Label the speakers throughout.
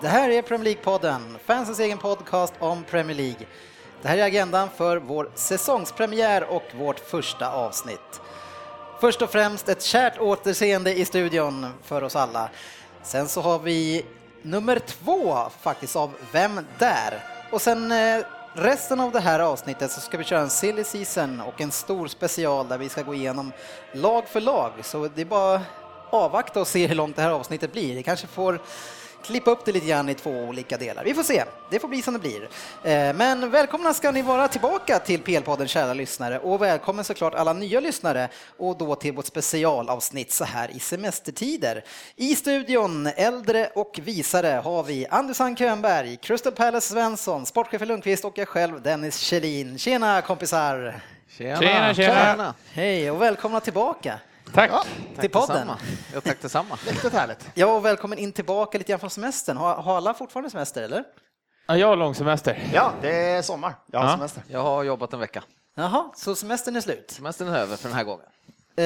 Speaker 1: Det här är Premier League-podden, fansens egen podcast om Premier League. Det här är agendan för vår säsongspremiär och vårt första avsnitt. Först och främst ett kärt återseende i studion för oss alla. Sen så har vi nummer två faktiskt av Vem där? Och sen eh, resten av det här avsnittet så ska vi köra en silly season och en stor special där vi ska gå igenom lag för lag. Så det är bara avvakta och se hur långt det här avsnittet blir. Det kanske får klippa upp det lite grann i två olika delar. Vi får se, det får bli som det blir. Eh, Men välkomna ska ni vara tillbaka till PL-podden kära lyssnare och välkommen såklart alla nya lyssnare och då till vårt specialavsnitt så här i semestertider. I studion, äldre och visare, har vi Andersson Könberg, Crystal Palace Svensson, sportchef Lundqvist och jag själv Dennis Kjellin. Tjena kompisar!
Speaker 2: Tjena,
Speaker 3: Tjena, tjena.
Speaker 1: Hej och välkomna tillbaka!
Speaker 3: Tack!
Speaker 2: Ja,
Speaker 1: Till podden.
Speaker 2: detsamma. Ja, tack detsamma.
Speaker 4: Riktigt härligt.
Speaker 1: Ja, och välkommen in tillbaka lite grann från semestern. Har, har alla fortfarande semester eller?
Speaker 3: Ja, jag har lång semester.
Speaker 4: Ja, det är sommar. Jag har
Speaker 3: Ja.
Speaker 4: semester.
Speaker 2: Jag har jobbat en vecka.
Speaker 1: Jaha, så semestern är slut?
Speaker 2: Semestern är över för den här gången.
Speaker 1: Eh,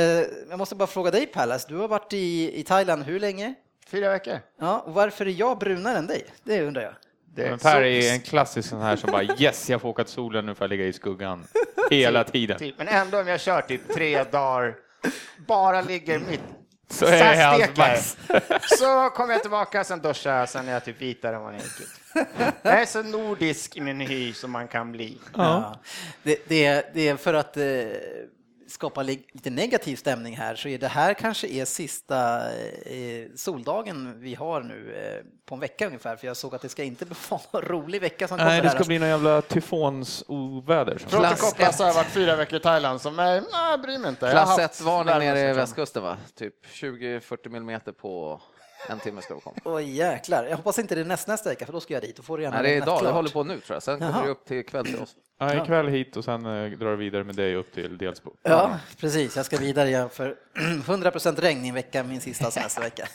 Speaker 1: jag måste bara fråga dig Pallas, du har varit i, i Thailand hur länge?
Speaker 4: Fyra veckor.
Speaker 1: Ja, och varför är jag brunare än dig? Det undrar jag.
Speaker 4: Det
Speaker 3: Men Per
Speaker 4: så-
Speaker 3: är en klassisk sån här som bara yes, jag får åka till solen nu för att ligga i skuggan hela tiden.
Speaker 4: Typ, men ändå om jag kör typ tre dagar, bara ligger mitt,
Speaker 3: Så är det hans
Speaker 4: stekar.
Speaker 3: max.
Speaker 4: så kommer jag tillbaka, sen duschar jag, sen är jag typ vitare än vad jag gick ut. Jag är så nordisk i min hy som man kan bli.
Speaker 1: Ja. Det, det, är- det är för att eh, skapa li- lite negativ stämning här så är det här kanske är sista eh, soldagen vi har nu eh, på en vecka ungefär för jag såg att det ska inte vara någon rolig vecka som kommer
Speaker 3: Nej, det
Speaker 1: här.
Speaker 3: ska bli någon jävla tyfonsoväder. som-
Speaker 2: Klass
Speaker 4: Klass
Speaker 2: ett.
Speaker 4: har varit fyra veckor i Thailand, som är, nej, jag bryr mig inte. Jag har
Speaker 2: Klass
Speaker 4: haft
Speaker 2: 1-varning nere i
Speaker 4: värmesymptom.
Speaker 2: västkusten, va? Typ 20-40 millimeter på en timme ska vi komma.
Speaker 1: Oj jäklar, jag hoppas inte det är nästa, nästa vecka för då ska jag dit och får det gärna
Speaker 2: Nej, det är
Speaker 1: lämnat
Speaker 2: idag, det
Speaker 1: klart.
Speaker 2: håller på nu tror jag. Sen kommer
Speaker 1: Jaha.
Speaker 2: det upp till kväll till oss.
Speaker 3: Ja, ikväll hit och sen eh, drar vi vidare med dig upp till Delsbo.
Speaker 1: Ja, precis. Jag ska vidare igen för 100% regn i en vecka, min sista semestervecka.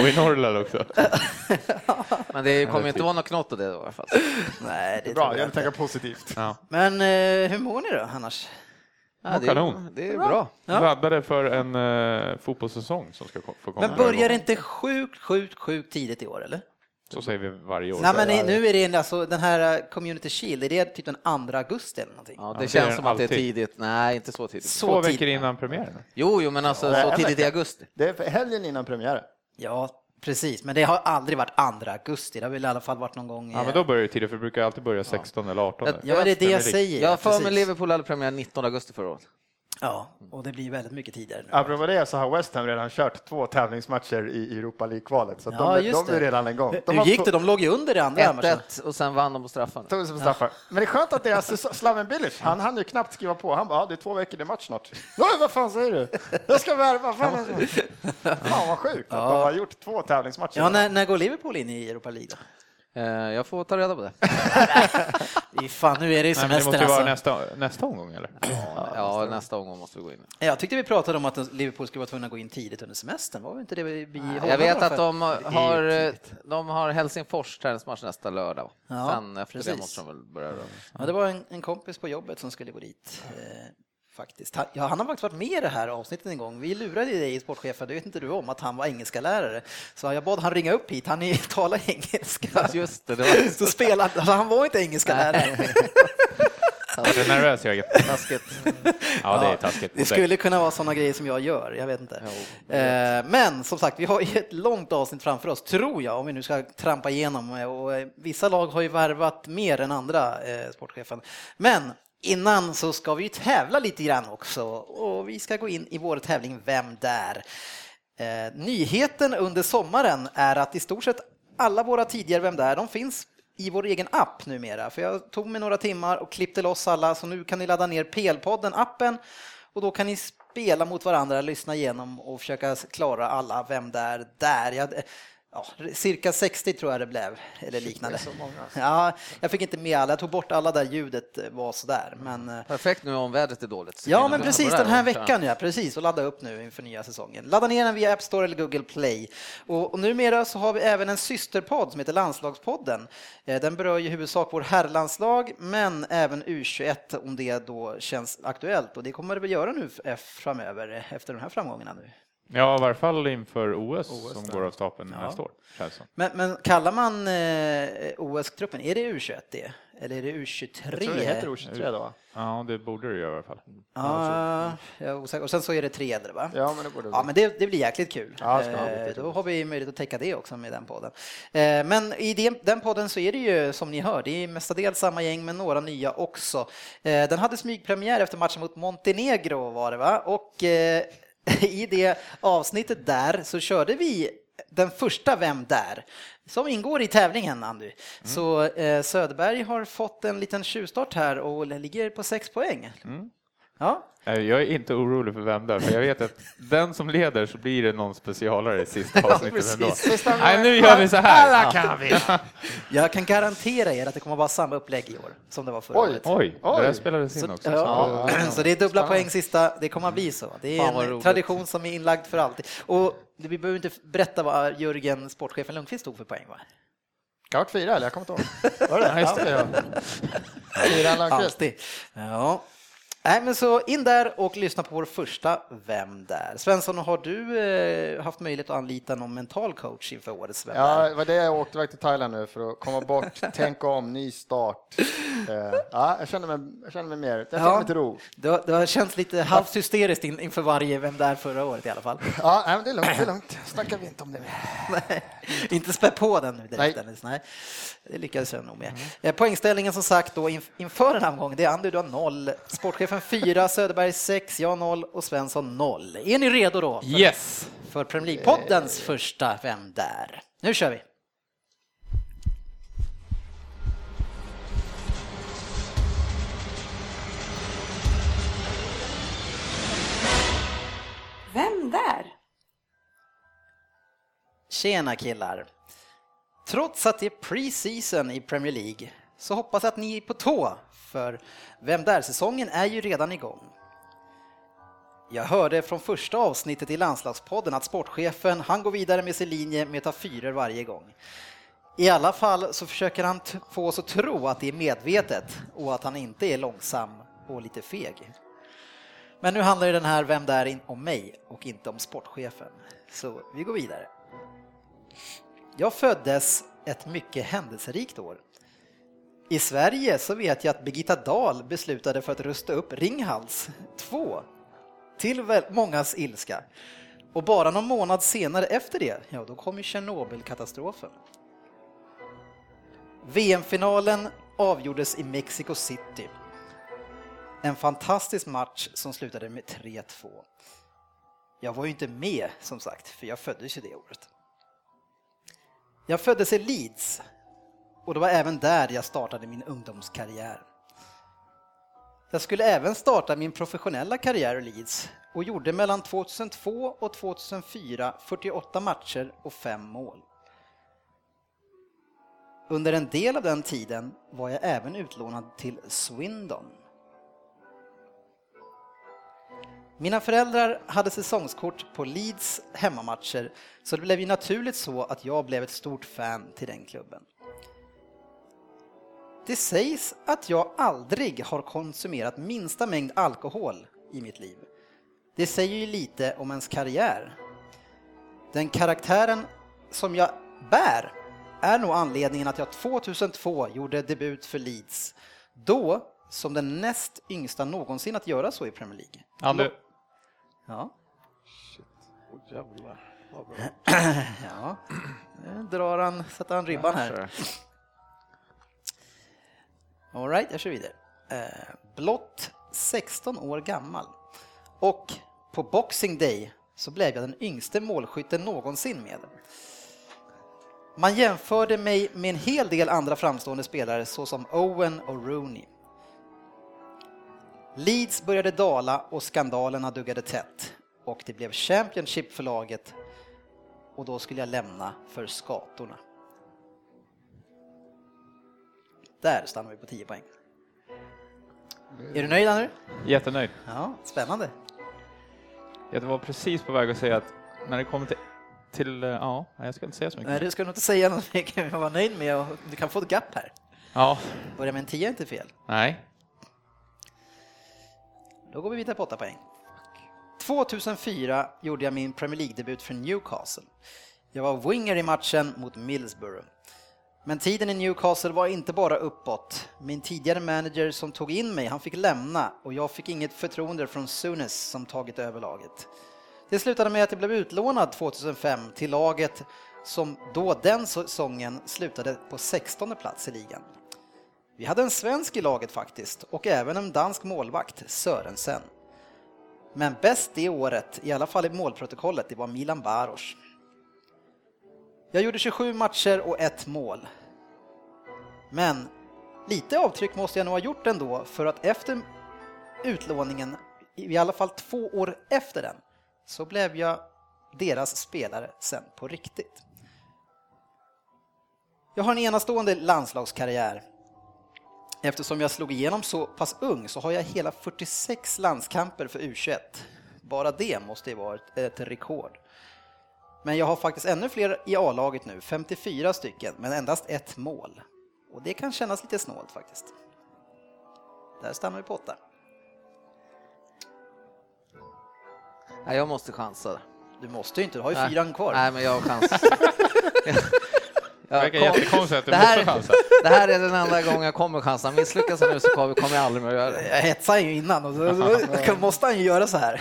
Speaker 3: Och i Norrland också.
Speaker 2: Men det kommer
Speaker 3: det är
Speaker 2: ju inte
Speaker 3: fint.
Speaker 2: vara något knott av det då, i alla fall.
Speaker 1: Nej, det
Speaker 4: Bra,
Speaker 1: tror
Speaker 4: jag
Speaker 1: jag
Speaker 4: vill
Speaker 1: inte.
Speaker 4: tänka positivt.
Speaker 3: Ja.
Speaker 1: Men eh, hur mår ni då annars?
Speaker 2: Ja, det,
Speaker 3: kanon.
Speaker 2: är, det är bra.
Speaker 1: Ja.
Speaker 3: Laddade för en eh, fotbollssäsong som ska ko- få komma.
Speaker 1: Men börjar det
Speaker 3: igång.
Speaker 1: inte sjukt, sjukt, sjukt tidigt i år eller?
Speaker 3: Så säger vi varje år.
Speaker 1: Nej men i- nu är det en- alltså den här eh, Community Shield, är det typ den 2 augusti eller någonting?
Speaker 2: Ja, det
Speaker 3: det är
Speaker 2: känns
Speaker 3: det
Speaker 2: som att det är
Speaker 3: alltid.
Speaker 2: tidigt. Nej, inte så tidigt.
Speaker 1: Så
Speaker 3: Två
Speaker 1: tidigt.
Speaker 3: veckor innan premiären.
Speaker 2: Jo, jo, men alltså
Speaker 4: Ja,
Speaker 2: så
Speaker 4: en
Speaker 2: tidigt i
Speaker 4: vecka.
Speaker 2: augusti.
Speaker 4: Det är för helgen innan premiären.
Speaker 1: Ja, precis. Men det har aldrig varit 2 augusti, det har väl i alla fall varit någon gång...
Speaker 3: Ja, men då börjar det tidigt, för det brukar alltid börja 16 eller 18.
Speaker 2: Jag-
Speaker 1: ja, men det är det jag
Speaker 3: Premier League.
Speaker 1: säger.
Speaker 2: Jag har för mig
Speaker 1: precis.
Speaker 2: Liverpool hade premiär 19 augusti förra året.
Speaker 1: Ja, och det blir väldigt mycket tidigare nu.
Speaker 4: Apropå det så har West Ham redan kört två tävlingsmatcher i Europa League-kvalet, så att
Speaker 1: Ja,
Speaker 4: de, är-
Speaker 1: just
Speaker 4: de är
Speaker 1: det.
Speaker 4: redan en gång. De
Speaker 1: Hur
Speaker 4: har
Speaker 1: gick
Speaker 4: två-
Speaker 1: det? De låg ju under i andra matchen.
Speaker 2: 1-1 och sen vann de på straffar.
Speaker 4: Tog sig på straffar. Men det är skönt att deras s- Slaven Bilic, han hann ju knappt skriva på. Han bara, "Ja, det är två veckor, det är match snart. Nej, vad fan säger du? Jag ska värva. Fan, fan vad sjukt att de har gjort två tävlingsmatcher.
Speaker 1: Ja, när, när går Liverpool in i Europa League då?
Speaker 2: Eh, Jag får ta reda på det.
Speaker 1: Fy fan, nu är det ju
Speaker 3: Nej, men det
Speaker 1: semester
Speaker 3: måste ju vara
Speaker 1: alltså.
Speaker 3: nästa, nästa omgång eller?
Speaker 2: Ja, nästa omgång måste vi gå in.
Speaker 1: Jag tyckte vi pratade om att Liverpool skulle vara tvungna att gå in tidigt under semestern. Var det inte det vi vi hånade
Speaker 2: Jag vet
Speaker 1: dem
Speaker 2: att
Speaker 1: för?
Speaker 2: de har, eh,
Speaker 1: Det är ju
Speaker 2: de har Helsingfors träningsmatch nästa lördag. va?
Speaker 1: Ja,
Speaker 2: Sen efter
Speaker 1: precis.
Speaker 2: det måste de väl börja röra.
Speaker 1: Ja, det var en, en kompis på jobbet som skulle gå dit. Eh, faktiskt. Han, ja, han har faktiskt varit med i det här avsnittet en gång. Vi lurade ju dig, sportchefen, det vet inte du om, att han var engelska lärare. Så jag bad han ringa upp hit, han är- talar engelska.
Speaker 2: Just det, det var
Speaker 1: Så spelade, alltså, han var inte engelska lärare.
Speaker 3: Är du nervös Jörgen?
Speaker 2: taskigt.
Speaker 3: Ja, det är taskigt.
Speaker 1: Det skulle kunna vara sådana grejer som jag gör, jag vet inte. Eh, Men som sagt, vi har ju ett långt avsnitt framför oss, tror jag, om vi nu ska trampa igenom. Eh, Och eh, vissa lag har ju värvat mer än andra, eh, sportchefen. Men innan så ska vi ju tävla lite grann också och vi ska gå in i vår tävling Vem där? Eh, Nyheten under sommaren är att i stort sett alla våra tidigare Vem där? De finns i vår egen app numera. För jag tog mig några timmar och klippte loss alla, så nu kan ni ladda ner PL-podden, appen, och då kan ni spela mot varandra, lyssna igenom och försöka klara alla Vem där? där. Jag, ja, cirka 60 tror jag det blev, eller liknande. Ja, jag fick inte med alla, jag tog bort alla där ljudet eh, var sådär. Men, eh,
Speaker 2: Perfekt nu om vädret är dåligt.
Speaker 1: Ja, men precis den här veckan ja, precis och ladda upp nu inför nya säsongen. Ladda ner den via App Store eller Google Play. Och, och numera så har vi även en systerpodd som heter Landslagspodden. Eh, Den berör ju i huvudsak vår herrlandslag, men även U21 om det då känns aktuellt och det kommer det väl göra nu f- eh, framöver eh, efter de här framgångarna nu.
Speaker 3: Ja, i varje fall inför OS, som går av stapeln
Speaker 1: Ja.
Speaker 3: nästa år. Känns som.
Speaker 1: Men, men kallar man eh, OS-truppen, är det U21 det? Eller är det U23?
Speaker 4: Jag tror det heter O23 då. va?
Speaker 3: Ja, det borde det göra i alla fall.
Speaker 1: Ja, jag är osäker. Och sen så är det tre eller va?
Speaker 4: Ja, men det borde
Speaker 1: Ja, men det, det blir jäkligt kul.
Speaker 4: Ja, det ska bli
Speaker 1: eh,
Speaker 4: riktigt
Speaker 1: då har vi möjlighet att täcka det också med den podden. Eh, men i den, den podden så är det ju som ni hör, det är mestadels samma gäng men några nya också. Eh, den hade smygpremiär efter matchen mot Montenegro var det va? Och eh, i det avsnittet där så körde vi den första Vem där? som ingår i tävlingen, Andy.
Speaker 4: Mm.
Speaker 1: Så eh, Söderberg har fått en liten tjuvstart här och ligger på sex poäng.
Speaker 4: Mm.
Speaker 1: Ja,
Speaker 3: Nej, Eh, Jag är inte orolig för vem där, för jag vet att den som leder så blir det någon specialare i sista avsnittet ändå.
Speaker 1: precis.
Speaker 3: Nej, nu gör vi så här.
Speaker 4: Alla kan vi!
Speaker 1: Jag kan garantera er att det kommer vara samma upplägg i år som det var förra
Speaker 4: Oj.
Speaker 1: året.
Speaker 3: Oj, det där spelades in
Speaker 1: Så,
Speaker 3: också.
Speaker 1: ja, så det är dubbla poäng sista, det kommer att bli så. Det
Speaker 2: Fan,
Speaker 1: är
Speaker 2: vad
Speaker 1: en
Speaker 2: roligt.
Speaker 1: tradition som är inlagd för alltid. Och vi behöver inte berätta vad Jörgen, sportchefen Lundqvist, tog för poäng va?
Speaker 4: Kvart fyra, eller jag kommer inte ihåg. Var det det? Ja, fyra. Fyra Lundqvist.
Speaker 1: Alltid. Ja. Nej, men så in där och lyssna på vår första Vem där? Svensson, har du eh, haft möjlighet att anlita någon mental coach inför årets Vem
Speaker 4: Ja,
Speaker 1: där?
Speaker 4: det var det jag åkte iväg till Thailand nu för att komma bort, tänka om, ny start. Eh, Ja, jag känner mig, jag känner mig mer, jag känner mig till ro.
Speaker 1: det, har- det har känts lite halvt hysteriskt in, inför varje Vem där förra året i alla fall.
Speaker 4: Ja, nej, men det är lugnt, det är lugnt. Snackar vi inte om det mer.
Speaker 1: Nej, inte spä på den nu direkt
Speaker 4: Nej.
Speaker 1: Dennis. Nej. Det lyckades jag nog med. Eh, Poängställningen som sagt då inf- inför den här omgången, det är Andy, du har noll, sportchefen fyra, Söderberg sex, jag noll och Svensson noll. Är ni redo då för,
Speaker 3: Yes!
Speaker 1: för Premier League-poddens första Vem där? Nu kör vi!
Speaker 5: Vem där?
Speaker 1: Tjena killar! Trots att det är pre-season i Premier League så hoppas jag att ni är på tå, för Vem Där-säsongen är ju redan igång. Jag hörde från första avsnittet i landslagspodden att sportchefen, han går vidare med sin linje med att ta fyror varje gång. I alla fall så försöker han t- få oss att tro att det är medvetet och att han inte är långsam och lite feg. Men nu handlar ju den här Vem Där in- om mig och inte om sportchefen. Så vi går vidare. Jag föddes ett mycket händelserikt år. I Sverige så vet jag att Birgitta Dahl beslutade för att rusta upp Ringhals 2 till väl- mångas ilska. Och bara någon månad senare efter det, ja då kom ju Tjernobylkatastrofen. VM-finalen avgjordes i Mexico City. En fantastisk match som slutade med 3-2. Jag var ju inte med som sagt, för jag föddes ju det året. Jag föddes i Leeds och det var även där jag startade min ungdomskarriär. Jag skulle även starta min professionella karriär i Leeds och gjorde mellan 2002 och 2004 48 matcher och 5 mål. Under en del av den tiden var jag även utlånad till Swindon. Mina föräldrar hade säsongskort på Leeds hemmamatcher så det blev ju naturligt så att jag blev ett stort fan till den klubben. Det sägs att jag aldrig har konsumerat minsta mängd alkohol i mitt liv. Det säger ju lite om ens karriär. Den karaktären som jag bär är nog anledningen att jag 2002 gjorde debut för Leeds. Då som den näst yngsta någonsin att göra så i Premier League.
Speaker 3: Andy,
Speaker 1: Ja. ja, nu drar han, sätter han ribban här. All right, jag kör vidare. Eh, blott 16 år gammal. Och på Boxing Day så blev jag den yngste målskytten någonsin med. Man jämförde mig med en hel del andra framstående spelare såsom Owen och Rooney. Leeds började dala och skandalerna duggade tätt och det blev Championship för laget och då skulle jag lämna för skatorna. Där stannar vi på 10 poäng. Är du nöjd nu?
Speaker 3: Jättenöjd.
Speaker 1: Ja, spännande.
Speaker 3: Jag var precis på väg att säga att när det kommer till, till eh, ja, nej, jag ska inte säga så mycket.
Speaker 1: Nej, du ska nog inte säga något mer, kan vi vara nöjd med och du kan få ett gapp här.
Speaker 3: Ja,
Speaker 1: Börja med en 10 är inte fel.
Speaker 3: nej.
Speaker 1: Då går vi vidare på 8 poäng. 2004 gjorde jag min Premier League-debut för Newcastle. Jag var winger i matchen mot Middlesbrough. Men tiden i Newcastle var inte bara uppåt. Min tidigare manager som tog in mig, han fick lämna och jag fick inget förtroende från Sunes som tagit över laget. Det slutade med att jag blev utlånad 2005 till laget som då den säsongen slutade på 16 plats i ligan. Vi hade en svensk i laget faktiskt och även en dansk målvakt, Sörensen. Men bäst det året, i alla fall i målprotokollet, det var Milan Baros. Jag gjorde 27 matcher och ett mål. Men lite avtryck måste jag nog ha gjort ändå för att efter utlåningen, i alla fall två år efter den, så blev jag deras spelare sen på riktigt. Jag har en enastående landslagskarriär Eftersom jag slog igenom så pass ung så har jag hela 46 landskamper för U21. Bara det måste ju vara ett, ett rekord. Men jag har faktiskt ännu fler i A-laget nu, 54 stycken, men endast ett mål. Och det kan kännas lite snålt faktiskt. Där stannar vi på åtta.
Speaker 2: Nej, jag måste chansa. där.
Speaker 1: Du måste ju inte, du har ju
Speaker 2: Nej.
Speaker 1: fyran kvar.
Speaker 2: Nej, men jag chansar.
Speaker 3: Det
Speaker 2: Jag
Speaker 3: verkar
Speaker 2: kom-
Speaker 3: jättekonstigt att du
Speaker 2: det, här,
Speaker 3: måste chansa.
Speaker 2: det här är den enda gången jag kommer chansa. Misslyckas jag nu så kommer kommer jag aldrig mer göra det.
Speaker 1: Jag hetsade ju innan och då, då, då måste han ju göra så här.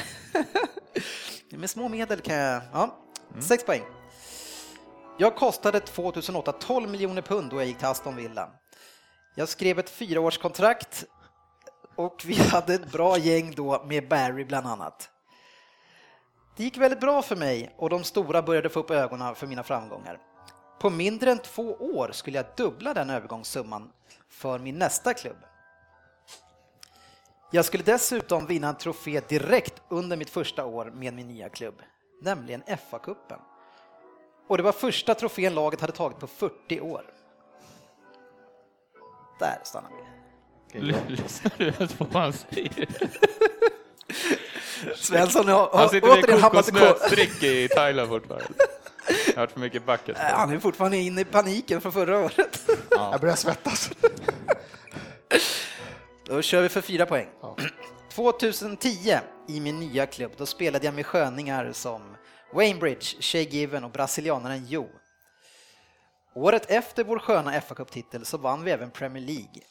Speaker 1: Med små medel kan jag... Ja, sex poäng. Jag kostade 2008 12 miljoner pund då jag gick till Aston Villa. Jag skrev ett fyraårskontrakt och vi hade ett bra gäng då med Barry bland annat. Det gick väldigt bra för mig och de stora började få upp ögonen för mina framgångar. På mindre än två år skulle jag dubbla den övergångssumman för min nästa klubb. Jag skulle dessutom vinna en trofé direkt under mitt första år med min nya klubb, nämligen FA-cupen. Och det var första trofén laget hade tagit på 40 år. Där stannar vi.
Speaker 3: L- Lyssnar du ens på vad han säger?
Speaker 1: Svensson har,
Speaker 3: Han
Speaker 1: har
Speaker 3: sitter med
Speaker 1: återigen hamnat i kor-
Speaker 3: kokosnötsdrick i Thailand fortfarande. Jag har hört för mycket bucket.
Speaker 1: Äh, Han är fortfarande inne i paniken från förra året.
Speaker 4: Jag börjar svettas.
Speaker 1: Då kör vi för fyra poäng. 2010 i min nya klubb, då spelade jag med sköningar som Wainbridge, Shea Given och brasilianaren Jo. Året efter vår sköna fa Cup-titel så vann vi även Premier League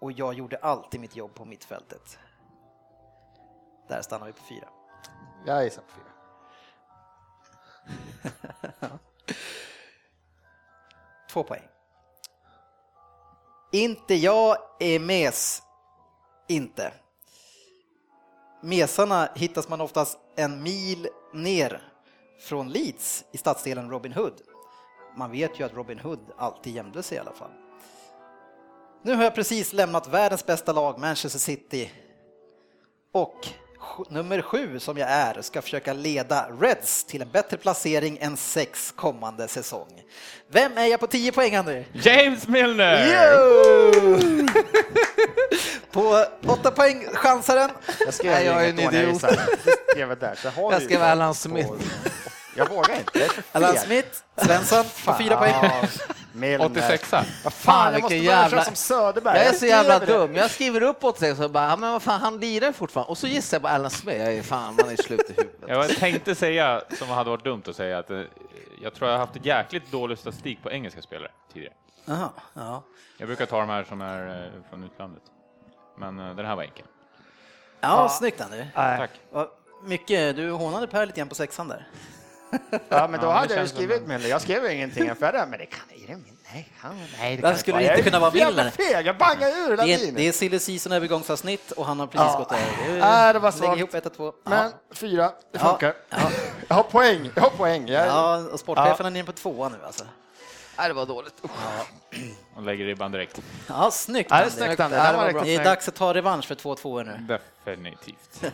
Speaker 1: och jag gjorde alltid mitt jobb på mittfältet. Där stannar vi på fyra.
Speaker 4: Jag gissar på fyra.
Speaker 1: Två poäng. Inte jag är mes. Inte. Mesarna hittas man oftast en mil ner från Leeds i stadsdelen Robin Hood. Man vet ju att Robin Hood alltid gömde sig i alla fall. Nu har jag precis lämnat världens bästa lag, Manchester City. Och sj- nummer sju som jag är ska försöka leda Reds till en bättre placering än sex kommande säsong. Vem är jag på 10 poäng, Andy?
Speaker 3: James Milner!
Speaker 1: Jo! på 8 poäng chansaren.
Speaker 4: Jag skrev
Speaker 2: Nej, jag är
Speaker 4: inget
Speaker 2: en
Speaker 4: då när jag
Speaker 2: idiot.
Speaker 4: gissade. Jag skrev det där. Så har
Speaker 2: Jag
Speaker 4: du ju
Speaker 2: skrev
Speaker 4: koll
Speaker 2: Alan
Speaker 4: på-
Speaker 2: Smith.
Speaker 4: Jag vågar inte. Jag är för
Speaker 1: Allan
Speaker 4: feg.
Speaker 1: Smith, Svensson på 4 poäng.
Speaker 4: Ja, Milner.
Speaker 3: 86
Speaker 4: Vad fan, jag
Speaker 2: vilken
Speaker 4: måste börja
Speaker 2: jävla-
Speaker 4: köra som Söderberg.
Speaker 2: Jag är så jävla
Speaker 4: skriver det.
Speaker 2: dum. Jag skriver upp åt sig så bara, ja, men vad fan, han lirar fortfarande. Och så gissar jag på Alan Smith. Jag är fan, man är slut i huvudet.
Speaker 3: Jag tänkte säga, som hade varit dumt att säga, att eh, jag tror jag har haft ett jäkligt dålig statistik på engelska spelare tidigare.
Speaker 1: Jaha, ja.
Speaker 3: Jag brukar ta de här som är eh, från utlandet. Men eh, den här var enkel.
Speaker 1: ja, snyggt Andy.
Speaker 3: Tack.
Speaker 1: Vad Mycket, du hånade Per lite grann på sexan där.
Speaker 4: Ja, men då
Speaker 3: Ja, men
Speaker 4: hade
Speaker 3: det
Speaker 4: jag ju
Speaker 3: känns som
Speaker 4: skrivit
Speaker 3: en-
Speaker 4: Milner. Jag skrev ingenting än för det, men det kan... Är det min? Nej, han, nej det kan
Speaker 1: Varför skulle det
Speaker 4: Jag
Speaker 1: inte
Speaker 4: är
Speaker 1: kunna vara
Speaker 4: för jävla
Speaker 1: Milner?
Speaker 4: feg. Jag bangar ur
Speaker 1: Det är, det
Speaker 4: lavinen.
Speaker 1: är silly season övergångsavsnitt och han har precis
Speaker 4: Ja.
Speaker 1: gått över.
Speaker 4: Nej, det var
Speaker 1: Lägg
Speaker 4: svagt.
Speaker 1: ihop ett och två.
Speaker 4: Men fyra, det
Speaker 1: Ja.
Speaker 4: funkar. Jag har poäng. Jag har poäng. Jag,
Speaker 1: Ja, och sportchefen är nere på tvåa nu alltså.
Speaker 2: Nej, det var dåligt. Usch.
Speaker 3: Och lägger ribban direkt.
Speaker 1: Ja, snyggt.
Speaker 4: Ja, det är
Speaker 1: Andy.
Speaker 4: snyggt, Andy.
Speaker 2: Ja, det
Speaker 4: Det
Speaker 2: var
Speaker 4: var
Speaker 2: bra.
Speaker 4: riktigt
Speaker 1: Det är
Speaker 4: snyggt.
Speaker 1: dags att ta revansch för 2-2 nu.
Speaker 3: Definitivt.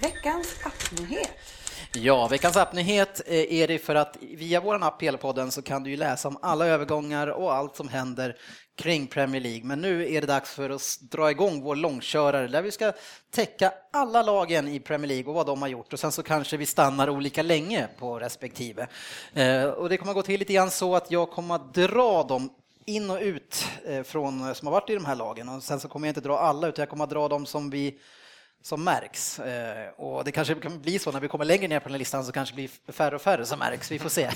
Speaker 5: Veckans appnyhet.
Speaker 1: Ja, veckans appnyhet eh, är det för att via vår app PL-podden så kan du ju läsa om alla övergångar och allt som händer kring Premier League. Men nu är det dags för oss att dra igång vår långkörare där vi ska täcka alla lagen i Premier League och vad de har gjort och sen så kanske vi stannar olika länge på respektive. Eh, Och det kommer att gå till lite grann så att jag kommer att dra dem in och ut eh, från som har varit i de här lagen och sen så kommer jag inte dra alla utan jag kommer att dra dem som vi som märks. Eh, Och det kanske kan bli så när vi kommer längre ner på den här listan så kanske det blir färre och färre som märks. Vi får se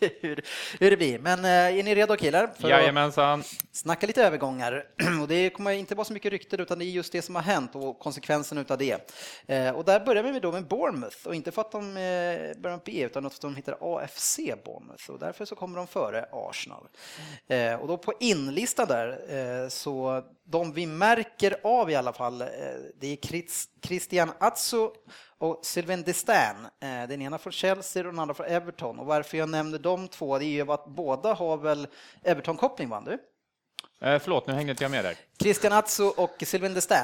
Speaker 1: hur, hur det blir. Men eh, är ni redo killar? För att
Speaker 3: Jajamensan.
Speaker 1: snacka lite övergångar. Och det kommer inte vara så mycket rykten utan det är just det som har hänt och konsekvensen utav det. Eh, Och där börjar vi då med Bournemouth och inte för att de eh, börjar med B utan för att de heter AFC Bournemouth och därför så kommer de före Arsenal. Eh, Och då på inlistan där eh, så de vi märker av i alla fall eh, det är Chris- Christian Atsu och Sylvain Destin, eh, den ena från Chelsea och den andra från Everton. Och varför jag nämner de två det är ju att båda har väl Everton-koppling, va du?
Speaker 3: Eh, förlåt, nu hängde inte jag med där.
Speaker 1: Christian Atsu och Sylvain Destin.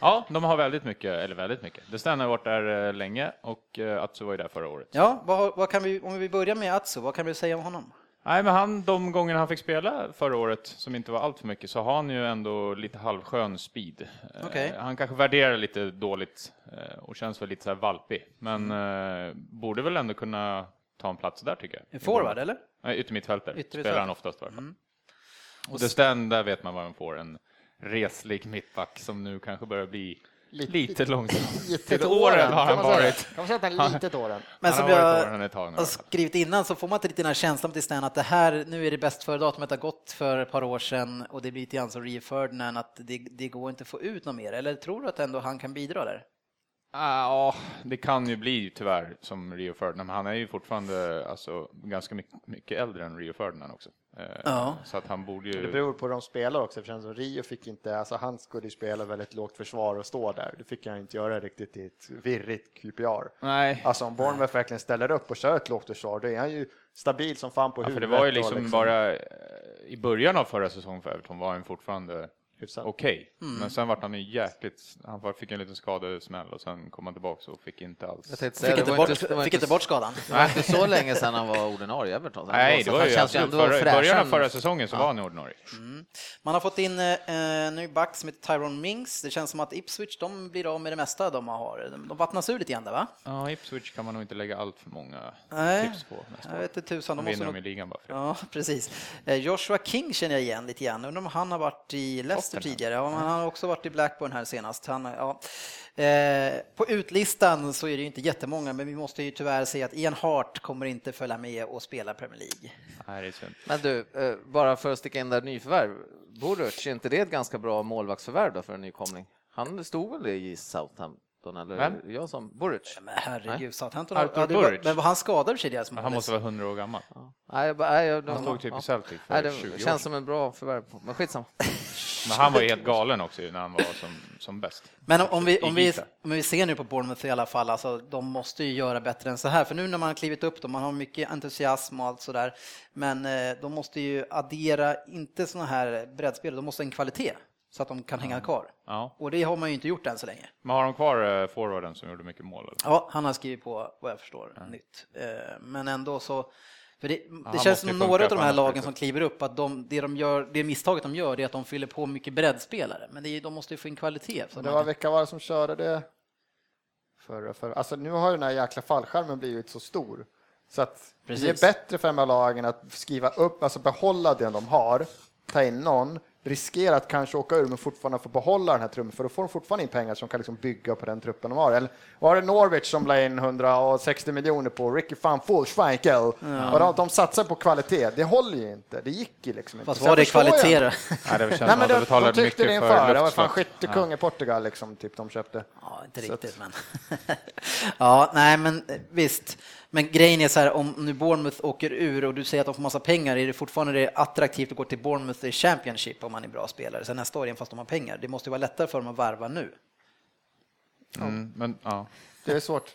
Speaker 3: Ja, de har väldigt mycket, eller väldigt mycket. The Stand har varit där eh, länge och eh, Atsu var ju där förra året.
Speaker 1: Ja, vad, har- vad kan vi, om vi börjar med Atsu, vad kan vi säga om honom?
Speaker 3: Nej, men han, de gångerna han fick spela förra året, som inte var allt för mycket, så har han ju ändå lite halvskön speed. Eh,
Speaker 1: Okej.
Speaker 3: Han kanske värderar lite dåligt eh, och känns väl lite så här valpig, men eh, borde väl ändå kunna ta en plats där tycker
Speaker 1: Mm. En
Speaker 3: jag.
Speaker 1: forward, eller?
Speaker 3: Nej, yttermittfältare
Speaker 1: Yttermittfältare.
Speaker 3: spelar han oftast i alla fall. Och The Stand, där vet man vad man får, en reslig mittback som nu kanske börjar bli lite, långsam. Till åren har han
Speaker 4: kan man säga.
Speaker 3: varit.
Speaker 4: Kan man säga att han är litet åren?
Speaker 1: Men
Speaker 3: Han
Speaker 1: som
Speaker 3: har varit
Speaker 1: jag
Speaker 3: åren ett tag nu. alltså.
Speaker 1: har skrivit innan så får man inte riktigt den här känslan till Stan att det här, nu är det bäst före datumet har gått för ett par år sedan och det blir lite grann som Rio Ferdinand att det, det går inte att få ut något mer. Eller tror du att ändå han kan bidra där?
Speaker 3: Ah, Ja, det kan ju bli tyvärr som Rio Ferdinand, men han är ju fortfarande alltså, ganska mycket, mycket äldre än Rio Ferdinand också. Eh,
Speaker 1: Ja.
Speaker 3: Så att han borde
Speaker 4: Det
Speaker 3: ju...
Speaker 4: beror på hur de spelar också, eftersom som Rio fick inte, alltså han skulle ju spela väldigt lågt försvar och stå där. Det fick han inte göra riktigt i ett virrigt QPR.
Speaker 3: Nej,
Speaker 4: Alltså om Bournemouth verkligen ställer upp och kör ett lågt försvar, då är han ju stabil som fan på
Speaker 3: ja, för
Speaker 4: huvudet.
Speaker 3: det var ju
Speaker 4: och
Speaker 3: liksom, bara eh, i början av förra säsongen för Everton var han fortfarande
Speaker 4: Hyfsat.
Speaker 3: okej. Men sen vart han ju jäkligt... Han var- fick en liten skadesmäll och sen kom han tillbaka och fick inte
Speaker 2: Jag
Speaker 3: alls...
Speaker 2: tänkte
Speaker 1: Fick,
Speaker 2: säga, det
Speaker 1: inte,
Speaker 2: var
Speaker 1: bort,
Speaker 2: det var
Speaker 1: fick inte bort skadan.
Speaker 2: Det var inte så länge sedan han var ordinarie i Everton.
Speaker 3: Nej,
Speaker 2: Så
Speaker 3: det var
Speaker 2: Alltså, han
Speaker 3: ju
Speaker 2: känns
Speaker 3: absolut.
Speaker 2: ändå
Speaker 3: Förra, I
Speaker 2: fräsch
Speaker 3: början av
Speaker 2: än-
Speaker 3: förra säsongen så var han ju ordinarie.
Speaker 1: Man har fått in eh, en ny back som heter Tyrone Mings. Det känns som att Ipswich, de blir av med det mesta de har. De de vattnas ur lite grann där va?
Speaker 3: Ja, Ipswich kan man nog inte lägga allt för många
Speaker 1: Nej.
Speaker 3: tips på nästa
Speaker 1: Jag
Speaker 3: år.
Speaker 1: vet inte tusan.
Speaker 3: Då
Speaker 1: De måste
Speaker 3: vinner de i
Speaker 1: nog...
Speaker 3: ligan bara för det.
Speaker 1: Ja, precis. Eh, Joshua King känner jag igen lite grann. Undrar om han har varit i Leicester
Speaker 3: Tottenham.
Speaker 1: tidigare. Ja, men han har också varit i Blackburn här senast. Han, ja. eh, på utlistan så är det ju inte jättemånga, men vi måste ju tyvärr säga att Ian Hart kommer inte följa med och spela Premier League.
Speaker 3: Nej, det är synd.
Speaker 2: Men du, eh, bara för att sticka in där nyförvärv. Boruc, är inte det ett ganska bra målvaktsförvärv då för en nykomling? Han stod väl i Southampton, eller
Speaker 3: Vem?
Speaker 2: jag som Boruc?
Speaker 1: Men herregud, Southampton
Speaker 3: Arthur
Speaker 1: det var-
Speaker 3: Burridge.
Speaker 1: Men var han skadad tidigare? som
Speaker 3: Han måste
Speaker 1: hade-
Speaker 3: vara 100 år gammal.
Speaker 2: Nej, jag bara, nej, jag,
Speaker 3: Han stod typ i Celtic
Speaker 2: Nej,
Speaker 3: för 20 år
Speaker 2: det
Speaker 3: sedan.
Speaker 2: känns som en bra förvärv, men skitsamma.
Speaker 3: Men han var ju helt galen också ju när han var som, som bäst.
Speaker 1: Men om- om vi, om, vi,
Speaker 3: Elita.
Speaker 1: om vi ser nu på Bournemouth i alla fall, alltså, de måste ju göra bättre än så här. För nu när man har klivit upp dem, man har mycket entusiasm och allt sådär. Men eh, de måste ju addera, inte sådana här breddspel, de måste ha en kvalitet så att de kan hänga kvar.
Speaker 3: Ja.
Speaker 1: Och det har man ju inte gjort än så länge.
Speaker 3: Men har de kvar eh, forwarden som gjorde mycket mål? Eller?
Speaker 1: Ja, han har skrivit på vad jag förstår, nytt. Eh, Men ändå så, för det, det
Speaker 3: han
Speaker 1: känns
Speaker 3: måste ju
Speaker 1: som
Speaker 3: funka
Speaker 1: några av de här
Speaker 3: på annat
Speaker 1: lagen
Speaker 3: sätt.
Speaker 1: som kliver upp, att de, det, de gör, det misstaget de gör är att de fyller på mycket breddspelare. Men det är, de måste ju få in kvalitet. så
Speaker 4: Det
Speaker 1: Alltså, man
Speaker 4: var
Speaker 1: kan-
Speaker 4: vilka var det som körde det? Förra, förra. Alltså nu har ju den här jäkla fallskärmen blivit så stor. Så att det är
Speaker 1: Precis.
Speaker 4: bättre för de här lagen att skriva upp, alltså behålla det de har, ta in någon, riskera att kanske åka ur men fortfarande få behålla den här truppen för då får de fortfarande in pengar som kan liksom bygga på den truppen de har. Eller var det Norwich som la in 160 miljoner på Ricky van Fullschweikel? Och de, de satsar på kvalitet, det håller ju inte, det gick ju liksom inte.
Speaker 1: Fast
Speaker 4: Så jag
Speaker 1: var det
Speaker 4: förstår ju
Speaker 1: kvalitet
Speaker 4: ändå-
Speaker 1: då?
Speaker 3: Nej, det känns
Speaker 4: Nej,
Speaker 3: som
Speaker 4: men
Speaker 3: att de
Speaker 4: de, de
Speaker 3: betalade
Speaker 4: tyckte
Speaker 3: mycket
Speaker 4: det
Speaker 3: för
Speaker 4: inför. Det var fan
Speaker 3: luftslott.
Speaker 4: skyttekung i Portugal liksom, typ de köpte.
Speaker 1: Ja, inte
Speaker 4: Så att-
Speaker 1: riktigt men. ja, nej men eh, visst. Men grejen är så här, om nu Bournemouth åker ur och du säger att de får massa pengar, är det fortfarande det attraktivt att gå till Bournemouth i Championship om man är bra spelare? Sen nästa år igen fast de har pengar. Det måste ju vara lättare för dem att varva nu.
Speaker 3: Mm, men, ja.
Speaker 4: det är svårt.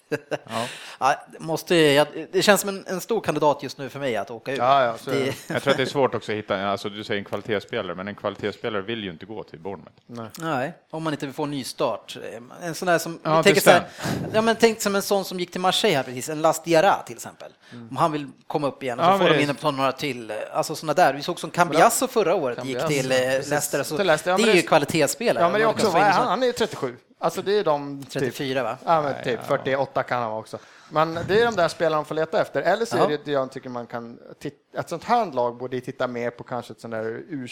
Speaker 1: Ja, måste, jag, det känns som en, en stor kandidat just nu för mig att åka ut.
Speaker 4: Ja, ja, så är
Speaker 1: det,
Speaker 4: det.
Speaker 3: Jag tror att det är svårt också att hitta, alltså du säger en kvalitetsspelare, men en kvalitetsspelare vill ju inte gå till Bournemouth.
Speaker 2: Mm.
Speaker 1: Nej, om man inte vill få en ny start. En sån där som,
Speaker 3: Ja,
Speaker 1: tänk,
Speaker 3: det
Speaker 1: så här, ja, men tänk som en sån som gick till Marseille här precis, en Las Diarra till exempel.
Speaker 4: Mm.
Speaker 1: Om han vill komma upp igen och
Speaker 3: Ja,
Speaker 1: så får de
Speaker 3: men-
Speaker 1: in på några till. Alltså sådana där. Vi såg som Cambiasso förra året
Speaker 2: Cambiasso,
Speaker 1: gick till eh, Leicester. Så
Speaker 4: Till Leicester, ja,
Speaker 1: det
Speaker 4: men
Speaker 1: är ju
Speaker 4: det-
Speaker 1: kvalitetsspelare.
Speaker 4: Ja, men det är
Speaker 1: Man
Speaker 4: också,
Speaker 1: kan få in
Speaker 4: vad är
Speaker 1: såna-
Speaker 4: han? Han är ju 37. Alltså det är de... typ-
Speaker 1: 34 va?
Speaker 4: Ja, men typ 48 kan han vara också. Men det är de där spelarna man får leta efter. Eller så
Speaker 1: Ja.
Speaker 4: är det det jag tycker man kan... tit- Ett sånt här lag borde ju titta mer på kanske ett sånt där u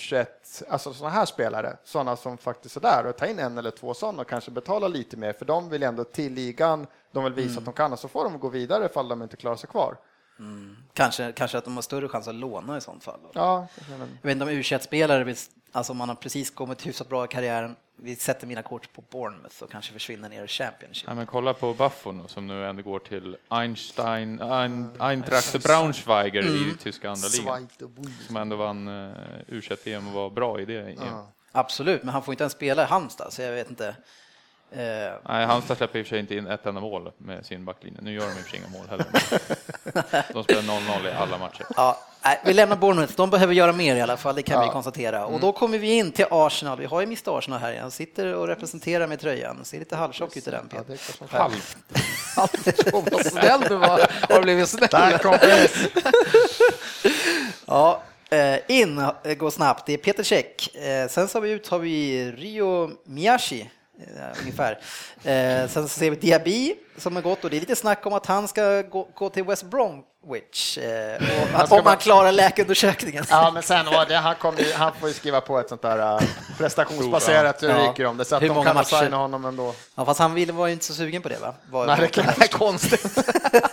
Speaker 4: alltså sådana här spelare, sådana som faktiskt är där och ta in en eller två sådana och kanske betala lite mer för de vill ändå till ligan, de vill visa att de kan och så får de gå vidare ifall de inte klarar sig kvar.
Speaker 1: Kanske, kanske att de har större chans att låna i sånt fall.
Speaker 4: Ja, men,
Speaker 1: Jag vet inte om U21-spelare, vill- alltså om man har precis kommit hyfsat bra i karriären, vi sätter mina kort på Bournemouth och kanske försvinner ner i Championship.
Speaker 3: Ja, men kolla på Buffon som nu ändå går till Einstein,
Speaker 2: Mm.
Speaker 3: Ein, Eintracht Braunschweiger i tyska andra ligan.
Speaker 4: Zweite Bundesliga.
Speaker 3: Som ändå vann uh, u vm och var bra i det. EM.
Speaker 1: Absolut, men han får inte ens spela i Halmstad, så jag vet inte. Eh,
Speaker 3: Nej, Halmstad släpper i och för sig inte in ett enda mål med sin backlinje. Nu gör de i och för sig inga mål heller. De spelar 0-0 i alla matcher.
Speaker 1: Ja, nej, vi lämnar Bournemouth. De behöver göra mer i alla fall, det kan vi konstatera.
Speaker 4: Mm.
Speaker 1: Och då kommer vi in till Arsenal. Vi har ju Mr Arsenal här igen. Han sitter och representerar med tröjan. Ser lite halvtjock ut i den,
Speaker 4: ja, det
Speaker 1: Peter.
Speaker 4: är klart som fan.
Speaker 3: Halv.
Speaker 2: Vad snäll du var. Har du blivit snäll?
Speaker 4: Där kom det.
Speaker 1: Ja, eh, in eh, går snabbt. Det är Peter Käck. Eh, Sen så har vi ut har vi Rio Miyashi. eh, Ungefär. Eh, sen så ser vi Diaby som har gått och det är lite snack om att han ska gå, gå till West Bromwich. Eh, och att,
Speaker 4: ska
Speaker 1: om
Speaker 4: vara-
Speaker 1: han klarar läkarundersökningen.
Speaker 4: Ja, men sen var det, han, kom, ju- han får ju skriva på ett sånt där äh, prestationsbaserat, hur
Speaker 1: Ja.
Speaker 4: ryker om det, så att
Speaker 1: Hur
Speaker 4: de
Speaker 1: många
Speaker 4: kan
Speaker 1: matcher?
Speaker 4: signa honom ändå.
Speaker 1: Ja, fast han ville, var ju inte så sugen på det va? Var,
Speaker 4: Nej, det kan
Speaker 2: Det är konstigt.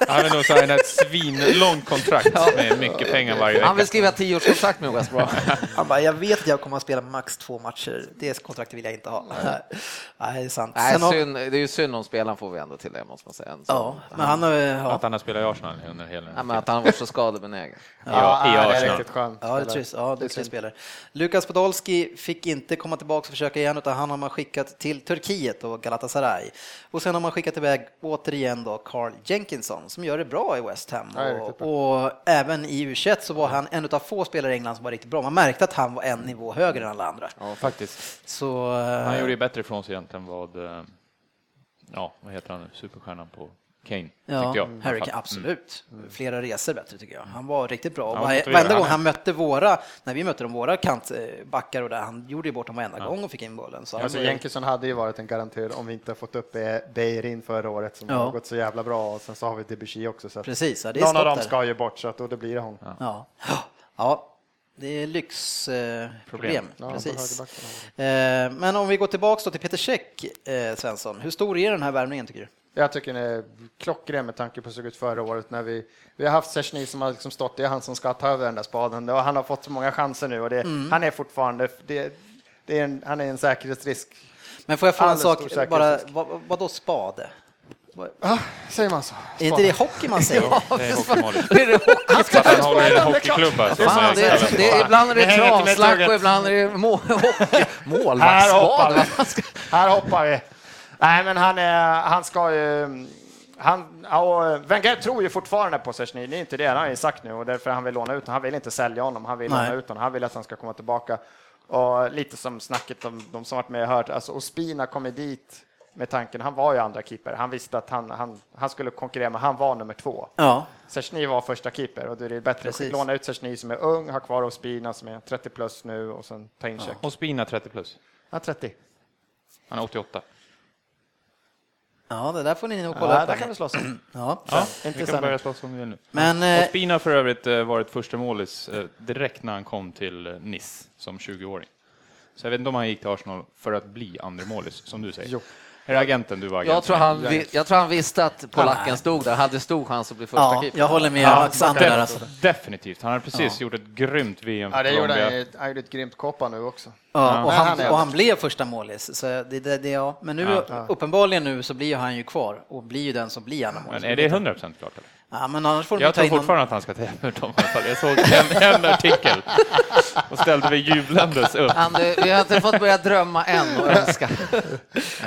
Speaker 3: Han vill nog signa ett svinlångt kontrakt med mycket pengar varje
Speaker 2: Han
Speaker 3: vecka.
Speaker 2: vill skriva tioårskontrakt med West Brom.
Speaker 1: Han bara, jag vet att jag kommer att spela max två matcher. Det kontraktet vill jag inte ha. Nej, det är sant.
Speaker 2: Nej,
Speaker 1: Sen har-
Speaker 2: synd, det är ju synd om spelaren får vi ändå till det, måste man säga. En sån-
Speaker 1: Ja, men han har... Ja,
Speaker 3: Att han har spelat i Arsenal under hela den
Speaker 2: Nej,
Speaker 3: här
Speaker 2: men att han var så skadebenägen.
Speaker 3: Ja, i
Speaker 4: det är
Speaker 3: Arsenal.
Speaker 4: riktigt skönt.
Speaker 1: ja, det trist. ja duktig spelare. Lukas Podolski fick inte komma tillbaka och försöka igen, utan han har man skickat till Turkiet och Galatasaray. Och sen har man skickat iväg, återigen då, Carl Jenkinson, som gör det bra i West Ham.
Speaker 4: Ja, det är riktigt
Speaker 1: och, och även i u så var han en av få spelare i England som var riktigt bra. Man märkte att han var en nivå högre än alla andra.
Speaker 3: Ja, faktiskt.
Speaker 1: Så... eh,
Speaker 3: Han gjorde ju bättre ifrån sig egentligen vad, eh, ja, vad heter han nu, superstjärnan på Kane,
Speaker 1: Ja,
Speaker 3: tyckte jag. Mm. i
Speaker 1: Harry
Speaker 3: alla fall.
Speaker 4: Mm.
Speaker 1: Kane, absolut. Flera resor bättre tycker jag. Han var riktigt bra.
Speaker 3: Ja,
Speaker 1: Var,
Speaker 3: motiverad.
Speaker 1: varenda gång
Speaker 3: Han är-
Speaker 1: han mötte våra, när vi mötte de våra kantbackar och där, han gjorde ju bort dem varenda gång och fick in bollen. Så han
Speaker 4: Alltså,
Speaker 1: var-
Speaker 4: Jenkinson hade ju varit en garanterad om vi inte har fått upp Be- Beirin förra året som
Speaker 1: Ja.
Speaker 4: har gått så jävla bra och sen så har vi Debussy också. Så att
Speaker 1: Precis, ja, det är
Speaker 4: någon av
Speaker 1: stopp
Speaker 4: dem
Speaker 1: där.
Speaker 4: ska ju bort så att då det blir det hon.
Speaker 1: Ja. ja, det är lyxproblem. Eh, problem.
Speaker 4: Ja, på
Speaker 1: Precis.
Speaker 4: högerbacken
Speaker 1: Eh, men om vi går tillbaka då till Peter Käck, eh, Svensson. Hur stor är den här värmningen tycker du?
Speaker 4: Jag tycker den är klockren med tanke på hur det såg ut förra året när vi, vi har haft Sechny som har liksom stått, det är han som ska ta över den där spaden och han har fått så många chanser nu och det,
Speaker 1: Mm.
Speaker 4: han är fortfarande, det, det är en, han är en säkerhetsrisk.
Speaker 1: Men får jag få en
Speaker 4: Alldeles stor
Speaker 1: sak,
Speaker 4: säkerhet.
Speaker 1: bara, vad, vadå spade?
Speaker 4: Ah, säger man så?
Speaker 1: Är inte det hockey man säger?
Speaker 3: Det är hockeymålet.
Speaker 2: Det är det
Speaker 3: Att han håller i en hockeyklubba. så
Speaker 2: Fan,
Speaker 3: säger
Speaker 2: det är,
Speaker 3: Kalle.
Speaker 2: det är, ibland är
Speaker 4: Ni
Speaker 2: det
Speaker 4: hänger inte med
Speaker 2: kravslack
Speaker 4: tåget.
Speaker 2: och ibland är det må- hockey-
Speaker 4: Här hoppar
Speaker 2: målvaktsskada.
Speaker 4: vi. Här hoppar vi. Nej, men han, är, han ska ju... Han, ja, och Wenger tror ju fortfarande på Sechny, det är inte det han har ju sagt nu och därför han vill låna ut honom. Han vill inte sälja honom, han vill
Speaker 1: Nej.
Speaker 4: låna ut honom, han vill att han ska komma tillbaka. Och lite som snacket om de som varit med och hört, alltså Ospina kom ju dit med tanken, han var ju andra keeper, han visste att han, han, han skulle konkurrera men han var nummer två.
Speaker 1: Ja,
Speaker 4: Sechny var första keeper och då är det bättre
Speaker 1: Precis.
Speaker 4: att låna ut Sechny som är ung, ha kvar Ospina som är 30 plus nu och sen ta in Käck.
Speaker 3: Och Spina 30 plus.
Speaker 4: Ja, 30.
Speaker 3: Han är 88.
Speaker 1: ja det där får ni nog kolla
Speaker 4: Ja,
Speaker 1: upp.
Speaker 4: där
Speaker 1: hörni.
Speaker 4: kan vi slåss om.
Speaker 1: Ja.
Speaker 3: Ja, vi
Speaker 4: Intressant.
Speaker 3: kan börja slåss om vi vill nu.
Speaker 1: Men, eh,
Speaker 3: och Spina har för övrigt eh, varit första målis eh, direkt när han kom till eh, Nice som 20-åring. Så jag vet inte om han gick till Arsenal för att bli andra målis, som du säger. Är det agenten du var agent
Speaker 2: Jag tror,
Speaker 3: med?
Speaker 2: han, vi- jag tror han visste att polacken stod där, hade stor chans att bli första
Speaker 1: Ja,
Speaker 2: keeper.
Speaker 1: jag håller med Alexander där alltså.
Speaker 3: Def- definitivt. Han har precis gjort ett grymt VM för
Speaker 4: Ja, det gjorde
Speaker 3: Colombia.
Speaker 4: han ju. Han gjorde ett grymt koppa nu också.
Speaker 1: Ja, och,
Speaker 4: Men han
Speaker 1: han,
Speaker 4: är
Speaker 1: och han blev första målis, så det, det, det, ja. men nu, uppenbarligen nu så blir ju han ju kvar och blir ju den som blir andra målis.
Speaker 3: Men är det 100 Alltså, klart? Eller?
Speaker 1: Ja, men annars får de ju
Speaker 3: Jag
Speaker 1: ta
Speaker 3: tror
Speaker 1: in någon...
Speaker 3: fortfarande att han ska till Everton. i alla fall. Jag såg en, en artikel och ställde mig jublandes upp.
Speaker 2: Andy, vi har inte fått börja drömma än och önska.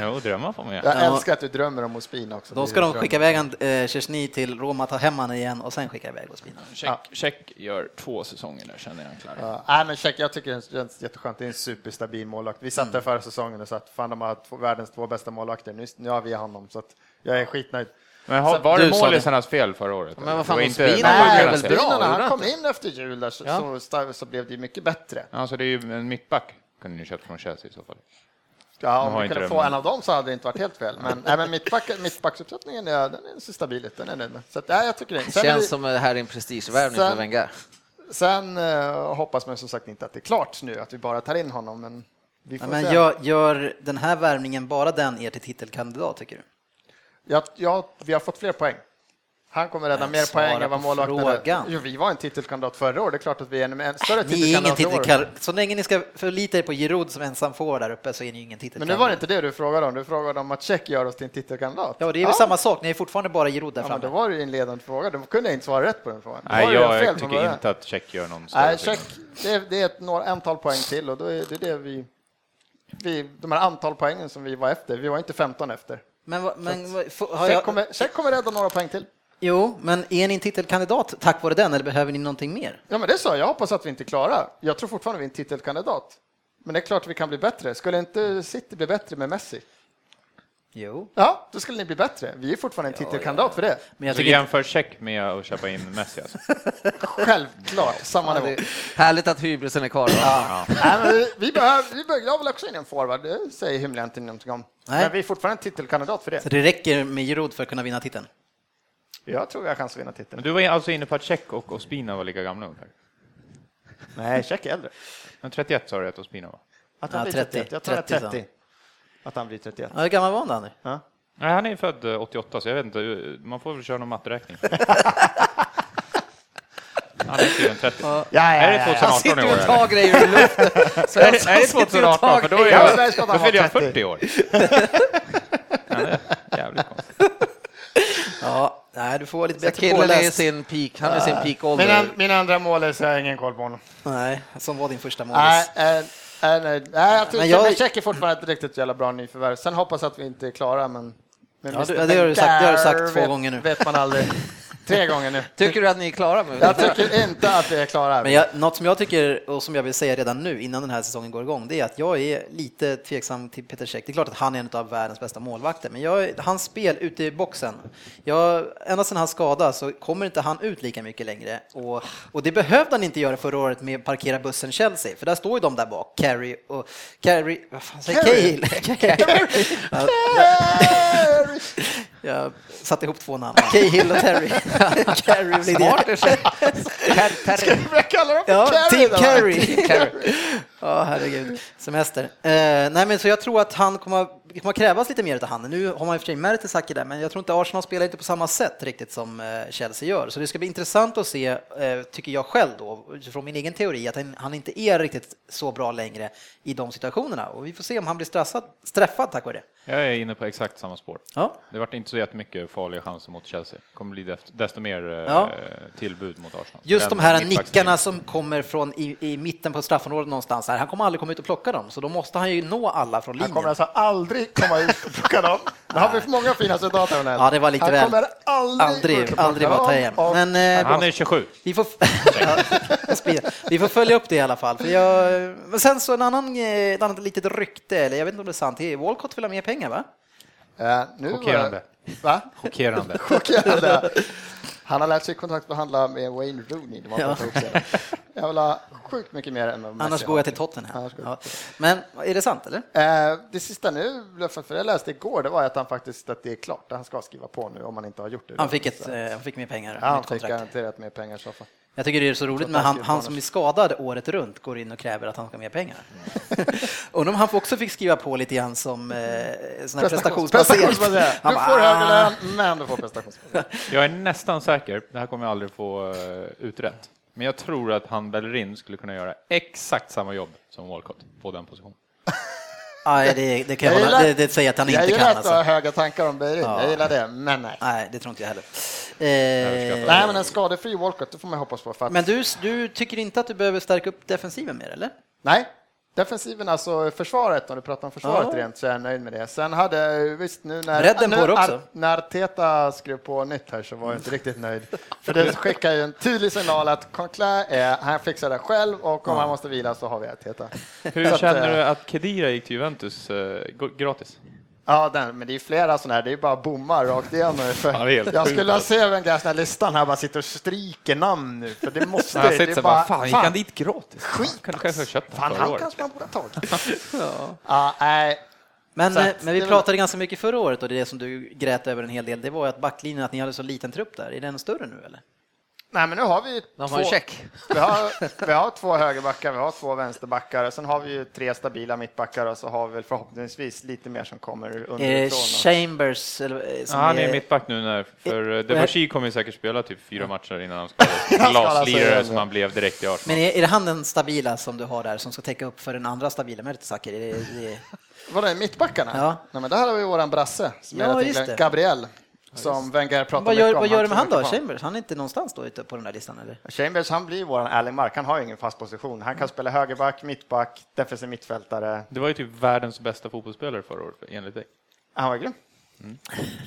Speaker 3: Jo, drömmar får man ju.
Speaker 4: Jag
Speaker 1: Ja.
Speaker 4: älskar att du drömmer om Ospina också.
Speaker 1: Då
Speaker 4: Det
Speaker 1: ska
Speaker 4: är
Speaker 1: de
Speaker 4: drömmen.
Speaker 1: skicka iväg en, eh, Chesney till Roma, ta hem han igen och sen skicka iväg Ospina.
Speaker 3: Check, check gör två säsonger nu, sen är han klar.
Speaker 4: Ja, nej, men check, jag tycker det känns jätteskönt. Det är en superstabil målvakt. Vi satt där förra säsongen och satt fan de har två, världens två bästa målvakter. Nu, nu har vi honom så att jag är skitnöjd.
Speaker 3: Men har,
Speaker 2: Så-
Speaker 3: var
Speaker 2: du
Speaker 3: det
Speaker 2: sa
Speaker 3: målisarnas fel förra året?
Speaker 2: Men vad
Speaker 3: Det
Speaker 2: fan,
Speaker 3: var
Speaker 2: de spelar
Speaker 3: det var
Speaker 2: väl
Speaker 3: deras
Speaker 2: bra?
Speaker 3: fel.
Speaker 4: Ospina, när
Speaker 2: gjorde han
Speaker 4: han kom in efter jul där, så,
Speaker 2: Ja.
Speaker 4: så, sta- så blev det ju mycket bättre.
Speaker 3: Ja, så det är ju en mittback kunde ni köpt från Chelsea i så fall.
Speaker 4: Ja,
Speaker 3: De
Speaker 4: om
Speaker 3: har
Speaker 4: vi
Speaker 3: inte
Speaker 4: kunde
Speaker 3: det,
Speaker 4: få
Speaker 3: men-
Speaker 4: en av dem så hade det inte varit helt fel. Men, nej, men mittback, mittbacksuppsättningen är, den är så stabil ut. Den är jag nöjd med. Så att, ja, jag tycker det. Sen, är vi-
Speaker 2: Känns som det här är en prestigevärvning för
Speaker 4: Sen-
Speaker 2: Wenger.
Speaker 4: sen eh, hoppas man som sagt inte att det är klart nu, att vi bara tar in honom. Men vi får
Speaker 1: Ja, men
Speaker 4: se.
Speaker 1: gör, gör den här värvningen bara den er till titelkandidat tycker du?
Speaker 4: Ja, ja, vi har fått fler poäng. Han kommer rädda
Speaker 1: Men
Speaker 4: mer
Speaker 1: svara
Speaker 4: poäng än vad
Speaker 1: på
Speaker 4: målvakten
Speaker 1: frågan.
Speaker 4: Jo, vi var en titelkandidat förra året. Det är klart att vi är en en större
Speaker 1: Ni är ingen
Speaker 4: titelkandidat i år.
Speaker 1: titelkandidat. Så länge ni ska förlita er på Giroud som ensam får där uppe så är ni ingen
Speaker 4: Men
Speaker 1: titelkandidat.
Speaker 4: nu var det inte det du frågade om. Du frågade om att Tjeck gör oss till en titelkandidat.
Speaker 1: Ja, det är väl samma sak. Ni är fortfarande bara Giroud där
Speaker 4: Ja, men
Speaker 1: framme.
Speaker 4: då var det ju en ledande fråga. Då kunde jag inte svara rätt på den frågan. Då var
Speaker 3: Nej,
Speaker 4: det ju
Speaker 3: jag,
Speaker 4: fel från
Speaker 3: tycker
Speaker 4: början.
Speaker 3: inte att check gör någon större
Speaker 4: Nej,
Speaker 3: skillnad.
Speaker 4: check. Det är, det är ett några, antal poäng till och då är det det vi, vi... De här antal poängen som vi var efter. Vi var inte 15 efter.
Speaker 1: Men, vad- men vad- får- har
Speaker 4: Check
Speaker 1: jag...
Speaker 4: kommer, check kommer rädda några poäng till.
Speaker 1: Jo, men är ni en titelkandidat tack vare den eller behöver ni någonting mer?
Speaker 4: Ja, men det sa jag. Jag hoppas att vi inte klarar. Jag tror fortfarande vi är en titelkandidat. Men det är klart att vi kan bli bättre. Skulle inte City bli bättre med Messi?
Speaker 1: Jo.
Speaker 4: Ja, då skulle ni bli bättre. Vi är fortfarande en titelkandidat för det.
Speaker 1: Men jag
Speaker 3: Så
Speaker 1: tycker inte...
Speaker 3: jämför check med att köpa in Messi alltså.
Speaker 4: Självklart, samma
Speaker 2: Ja,
Speaker 4: nivå.
Speaker 2: det är härligt att hybrisen är kvar. va?
Speaker 4: Nej, men vi, vi behöver, vi behöver, jag vill också in en forward, det säger Himlen inte någonting om.
Speaker 1: Nej.
Speaker 4: Men vi är fortfarande en titelkandidat för det.
Speaker 1: Så det räcker med Giroud för att kunna vinna titeln?
Speaker 4: Jag tror vi har chans att vinna
Speaker 3: Men
Speaker 4: titeln.
Speaker 3: du var alltså inne på att check och Ospina var lika gamla ungefär?
Speaker 4: Nej, check är äldre.
Speaker 3: Men 31 sa du att Ospina var?
Speaker 4: Att
Speaker 1: Ja,
Speaker 4: han blir
Speaker 1: 30.
Speaker 4: 31. Jag tror att
Speaker 1: 30, sa han.
Speaker 4: 30. Att han blir 31.
Speaker 1: Ja, hur gammal var han då, Andy?
Speaker 3: Nej, han är ju född eh, 88, så jag vet inte. eh, Man får väl köra någon matteräkning. Han är tydligen 30. Är det
Speaker 2: Han
Speaker 3: 2018
Speaker 2: sitter
Speaker 3: i
Speaker 2: ju
Speaker 3: år?
Speaker 2: och
Speaker 3: eller?
Speaker 2: tar grejer ur luften.
Speaker 3: Är det- Är det 2018? För då är jag,
Speaker 4: Ja, där ska han
Speaker 3: då
Speaker 4: vara
Speaker 3: fyller jag
Speaker 4: 30.
Speaker 3: 40 år. Ja, det är jävligt konstigt.
Speaker 1: Ja, nej, du får vara lite
Speaker 2: Så
Speaker 1: bättre
Speaker 2: Killen är i
Speaker 1: påläst.
Speaker 2: sin peak, han är i sin
Speaker 4: Min,
Speaker 2: peak-ålder.
Speaker 4: an, min andra mål är så jag har ingen koll på honom.
Speaker 1: Nej, som var din första målis.
Speaker 4: Nej, eh, eh, nej, nej, jag tror
Speaker 1: Men jag-
Speaker 4: men Check är fortfarande ett riktigt jävla bra nyförvärv. Sen hoppas jag att vi inte är klara, men... men
Speaker 1: Ja, du-
Speaker 4: Mr.
Speaker 1: det har du sagt- det har du sagt
Speaker 4: Wenger
Speaker 1: två
Speaker 4: vet-
Speaker 1: gånger nu.
Speaker 4: vet man aldrig. Tre gånger nu.
Speaker 2: Tycker du att ni är klara? Med
Speaker 4: Jag tycker inte att vi är klara.
Speaker 1: Men jag, något som jag tycker och som jag vill säga redan nu innan den här säsongen går igång, det är att jag är lite tveksam till Peter Cech. Det är klart att han är en av världens bästa målvakter, men jag, hans spel ute i boxen, jag, ända sedan han skadades så kommer inte han ut lika mycket längre. Och, och det behövde han inte göra förra året med parkera bussen Chelsea, för där står ju de där bak, Carey och Carey, vad fan säger
Speaker 4: Carey.
Speaker 1: Cahill? Carey. Ja, Jag satte ihop två namn, Cahill och Terry. Carey och Lidea.
Speaker 2: Smart är sig. Ter-
Speaker 4: Jag kallar dem för
Speaker 1: Ja,
Speaker 4: Carey
Speaker 1: Team
Speaker 4: då.
Speaker 1: Carry. Ja, herregud. Semester. Eh, nej, men så jag tror att han kommer, det kommer krävas lite mer av han. Nu har man i och för sig Mertesacker där, men jag tror inte Arsenal spelar inte på samma sätt riktigt som eh, Chelsea gör. Så det ska bli intressant att se, eh, tycker jag själv då, utifrån min egen teori, att han, han inte är riktigt så bra längre i de situationerna. Och vi får se om han blir strassad, straffad tack vare det.
Speaker 3: Jag är inne på exakt samma spår.
Speaker 1: Ja.
Speaker 3: Det vart inte så jättemycket farliga chanser mot Chelsea. kommer bli deft- desto mer eh,
Speaker 1: Ja.
Speaker 3: tillbud mot Arsenal.
Speaker 1: Just
Speaker 3: Den
Speaker 1: de här
Speaker 3: mittbackslinjen.
Speaker 1: nickarna som kommer från i, i mitten på straffområdet någonstans, här, han kommer aldrig komma ut och plocka dem, så då måste han ju nå alla från
Speaker 4: Han kommer
Speaker 1: linjen.
Speaker 4: alltså aldrig komma ut och plocka dem. Det har vi för många fina citat av den här.
Speaker 1: Ja, det var lite
Speaker 4: Han
Speaker 1: väl.
Speaker 4: kommer aldrig, ut
Speaker 1: Aldrig,
Speaker 4: och plocka
Speaker 1: aldrig bara ta
Speaker 4: dem.
Speaker 1: igen.
Speaker 4: Och-
Speaker 1: Men, eh,
Speaker 3: Han är 27.
Speaker 1: Vi får, Ja, spira. vi får följa upp det i alla fall. För jag, men sen så en annan, eh, ett annat litet rykte, eller jag vet inte om det är sant, det är Walcott vill ha mer pengar va?
Speaker 4: Eh, nu var det-
Speaker 3: Chockerande.
Speaker 4: Va?
Speaker 3: Chockerande.
Speaker 4: Chockerande. Han har lärt sig kontraktsbehandla med Wayne Rooney. Det var
Speaker 1: Ja.
Speaker 4: ja. Jag vill ha sjukt mycket mer än vad Messi
Speaker 1: Annars
Speaker 4: har.
Speaker 1: går jag till Tottenham.
Speaker 4: Annars går
Speaker 1: Ja. Men är det sant eller?
Speaker 4: Eh, det sista nu, för jag läste igår, det var att han faktiskt, att det är klart, att han ska skriva på nu om han inte har gjort det.
Speaker 1: Han
Speaker 4: redan.
Speaker 1: fick, ett,
Speaker 4: Så-
Speaker 1: eh, han fick mer pengar.
Speaker 4: Ja, han
Speaker 1: nytt
Speaker 4: fick
Speaker 1: kontrakt.
Speaker 4: garanterat mer pengar i så fall.
Speaker 1: Jag tycker det är så roligt med han, han som är skadad året runt går in och kräver att han ska ha mer pengar. Undrar om han också fick skriva på lite grann som eh, sån här prestationsbaserat.
Speaker 4: Du
Speaker 1: Han
Speaker 4: får
Speaker 1: bara,
Speaker 4: högre
Speaker 1: "Ah."
Speaker 4: lön, men du får prestationsbaserat.
Speaker 3: Jag är nästan säker, det här kommer jag aldrig få eh, utrett, men jag tror att han Bellerin skulle kunna göra exakt samma jobb som Walcott på den positionen.
Speaker 1: Nej, det, det kan jag
Speaker 4: Jag
Speaker 1: hålla,
Speaker 4: gillar-
Speaker 1: det, det säger att han
Speaker 4: Jag
Speaker 1: inte
Speaker 4: gillar
Speaker 1: kan
Speaker 4: att du har
Speaker 1: alltså.
Speaker 4: höga tankar om Beirin, jag gillar det, men nej.
Speaker 1: Nej, det tror inte jag heller. Eh,
Speaker 4: Nej, men en skadefri Walcott, det får man hoppas på. För att,
Speaker 1: men du, du tycker inte att du behöver stärka upp defensiven mer, eller?
Speaker 4: Nej, defensiven, alltså försvaret, om du pratar om försvaret
Speaker 1: Ja.
Speaker 4: rent, så är jag nöjd med det. Sen hade, visst nu när,
Speaker 1: Bredden
Speaker 4: nu,
Speaker 1: på det också.
Speaker 4: Ar- när Teta skrev på nytt här så var jag inte riktigt nöjd. För det skickar ju en tydlig signal att Conclair är, han fixar det själv och om han måste vila så har vi Arteta. Så
Speaker 3: Hur
Speaker 4: att,
Speaker 3: känner
Speaker 4: eh,
Speaker 3: du att Kedira gick till Juventus eh, g- gratis?
Speaker 4: Ja, den, men det är flera sådana här, det är bara bommar rakt igenom. nu, För
Speaker 3: Ja, det är helt
Speaker 4: jag
Speaker 3: sjukt,
Speaker 4: skulle vilja se vem den här listan här bara sitter och stryker namn nu, för det måste...
Speaker 3: Jag har
Speaker 4: det
Speaker 3: sett
Speaker 4: är
Speaker 3: så bara, fan gick han dit gratis?
Speaker 4: skit alltså.
Speaker 3: Kanske jag har köpt
Speaker 4: Fan,
Speaker 3: han förra
Speaker 4: han
Speaker 3: året.
Speaker 4: kanske man borde ha tagit. ja. nej,
Speaker 1: Men,
Speaker 4: Så att
Speaker 1: eh, men
Speaker 4: det
Speaker 1: vi
Speaker 4: är väl-
Speaker 1: pratade ganska mycket förra året och det som du grät över en hel del, det var ju att backlinjen, att ni hade så liten trupp där. Är den större nu, eller?
Speaker 4: nej, men nu har vi ju
Speaker 2: De
Speaker 4: två,
Speaker 2: har en check.
Speaker 4: vi, har, vi har två högerbackar, vi har två vänsterbackar, och sen har vi ju tre stabila mittbackar och så har vi väl förhoppningsvis lite mer som kommer
Speaker 1: Är det
Speaker 4: underifrån. och-
Speaker 1: Chambers eller, eh,
Speaker 3: Ja,
Speaker 1: som
Speaker 3: han
Speaker 1: är-
Speaker 3: är mittback nu när, för eh,
Speaker 1: Men-
Speaker 3: Debussy kommer ju säkert spela typ fyra matcher innan han skadades.
Speaker 4: Han alltså skadade sig
Speaker 3: Glaslirare
Speaker 4: igen,
Speaker 3: som
Speaker 4: ja.
Speaker 3: han blev direkt i
Speaker 1: Men
Speaker 3: Arsenal.
Speaker 1: är, är det han den stabila som du har där som ska täcka upp för den andra stabila Mertesacker? Är det, det...
Speaker 4: Vadå, mittbackarna?
Speaker 1: Ja.
Speaker 4: Nej, men där har vi våran brasse, som
Speaker 1: Ja,
Speaker 4: hela
Speaker 1: just
Speaker 4: tiden,
Speaker 1: det.
Speaker 4: Gabriel, som Wenger pratar
Speaker 1: Vad gör,
Speaker 4: mycket om.
Speaker 1: vad gör du
Speaker 4: tror
Speaker 1: med han
Speaker 4: mycket
Speaker 1: då?
Speaker 4: på honom.
Speaker 1: Chambers? Han är inte någonstans då ute på den där listan, eller?
Speaker 4: Chambers, han blir våran Erling Mark. Han har ju ingen fast position. Han kan spela högerback, mittback, defensiv mittfältare.
Speaker 3: Det var ju typ världens bästa fotbollsspelare förra året, enligt dig.
Speaker 4: Han var grym.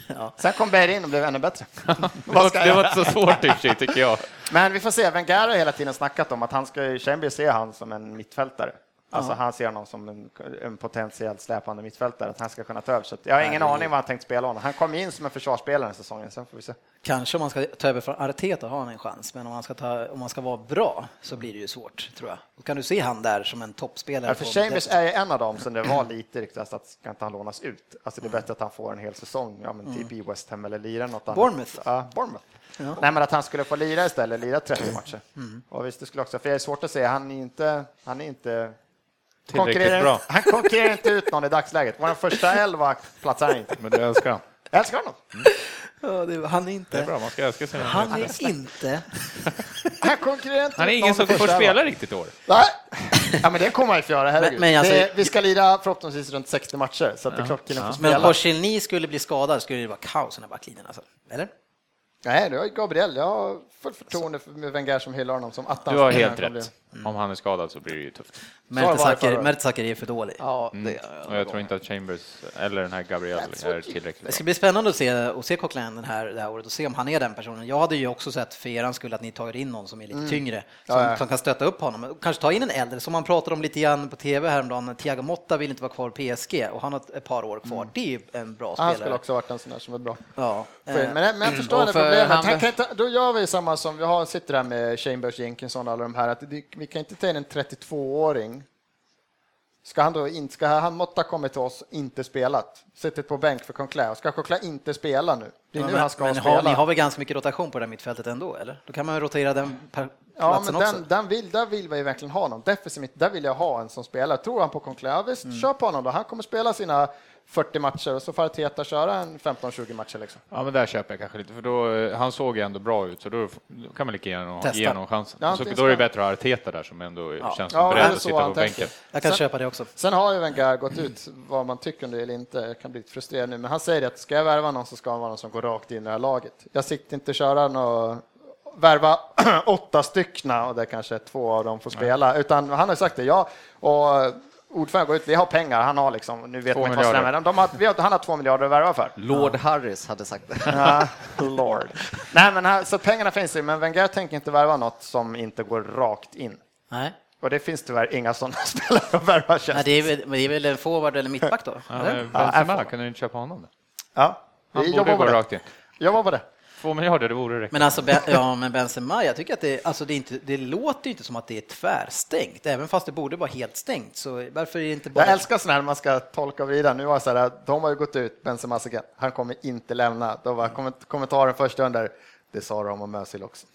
Speaker 1: Ja.
Speaker 4: Sen kom Berg in och blev ännu bättre.
Speaker 3: Det
Speaker 4: Vad ska
Speaker 3: var,
Speaker 4: jag
Speaker 3: det var
Speaker 4: göra?
Speaker 3: inte så svårt i och för sig, tycker jag.
Speaker 4: Men vi får se. Wenger har hela tiden snackat om att han ska, Chambers ser han som en mittfältare. Alltså han ser honom som en, en potentiellt släpande mittfältare, att han ska kunna ta över. Så att jag har ingen aning vad han tänkt spela honom. Han kom in som en försvarsspelare den säsongen, sen får vi se.
Speaker 1: Kanske om man ska ta över från Arteta har han en chans, men om man ska, ta, om man ska vara bra så blir det ju svårt, tror jag. Och kan du se han där som en toppspelare?
Speaker 4: Ja, för
Speaker 1: på-
Speaker 4: Chambers är ju en av dem som det var lite ryktas att ska inte han lånas ut. Alltså det är bättre att han får en hel säsong, ja men typ i West Ham eller lira något annat.
Speaker 1: Mm. Bournemouth.
Speaker 4: Ja, Bournemouth.
Speaker 1: Ja. Mm.
Speaker 4: Nej men att han skulle få lira istället, lira 30 matcher. Och visst, det skulle också, för det är svårt att säga, han är ju inte, han är inte
Speaker 3: Tillräckligt
Speaker 4: konkurrerar-
Speaker 3: bra.
Speaker 4: Han konkurrerar inte ut någon i dagsläget. Vår första elva platsar han inte.
Speaker 3: Men det älskar han.
Speaker 4: Jag älskar honom.
Speaker 1: Ja, det, han är
Speaker 3: Det är
Speaker 1: inte...
Speaker 3: bra, man ska älska sina
Speaker 1: Han
Speaker 3: motståndare.
Speaker 1: är inte...
Speaker 4: Han konkurrerar inte
Speaker 3: Han är
Speaker 4: ut
Speaker 3: ingen
Speaker 4: någon
Speaker 3: som
Speaker 4: i första
Speaker 3: får
Speaker 4: elvan.
Speaker 3: spela riktigt i år.
Speaker 4: Nej. Ja, men det kommer han ju få göra, herregud.
Speaker 1: Men- men alltså-
Speaker 4: det, vi ska lira förhoppningsvis runt 60 matcher, så att det är klart killen får spela.
Speaker 1: Men Porcelini skulle bli skadad skulle det vara kaos i den här backlinjen, alltså. Eller?
Speaker 4: Nej, det var ju Gabriel. Jag har fullt förtroende för med Wenger som hyllar honom som attans.
Speaker 3: Du har helt rätt. Om han är skadad så blir det ju tufft.
Speaker 4: det varit förra
Speaker 1: Mertesacker
Speaker 4: året.
Speaker 1: Mertesacker är för dålig.
Speaker 2: Ja, det
Speaker 3: Och jag tror inte att Chambers eller den här Gabriel är tillräckligt
Speaker 1: Det
Speaker 3: bra.
Speaker 1: ska bli spännande att se, att se Coquelin den här, det här året och se om han är den personen. Jag hade ju också sett för eran skull att ni tagit in någon som är lite tyngre, som,
Speaker 4: Mm. Ja, ja.
Speaker 1: som kan stötta upp honom. Och Kanske ta in en äldre, som man pratade om lite grann på tv häromdagen. Thiago Motta vill inte vara kvar i PSG och han har ett par år kvar. Det är ju en bra
Speaker 4: Mm. Han skulle
Speaker 1: spelare.
Speaker 4: också varit en sån där som är bra.
Speaker 1: Ja.
Speaker 4: Men,
Speaker 1: Eh,
Speaker 4: men jag förstår
Speaker 2: Och
Speaker 4: det
Speaker 2: för
Speaker 4: problemet.
Speaker 2: han-
Speaker 4: Han kan inte, då gör vi samma som vi har, sitter här med Chambers, Jenkinson och alla de här. Att det- vi kan inte ta in en 32-åring. Ska han då inte, ska han Motta kommit till oss, inte spelat, suttit på bänk för Conclair. Ska Conclair inte spela nu? Det är nu han ska
Speaker 1: men har,
Speaker 4: spela.
Speaker 1: ni har väl ganska mycket rotation på det här mittfältet ändå, eller? Då kan man ju rotera den per
Speaker 4: Ja,
Speaker 1: platsen
Speaker 4: men den,
Speaker 1: också.
Speaker 4: den vill, där vill vi verkligen ha någon. Defensivt, mitt, där vill jag ha en som spelar. Tror han på Conclair, ja, visst,
Speaker 1: Mm.
Speaker 4: kör på honom då. Han kommer spela sina 40 matcher och så får Arteta köra en 15-20 matcher. Liksom.
Speaker 3: Ja, men där köper jag kanske lite, för då, eh, han såg ju ändå bra ut, så då, f- då kan man lika gärna
Speaker 1: Testa.
Speaker 3: ge honom chansen.
Speaker 4: Ja,
Speaker 3: så,
Speaker 4: antingen
Speaker 3: då är det
Speaker 4: ska-
Speaker 3: bättre att ha Arteta där som ändå känns
Speaker 4: Ja,
Speaker 3: beredd
Speaker 4: eller
Speaker 3: att
Speaker 4: så
Speaker 3: sitta på
Speaker 4: han tänker.
Speaker 3: bänken.
Speaker 1: Jag kan
Speaker 4: Sen-
Speaker 1: köpa det också.
Speaker 4: Sen har ju Wenger gått ut, vad man tycker om det eller inte. Jag kan bli lite frustrerad nu, men han säger att ska jag värva någon så ska han vara någon som går rakt in i det här laget. Jag siktar inte köra någon värva åtta styckna och det kanske två av dem får spela, utan han har sagt det. Jag och ordföranden går ut, vi har pengar, han har liksom, nu vet
Speaker 3: Två
Speaker 4: man inte vad som
Speaker 3: miljarder.
Speaker 4: händer. De har, vi har, han har två miljarder att värva för.
Speaker 2: Lord Harris hade sagt det.
Speaker 4: Ja, Lord. Nej, men här, så pengarna finns ju, men Wenger tänker inte värva något som inte går rakt in.
Speaker 1: Nej.
Speaker 4: Och det finns tyvärr inga sådana spelare att värva
Speaker 1: Nej,
Speaker 4: känns
Speaker 1: det, är väl, men det är väl en forward eller mittback då?
Speaker 3: Ja,
Speaker 1: eller?
Speaker 3: men Benzema, kunde du inte köpa honom? Då?
Speaker 4: ja,
Speaker 3: Han
Speaker 4: vi
Speaker 3: borde
Speaker 4: jobbar på
Speaker 3: gå
Speaker 4: det.
Speaker 3: rakt in.
Speaker 4: Jobbar på det.
Speaker 3: Två miljarder, det vore rätt.
Speaker 1: Men alltså, Ben- ja, men Benzema, jag tycker att det, alltså det, är inte, det låter ju inte som att det är tvärstängt, även fast det borde vara helt stängt. Så varför är det inte bara...
Speaker 4: Jag älskar sådana här man ska tolka och vrida. Nu var det så här, de har ju gått ut, Benzemas agent, han kommer inte lämna. Då var komment- kommentaren först under, det sa de om Özil också.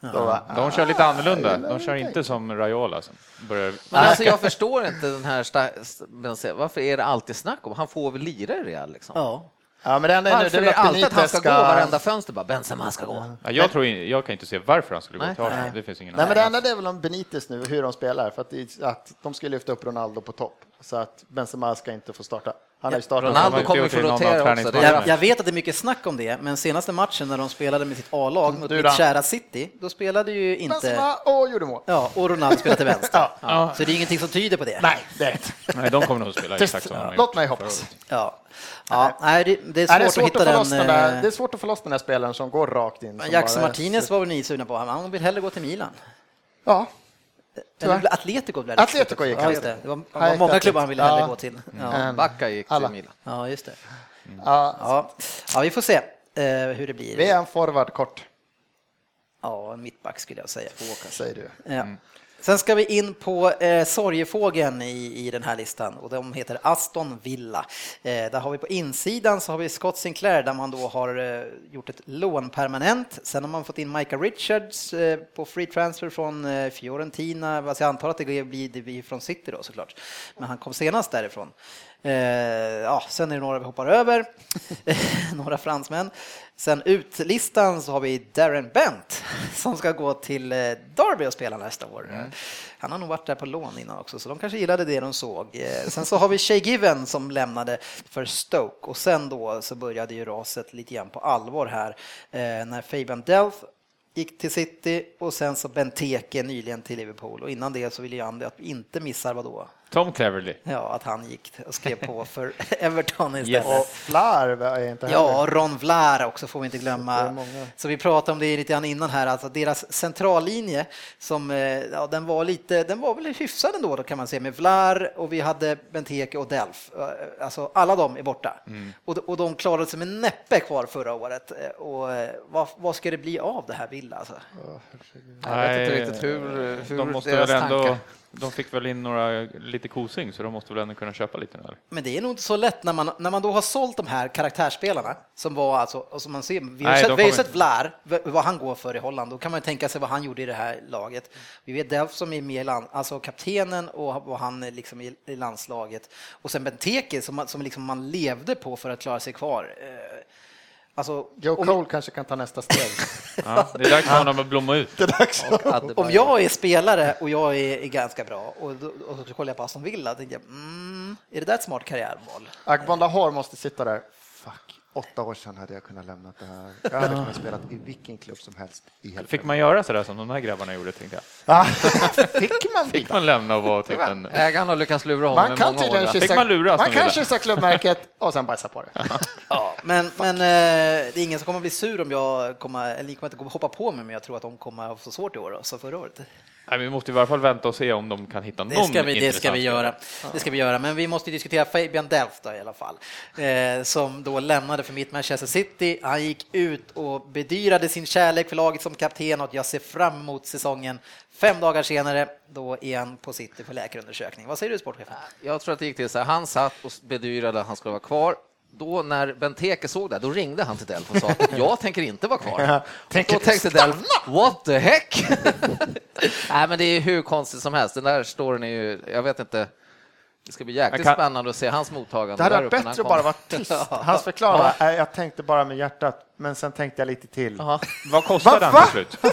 Speaker 4: Då var,
Speaker 3: De kör lite annorlunda. De kör inte som Raiola som börjar...
Speaker 2: Men alltså, jag förstår inte den här... sta- st- Benzema. Varför är det alltid snack om? Han får väl lira i Real liksom.
Speaker 1: Ja.
Speaker 4: ja, men det enda är nu,
Speaker 2: Varför
Speaker 4: det
Speaker 2: är det
Speaker 4: är väl
Speaker 2: alltid att han
Speaker 4: Benitez
Speaker 2: ska,
Speaker 4: ska...
Speaker 2: gå varenda fönster? Bara, Benzema ska gå.
Speaker 3: Ja, jag, tror in, jag kan inte se varför han skulle gå
Speaker 2: Nej.
Speaker 3: till Arsenal. Det finns ingen
Speaker 4: Nej, men det
Speaker 3: anledning.
Speaker 4: enda det är väl om Benitez nu, hur de spelar, för att, det- att de ska lyfta upp Ronaldo på topp, så att Benzema ska inte få starta. Han har ju startat.
Speaker 2: Ronaldo
Speaker 3: Han
Speaker 2: kommer ju
Speaker 3: inte
Speaker 2: få
Speaker 3: gjort det i någon av
Speaker 2: rotera också. Det
Speaker 3: träningsmatcherna.
Speaker 2: är,
Speaker 3: Ja.
Speaker 1: Jag, jag vet att det är mycket snack om det, men senaste matchen när de spelade med sitt A-lag mot
Speaker 3: Du
Speaker 1: mitt
Speaker 3: då?
Speaker 1: kära City, då spelade ju inte...
Speaker 4: Benzema och gjorde mål.
Speaker 1: Ja, och Ronaldo spelade till vänster.
Speaker 4: Ja.
Speaker 1: Ja. Så det är ingenting som tyder på det.
Speaker 4: Nej, det är inte.
Speaker 3: Nej, de kommer nog att spela exakt som de har
Speaker 4: Låt
Speaker 3: gjort.
Speaker 4: mig hoppas.
Speaker 1: Ja. Ja, nej, det, det är svårt,
Speaker 4: Nej, det, är svårt att
Speaker 1: hitta
Speaker 4: få loss
Speaker 1: den.
Speaker 4: den där,
Speaker 1: eh,
Speaker 4: det är svårt att få loss den där spelaren som går rakt in. som
Speaker 1: Jackson
Speaker 4: bara-
Speaker 1: Martinez var väl ni sugna på, han vill hellre gå till Milan.
Speaker 4: Ja,
Speaker 1: Eller det blev Atletico blev det.
Speaker 4: Atletico gick
Speaker 1: ja,
Speaker 4: han
Speaker 1: just det.
Speaker 4: till.
Speaker 1: det var, det
Speaker 4: Han
Speaker 1: var
Speaker 4: gick
Speaker 1: många
Speaker 4: till
Speaker 1: klubbar han ville hellre
Speaker 4: Ja.
Speaker 1: gå till. Ja,
Speaker 4: Mm.
Speaker 2: Backa gick
Speaker 4: Alla.
Speaker 2: till Milan.
Speaker 1: ja just det.
Speaker 4: ja,
Speaker 1: Ja. ja, vi får se eh, hur det
Speaker 4: vi
Speaker 1: blir.
Speaker 4: är en forward kort,
Speaker 1: Ja, en mittback skulle jag säga.
Speaker 4: säger du.
Speaker 1: Ja. Sen ska vi in på eh, sorgefågeln i, i den här listan och de heter Aston Villa. Eh, där har vi på insidan så har vi Scott Sinclair där man då har eh, gjort ett lån permanent. Sen har man fått in Micah Richards eh, på free transfer från eh, Fiorentina. Alltså jag antar att det blir, det blir från City då såklart. Men han kom senast därifrån. Eh, ja, sen är det några vi hoppar över, några fransmän. Sen utlistan så har vi Darren Bent som ska gå till eh, Derby och spela nästa år. Han har nog varit där på lån innan också, så de kanske gillade det de såg. Eh, sen så har vi Shay Given som lämnade för Stoke och sen då så började ju raset lite grann på allvar här eh, när Fabian Delph gick till City och sen så Benteke nyligen till Liverpool och innan det så ville ju Andy att vi inte missar vad då?
Speaker 3: Tom Cleverley.
Speaker 1: Ja, att han gick och skrev på för Everton istället.
Speaker 4: Och Flarv är inte
Speaker 1: Ja,
Speaker 4: heller.
Speaker 1: Ron Vlaar också får vi inte
Speaker 4: Det är
Speaker 1: glömma.
Speaker 4: många.
Speaker 1: Så vi pratade om det lite grann innan här, alltså deras centrallinje som, eh, ja, den var lite, den var väl hyfsad ändå då kan man säga med Vlaar och vi hade Benteke och Delf. Eh, Alltså alla de är borta. Och, de- och de klarade sig med näppe kvar förra året. Eh, Och eh, vad, vad ska det bli av det här Villa alltså?
Speaker 2: Jag vet inte
Speaker 3: Nej,
Speaker 2: riktigt hur, hur
Speaker 3: de måste
Speaker 2: deras
Speaker 3: väl ändå,
Speaker 2: tankar...
Speaker 3: De fick väl in några lite kosing, så de måste väl ändå kunna köpa lite nu? eller?
Speaker 1: Men det är nog inte så lätt när man, när man då har sålt de här karaktärsspelarna som var alltså, och som man ser, vi har ju
Speaker 3: Nej,
Speaker 1: sett,
Speaker 3: de
Speaker 1: vi har ju
Speaker 3: kommer-
Speaker 1: sett Vlaar, v- vad han går för i Holland, då kan man ju tänka sig vad han gjorde i det här laget. Vi vet Delf som är med i land, alltså kaptenen och vad han är liksom i i landslaget. Och sen Benteke som, man- som liksom man levde på för att klara sig kvar. Eh, Alltså,
Speaker 4: Joe
Speaker 1: om-
Speaker 4: Cole kanske kan ta nästa steg.
Speaker 3: Ja, det är dags för honom att blomma ut.
Speaker 1: Om jag är spelare och jag är, är ganska bra och, då- och så kollar jag på Aston Villa, tänker jag, mm, är det där ett smart karriärval?
Speaker 4: Agbon Lahore måste sitta där. Fuck, åtta år sedan hade jag kunnat lämna det här. Jag hade kunnat spela i vilken klubb som helst i hela
Speaker 3: Fick man göra sådär som de här grabbarna gjorde, tänkte jag?
Speaker 4: Ah, Fick man
Speaker 3: Fick man lämna och vara typ en...
Speaker 2: Ägaren har lyckats lura honom
Speaker 4: Man
Speaker 2: i
Speaker 4: kan
Speaker 2: många år
Speaker 4: tydligen
Speaker 2: där.
Speaker 4: kyssa,
Speaker 3: Fick man lura Aston
Speaker 4: man kan
Speaker 3: Villa?
Speaker 4: kyssa klubbmärket och sen bajsa på det.
Speaker 1: Ja, men, men eh, det är ingen som kommer bli sur om jag kommer, eller ni kommer inte hoppa på mig, men jag tror att de kommer att få svårt i år då, som förra året.
Speaker 3: Nej, vi måste i varje fall vänta och se om de kan hitta någon
Speaker 1: Det ska, vi, det, ska
Speaker 3: intressant
Speaker 1: vi göra. det ska vi göra, men vi måste ju diskutera Fabian Delft då, i alla fall, eh, som då lämnade för mitt Manchester City. Han gick ut och bedyrade sin kärlek för laget som kapten och att jag ser fram emot säsongen. Fem dagar senare, då är han på City för läkarundersökning. Vad säger du sportchefen?
Speaker 2: Jag tror att det gick till så här. Han satt och bedyrade att han skulle vara kvar. Då när Benteke såg det, då ringde han till Delf och sa jag tänker inte vara kvar. Och då tänkte Delf, what the heck? Nej, men det är ju hur konstigt som helst. Den där storyn är ju, jag vet inte. Det ska bli jäkligt
Speaker 3: Jag kan-
Speaker 2: spännande att se hans mottagande.
Speaker 4: Det hade
Speaker 2: där
Speaker 4: varit
Speaker 2: uppe när han
Speaker 4: bättre att
Speaker 2: kom.
Speaker 4: bara vara tyst. Hans förklaring var, "Nej, jag tänkte bara med hjärtat, men sen tänkte jag lite till.
Speaker 2: Ja.
Speaker 3: Vad kostade han till slut?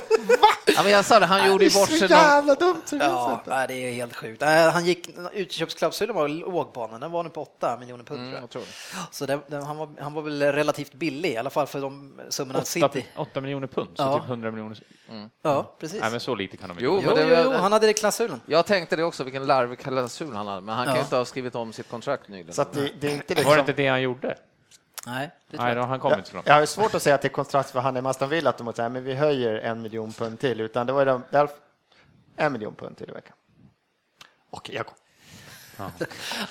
Speaker 2: Ja, men jag sa det, han gjorde
Speaker 4: Det är
Speaker 2: ju bort
Speaker 4: så
Speaker 2: sig. någon-
Speaker 4: jävla dumt. så det finns
Speaker 1: Ja,
Speaker 4: inte.
Speaker 1: nej, det är helt sjukt. Nej, Han gick, utköpsklausulen var låg på honom, den var nu på 8 miljoner pund tror jag.
Speaker 2: jag tror det.
Speaker 1: Så den, den, han, var, han var väl relativt billig, i alla fall för de summorna City.
Speaker 3: 8 miljoner pund, så
Speaker 1: Ja.
Speaker 3: typ 100 miljoner.
Speaker 1: Ja, precis.
Speaker 3: Nej, men så lite kan de inte.
Speaker 2: Jo,
Speaker 1: Jo,
Speaker 2: men det
Speaker 1: jo,
Speaker 2: var-
Speaker 1: jo, han hade det i klausulen.
Speaker 2: Jag tänkte det också, vilken larvig klausul han hade, men han kan ju inte ha skrivit om sitt kontrakt nyligen.
Speaker 4: Så att det, det är inte
Speaker 3: Var det
Speaker 4: liksom...
Speaker 3: inte det han gjorde?
Speaker 1: Nej.
Speaker 3: Nej, då, han kom inte så långt.
Speaker 4: Jag har svårt att säga att det är kontrakt för han i Aston Villa att de säger men vi höjer en miljon pund till, utan det var ju de, där- en miljon pund till i veckan. Okej, jag går.
Speaker 1: Ja,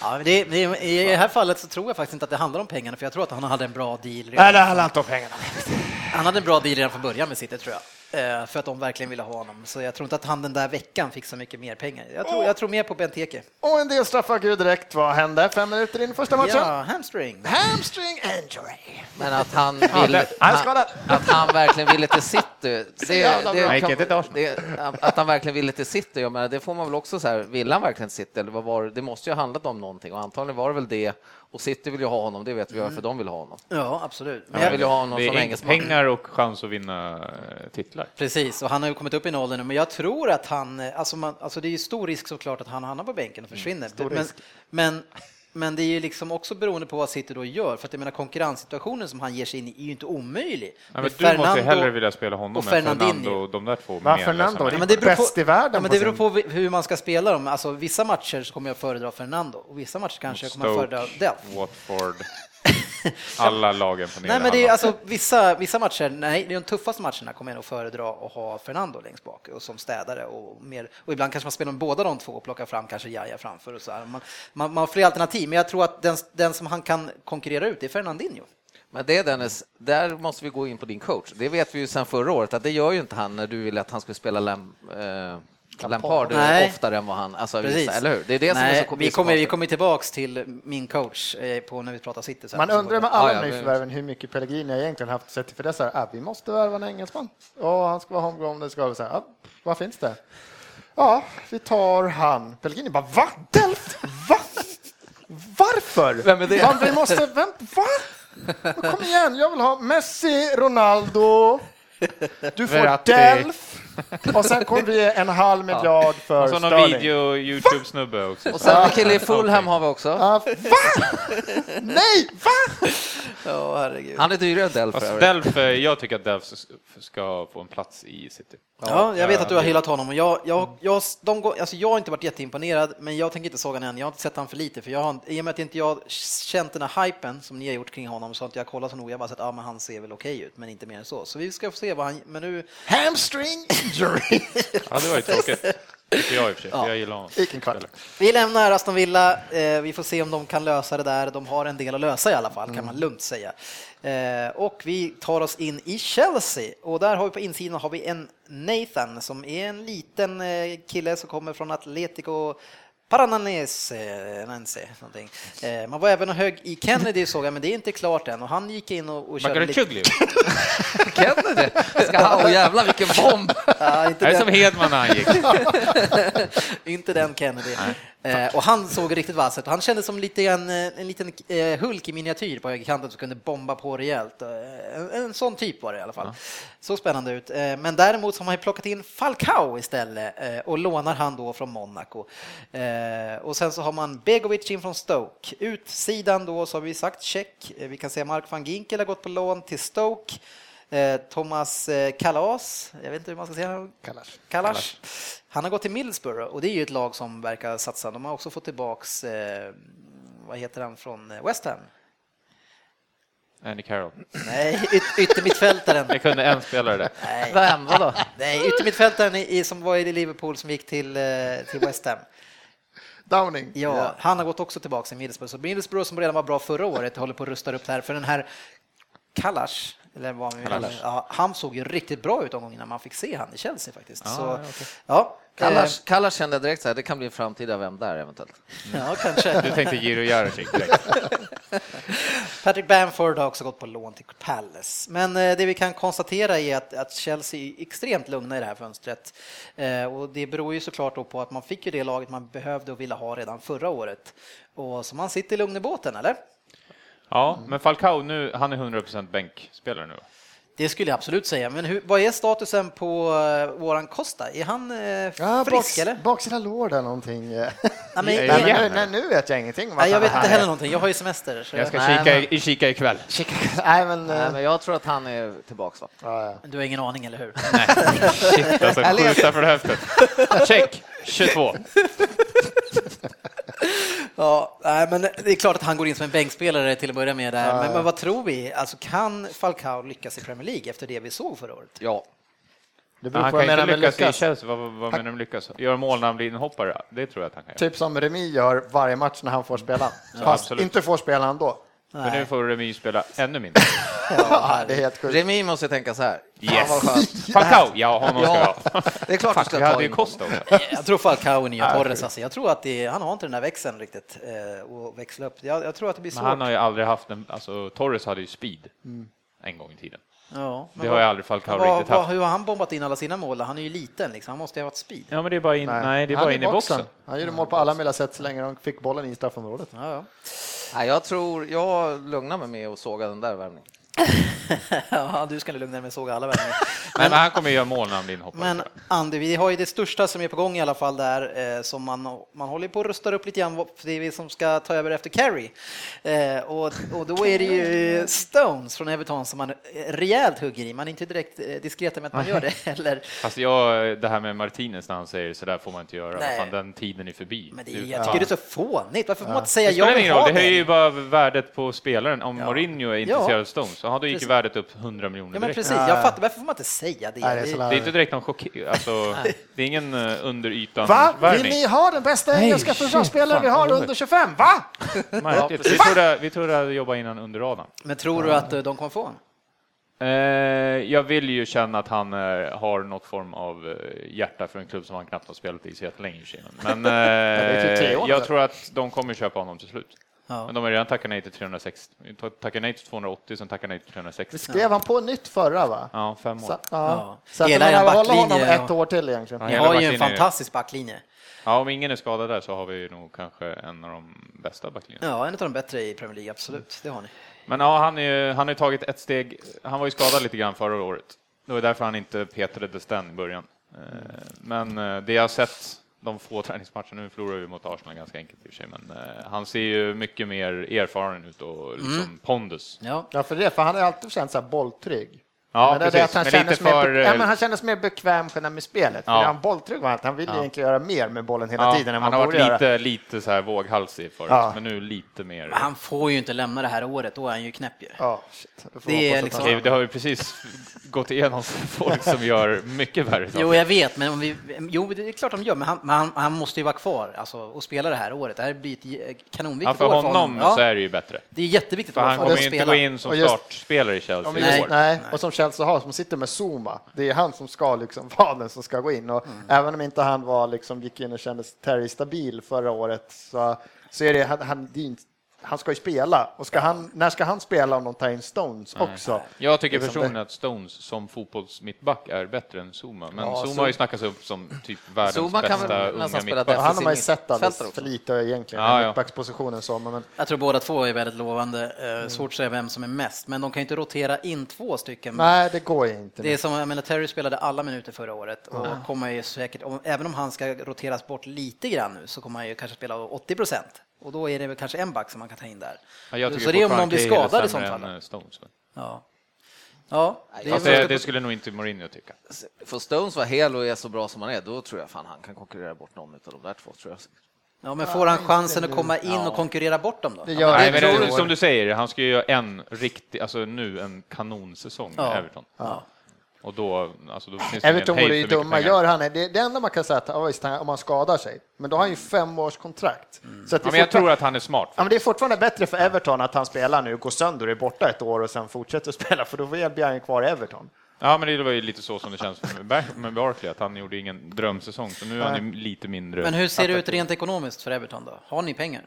Speaker 1: men det, det, I det här fallet så tror jag faktiskt inte att det handlar om pengarna, för jag tror att han hade en bra deal redan.
Speaker 4: Nej, det handlar inte om pengarna.
Speaker 1: Han hade en bra deal redan från början med City, tror jag. Eh, För att de verkligen ville ha honom. Så jag tror inte att han den där veckan fick så mycket mer pengar. Jag tror, jag tror mer på Benteke.
Speaker 4: Och en del straffar Gud direkt. Vad hände fem minuter in i första matchen?
Speaker 1: Ja, hamstring.
Speaker 4: Hamstring injury.
Speaker 2: Men att han ville,
Speaker 4: han är
Speaker 2: han,
Speaker 4: skadad.
Speaker 2: att han verkligen ville till City. Det,
Speaker 4: jävla bra.
Speaker 3: Han gick inte till Arsenal.
Speaker 2: det, att han verkligen ville till City, jag menar, det får man väl också så här, vill han verkligen till City? Eller vad var, det? det måste ju ha handlat om någonting och antagligen var det väl det. Och City vill ju ha honom, det vet vi varför de vill ha honom.
Speaker 1: Ja, absolut. Men
Speaker 2: Jag vill ju
Speaker 1: jag,
Speaker 2: ha honom
Speaker 3: Det
Speaker 2: som
Speaker 3: är inget
Speaker 2: engelsman.
Speaker 3: pengar och chans att vinna eh, titlar.
Speaker 1: precis, och han har ju kommit upp i åldern nu, men jag tror
Speaker 3: Mm,
Speaker 1: att han, eh, alltså, man, alltså det är ju stor risk såklart att han hamnar på bänken och försvinner. men, men Men det är ju liksom också beroende på vad City då gör, för att jag menar konkurrenssituationen som han ger sig in i är ju inte omöjlig.
Speaker 3: Ja, men
Speaker 1: Med
Speaker 3: du måste ju
Speaker 1: Fernando
Speaker 3: hellre vilja spela honom
Speaker 1: och
Speaker 3: än Fernando
Speaker 1: Fernandinho.
Speaker 3: och de där två.
Speaker 4: Men
Speaker 3: meningslösa
Speaker 4: Fernando,
Speaker 3: människorna.
Speaker 1: Ja, men det beror på,
Speaker 4: Bäst i världen
Speaker 1: Ja, men det
Speaker 4: på
Speaker 1: beror
Speaker 4: sin-
Speaker 1: på vi- hur man ska spela dem. Alltså, vissa matcher så kommer jag föredra Fernando och vissa matcher kanske jag kommer jag föredra Delph.
Speaker 3: Watford, alla lagen på
Speaker 1: Nej, men det är,
Speaker 3: halvan.
Speaker 1: alltså, vissa, vissa matcher, nej, de tuffaste matcherna kommer jag nog föredra att ha Fernando längst bak och som städare. Och, mer, och ibland kanske man spelar med båda de två och plockar fram kanske Jaja framför. Och så här. Man, man, man har fler alternativ, men jag tror att den, den som han kan konkurrera ut är Fernandinho.
Speaker 2: Men det Dennis, där måste vi gå in på din coach. Det vet vi ju sedan förra året att det gör ju inte han när du ville att han skulle spela Lam, eh, Lampard
Speaker 1: Nej.
Speaker 2: oftare än vad han, alltså,
Speaker 1: Precis.
Speaker 2: vissa, eller hur? Det är det
Speaker 1: nej,
Speaker 2: som är så
Speaker 1: vi kommer, vi kommer tillbaks till min coach eh, på när vi pratar City. sen.
Speaker 4: Man undrar med
Speaker 2: Ja,
Speaker 4: alla
Speaker 2: ja, men-
Speaker 4: nyförvärven hur mycket Pellegrini egentligen haft sett till för det. Så här, ah, vi måste värva en engelsman. Ja, han ska vara homegrown. Det ska vara så här, ah, vad finns det? Ja, vi tar han. Pellegrini bara, va? Delft? Va? Varför?
Speaker 2: Vem är det?
Speaker 4: Va, vi måste, vem, va? Men kom igen, jag vill ha Messi, Ronaldo. Du får
Speaker 3: Verratti.
Speaker 4: Delf. Och sen kommer vi en halv miljard för
Speaker 3: Och så någon
Speaker 4: Sterling.
Speaker 3: video-youtube-snubbe också.
Speaker 2: Och sen en kille i Fulham har vi också.
Speaker 4: Ah, va? Nej, va?
Speaker 1: Ja, herregud.
Speaker 2: Han är dyrare än Del för
Speaker 3: Alltså,
Speaker 2: övrigt.
Speaker 3: Delf, eh, jag tycker att Delf s- ska få en plats i City.
Speaker 1: Ja, jag vet att du har
Speaker 3: det-
Speaker 1: hyllat honom och jag, jag, jag, de går, alltså jag har inte varit jätteimponerad, men jag tänker inte såga honom än. Jag har inte sett han för lite, för jag har, i och med att inte jag känt den här hypen som ni har gjort kring honom så har inte jag kollat så noga. Jag har bara sett att ah, men han ser väl okej ut, men inte mer än så. Så vi ska få se vad han, men nu,
Speaker 4: Hamstring injury.
Speaker 3: Ja, det var ju tråkigt. Tycker jag i och för sig, för jag gillar honom.
Speaker 4: Vilken kvart.
Speaker 1: vi lämnar Aston Villa. Eh, vi får se om de kan lösa det där. De har en del att lösa i alla fall, kan man lugnt säga. Eh, och vi tar oss in i Chelsea och där har vi på insidan har vi en Nathan som är en liten eh, kille som kommer från Atletico Parananese, Nancy, någonting. Eh, man var även och högg i Kennedy såg jag, men det är inte klart än och han gick in och, och körde lite...
Speaker 3: Makarachuglu.
Speaker 2: Kennedy! Ska han, oh, jävlar vilken bomb!
Speaker 1: Ja, inte
Speaker 3: Det är
Speaker 1: den-
Speaker 3: som Hedman när han gick.
Speaker 1: Inte den Kennedy. Eh, och han såg riktigt vass ut. Han kändes som lite en, en liten eh, Hulk i miniatyr på högerkanten som kunde bomba på rejält. Eh, en, en sån typ var det i alla fall. Så spännande ut. Eh, men däremot så har man ju plockat in Falcao istället eh, och lånar han då från Monaco. Eh, och sen så har man Begovic in från Stoke. Utsidan då så har vi sagt check. Eh, vi kan se Mark van Ginkel har gått på lån till Stoke. Eh, Thomas eh, Kalas, jag vet inte hur man ska säga
Speaker 4: Kallas.
Speaker 1: Kalash. Han har gått till Middlesbrough och det är ju ett lag som verkar satsa. De har också fått tillbaks, eh, vad heter han från eh, West Ham?
Speaker 3: Andy Carroll.
Speaker 1: Nej, yt yttermittfältaren.
Speaker 3: Jag kunde en spelare där.
Speaker 1: Nej,
Speaker 2: Vem, vadå?
Speaker 1: nej yttermittfältaren i, i- som var i Liverpool som gick till, eh, till West Ham.
Speaker 4: Downing.
Speaker 1: Ja, han har gått också tillbaks till Middlesbrough. Så Middlesbrough som redan var bra förra året håller på att rusta upp det här för den här Kalash, eller vad man vill kalla det. ja, han såg ju riktigt bra ut omgången när man fick se han i Chelsea faktiskt. så, ja,
Speaker 2: Kallas, Kallas kände direkt så här, det kan bli en framtida Vem där eventuellt.
Speaker 1: eh, ja, kanske.
Speaker 3: Du tänkte Giro Jarocic direkt.
Speaker 1: Patrick Bamford har också gått på lån till Palace. Men eh, det vi kan konstatera är att, att Chelsea är extremt lugna i det här fönstret. Eh, och det beror ju såklart då på att man fick ju det laget man behövde och ville ha redan förra året. Och så man sitter lugn i båten, eller?
Speaker 3: Ja, men Falcao nu, han är 100% bänkspelare nu.
Speaker 1: Det skulle jag absolut säga. Men hur, vad är statusen på eh, våran Costa? Är han eh,
Speaker 4: Ja,
Speaker 1: frisk
Speaker 4: baks,
Speaker 1: eller?
Speaker 4: baksida lår där någonting. Nej,
Speaker 1: Nej, men,
Speaker 3: Nej,
Speaker 1: jag,
Speaker 3: ja.
Speaker 4: men nu, nej, nu vet jag ingenting om att
Speaker 1: nej, jag
Speaker 4: han
Speaker 1: vet
Speaker 4: är
Speaker 1: inte heller
Speaker 4: här.
Speaker 1: någonting. Jag har ju semester. Så
Speaker 3: Jag
Speaker 1: jag,
Speaker 3: ska
Speaker 2: Nej,
Speaker 3: kika, i- kika ikväll.
Speaker 4: Nej, men,
Speaker 2: Nej,
Speaker 4: eh,
Speaker 2: men jag tror att han är tillbaks va?
Speaker 4: ja, ja.
Speaker 1: du har ingen aning, eller hur?
Speaker 3: Shit, alltså skjuta från höften. Check! 22.
Speaker 1: Ja, nej, men det är klart att han går in som en bänkspelare till att börja med där. Men, men vad tror vi? Alltså, kan Falcao lyckas i Premier League efter det vi såg förra året?
Speaker 2: Ja.
Speaker 4: Det beror
Speaker 3: Han
Speaker 4: på vad
Speaker 3: kan
Speaker 4: jag menar
Speaker 3: inte
Speaker 4: med
Speaker 3: lyckas i
Speaker 4: lyckas.
Speaker 3: Chelsea. Vad, vad, vad menar du med lyckas? Göra mål när han blir inhoppare? Det tror jag att han kan göra.
Speaker 4: Typ som Remi gör varje match när han får spela. Fast
Speaker 3: absolut.
Speaker 4: inte får spela ändå.
Speaker 3: Men nu får Remy spela ännu mindre.
Speaker 4: Ja, det är helt sjukt.
Speaker 2: Remi måste tänka så här. Fan, vad skönt.
Speaker 3: Yes! Falcao! Ja, honom ska jag
Speaker 2: Ja,
Speaker 3: ha.
Speaker 2: det är klart du
Speaker 3: Vi
Speaker 2: ska ta
Speaker 3: hade ju
Speaker 2: in.
Speaker 3: Costa också.
Speaker 1: Eh, Jag tror Falcao är nya Torres. Alltså. Jag tror att det, han har inte den där växeln riktigt eh, och växla upp. Jag, jag tror att det blir svårt.
Speaker 3: Men han har ju aldrig haft en... Alltså, Torres hade ju speed en gång i tiden.
Speaker 1: ja, men vad-
Speaker 3: Det har ju aldrig Falcao
Speaker 1: vad-
Speaker 3: riktigt
Speaker 1: vad-
Speaker 3: haft.
Speaker 1: Hur har han bombat in alla sina mål? Han är ju liten, liksom. han måste ju ha varit speed.
Speaker 3: Ja, men det är bara in, nej. det är
Speaker 4: Han
Speaker 3: bara in i boxen.
Speaker 4: Han gjorde mål på alla möjliga sätt så länge de fick bollen i straffområdet.
Speaker 1: Ja, ja.
Speaker 2: Nej, jag tror, jag lugnar mig med att såga den där värvningen.
Speaker 1: ja, du ska lugna dig med att såga alla vänner.
Speaker 3: men han kommer ju göra mål när han blir inhoppad.
Speaker 1: Men
Speaker 3: tror jag.
Speaker 1: Andy, vi har ju det största som är på gång i alla fall där, eh, som man, man håller på att rusta upp lite grann, för det är vi som ska ta över efter Carey. Eh, och, och då är det ju Stones från Everton som man eh, rejält hugger i. Man är inte direkt eh, diskreta med att man gör det heller.
Speaker 3: Fast jag, det här med Martinez när han säger så där får man inte göra,
Speaker 1: Nej.
Speaker 3: fan den tiden är förbi.
Speaker 1: Men det,
Speaker 3: Du-
Speaker 1: är-
Speaker 3: fan.
Speaker 1: jag tycker det är så fånigt. Varför får man inte säga
Speaker 3: Det
Speaker 1: jag
Speaker 3: spelar
Speaker 1: vill
Speaker 3: ingen
Speaker 1: ha
Speaker 3: roll, det höjer
Speaker 1: den?
Speaker 3: ju bara värdet på spelaren. Om Mourinho är intresserad
Speaker 1: Ja.
Speaker 3: av Stones, ja, då gick ju
Speaker 1: Precis.
Speaker 3: värdet upp 100 miljoner
Speaker 1: Ja, men
Speaker 3: direkt.
Speaker 1: precis. Jag fattar, varför får man inte säga det?
Speaker 4: Nej, det är så
Speaker 1: Det-
Speaker 4: larvigt.
Speaker 3: Det är inte direkt någon chock... Alltså, det är ingen eh, under ytan
Speaker 4: Va? Vill
Speaker 3: värvning.
Speaker 4: ni ha den bästa engelska
Speaker 3: shit,
Speaker 4: försvarsspelaren vi
Speaker 3: fan,
Speaker 4: har
Speaker 3: vad
Speaker 4: under 25? Va?
Speaker 3: Märkligt. Vi trodde, vi trodde att jobba innan under radarn.
Speaker 1: Men tror du att eh, de kommer få honom?
Speaker 3: Eh, jag vill ju känna att han eh, har något form av eh, hjärta för en klubb som han knappt har spelat i så jättelänge i Kina. Men
Speaker 4: är typ
Speaker 3: eh,
Speaker 4: tre år nu.
Speaker 3: jag tror att de kommer köpa honom till slut.
Speaker 1: Ja.
Speaker 3: Men de har redan tackat nej till 360, tackat nej till 280, sen tackat nej till 360.
Speaker 4: Skrev han på nytt förra va?
Speaker 3: Ja, fem år.
Speaker 4: Så, ja.
Speaker 1: Ja.
Speaker 4: så att
Speaker 1: Hela
Speaker 4: man
Speaker 1: er
Speaker 4: håller honom
Speaker 1: backlinje,
Speaker 4: ett
Speaker 1: ja.
Speaker 4: år till egentligen.
Speaker 3: Ja.
Speaker 1: Ni
Speaker 3: hela
Speaker 1: har ju en
Speaker 3: backlinjen är ju-
Speaker 1: fantastisk backlinje.
Speaker 3: Ja, om ingen är skadad där så har vi nog kanske en av de bästa backlinjerna.
Speaker 1: Ja, en av de bättre i Premier League,
Speaker 3: Mm.
Speaker 1: absolut. Det har ni.
Speaker 3: Men ja, han, är, ju- han har ju tagit ett steg. Han var ju skadad lite grann förra året. Det var därför han inte petade Desten i början. Eh, Men eh, det jag har sett de få träningsmatcherna, nu förlorar vi mot Arsenal ganska enkelt i och för sig, men eh, han ser ju mycket mer erfaren ut och liksom pondus.
Speaker 1: Ja.
Speaker 4: Mm. Ja, för det, för han har alltid känt sig bolltrygg.
Speaker 3: Ja,
Speaker 4: men det är det
Speaker 3: precis.
Speaker 4: att han
Speaker 3: Men
Speaker 4: kändes
Speaker 3: lite för,
Speaker 4: mer, ja,
Speaker 3: eh,
Speaker 4: men han kändes mer bekväm själv med spelet.
Speaker 3: Ja.
Speaker 4: För han bolltrygg var han, han ville egentligen göra mer med bollen hela
Speaker 3: Ja,
Speaker 4: tiden än
Speaker 3: han
Speaker 4: vad
Speaker 3: har
Speaker 4: han borde
Speaker 3: varit
Speaker 4: göra.
Speaker 3: lite, lite så här våghalsig förut,
Speaker 4: Ja.
Speaker 3: men nu lite mer.
Speaker 1: Han får ju inte lämna det här året, då är han ju knäpp ju.
Speaker 4: Ja, shit. Då får
Speaker 1: Det
Speaker 4: man
Speaker 1: är
Speaker 4: hoppas att
Speaker 1: liksom-
Speaker 4: han-
Speaker 3: Okej, Det har vi precis gått igenom folk som gör mycket värre saker.
Speaker 1: Jo, jag vet, men om vi, jo, det är klart de gör, men han, men han, han måste ju vara kvar alltså, och spela det här året. Det här blir ett j- kanonviktigt
Speaker 3: Ja, för
Speaker 1: år för
Speaker 3: honom
Speaker 1: honom. Ja,
Speaker 3: så är det ju bättre.
Speaker 1: Det är jätteviktigt
Speaker 3: För
Speaker 1: år för
Speaker 3: han
Speaker 1: honom
Speaker 3: kommer
Speaker 1: att
Speaker 3: ju inte
Speaker 1: spela.
Speaker 3: gå in som
Speaker 4: Och just-
Speaker 3: startspelare i
Speaker 4: Ja,
Speaker 3: Chelsea
Speaker 4: men
Speaker 3: i
Speaker 4: just,
Speaker 1: Nej.
Speaker 3: år.
Speaker 4: nej. och som Chelsea har, som sitter med Zuma, det är han som ska liksom vara den som ska gå in.
Speaker 1: Mm.
Speaker 4: Och även om inte han var, liksom, gick in och kändes Terry stabil förra året så, så är det, han, han, det är inte, han ska ju spela. Och ska han, när ska han spela om de tar in Stones
Speaker 3: Mm.
Speaker 4: också?
Speaker 3: Jag tycker
Speaker 4: Liksom
Speaker 3: personligen
Speaker 4: det-
Speaker 3: att Stones som fotbollsmittback är bättre än Zuma, men
Speaker 4: Ja,
Speaker 3: Zuma
Speaker 4: så-
Speaker 3: har ju snackats upp som typ världens
Speaker 2: Zuma kan
Speaker 3: bästa
Speaker 2: väl
Speaker 3: unga
Speaker 2: nästan spela
Speaker 3: mittback.
Speaker 4: Och han har man ju sett alldeles
Speaker 2: Fältar också.
Speaker 4: för lite egentligen,
Speaker 3: Ja,
Speaker 4: ja,
Speaker 3: ja.
Speaker 4: mittbackspositionen. Så, men,
Speaker 1: Jag tror båda två är väldigt lovande.
Speaker 3: Mm.
Speaker 1: Eh, Svårt att säga vem som är mest, men de kan ju inte rotera in två stycken.
Speaker 4: nej, det går ju inte.
Speaker 1: Det är som, jag menar, Terry spelade alla minuter förra året och kommer ju säkert, om, även om han ska roteras bort lite grann nu, så kommer han ju kanske spela 80 procent. Och då är det väl kanske en back som man kan ta in där.
Speaker 3: Ja, jag tycker
Speaker 1: så det är om de
Speaker 3: fortfarande
Speaker 1: blir
Speaker 3: Cahill är
Speaker 1: skadade i sånt
Speaker 3: sämre
Speaker 1: fall.
Speaker 3: än, eh, Stones. men-
Speaker 1: Ja. Ja, det
Speaker 3: Fast
Speaker 1: väl-
Speaker 3: det, det skulle nog inte Mourinho tycka.
Speaker 2: Får Stones vara hel och är så bra som han är, då tror jag fan han kan konkurrera bort någon av de där två. Tror jag.
Speaker 1: Ja, men får han chansen att komma in och konkurrera bort dem då?
Speaker 4: Det gör
Speaker 3: Nej, men
Speaker 4: det
Speaker 3: det,
Speaker 4: inte.
Speaker 3: som du säger, han ska ju göra en riktig, alltså nu en kanonsäsong med
Speaker 1: Ja.
Speaker 3: Everton. Och då, alltså då finns det
Speaker 4: Everton
Speaker 3: ingen hejd
Speaker 4: vore ju
Speaker 3: för mycket
Speaker 4: dumma.
Speaker 3: pengar.
Speaker 4: Gör han det, det enda man kan säga att ja, visst, han- om han skadar sig, men då har han ju fem års kontrakt. Så att det
Speaker 3: Mm. Ja, men jag
Speaker 4: fortfar-
Speaker 3: tror att han är smart.
Speaker 4: Ja, men det är fortfarande bättre för Everton att han spelar nu, går sönder och är borta ett år och sen fortsätter att spela, för då blir han ju kvar i Everton.
Speaker 3: Ja, men det var ju lite så som det känns med Bar- med Barkley, att han gjorde ingen drömsäsong, så nu är han ju lite mindre.
Speaker 1: Men hur ser det ut rent ekonomiskt för Everton då? Har ni pengar?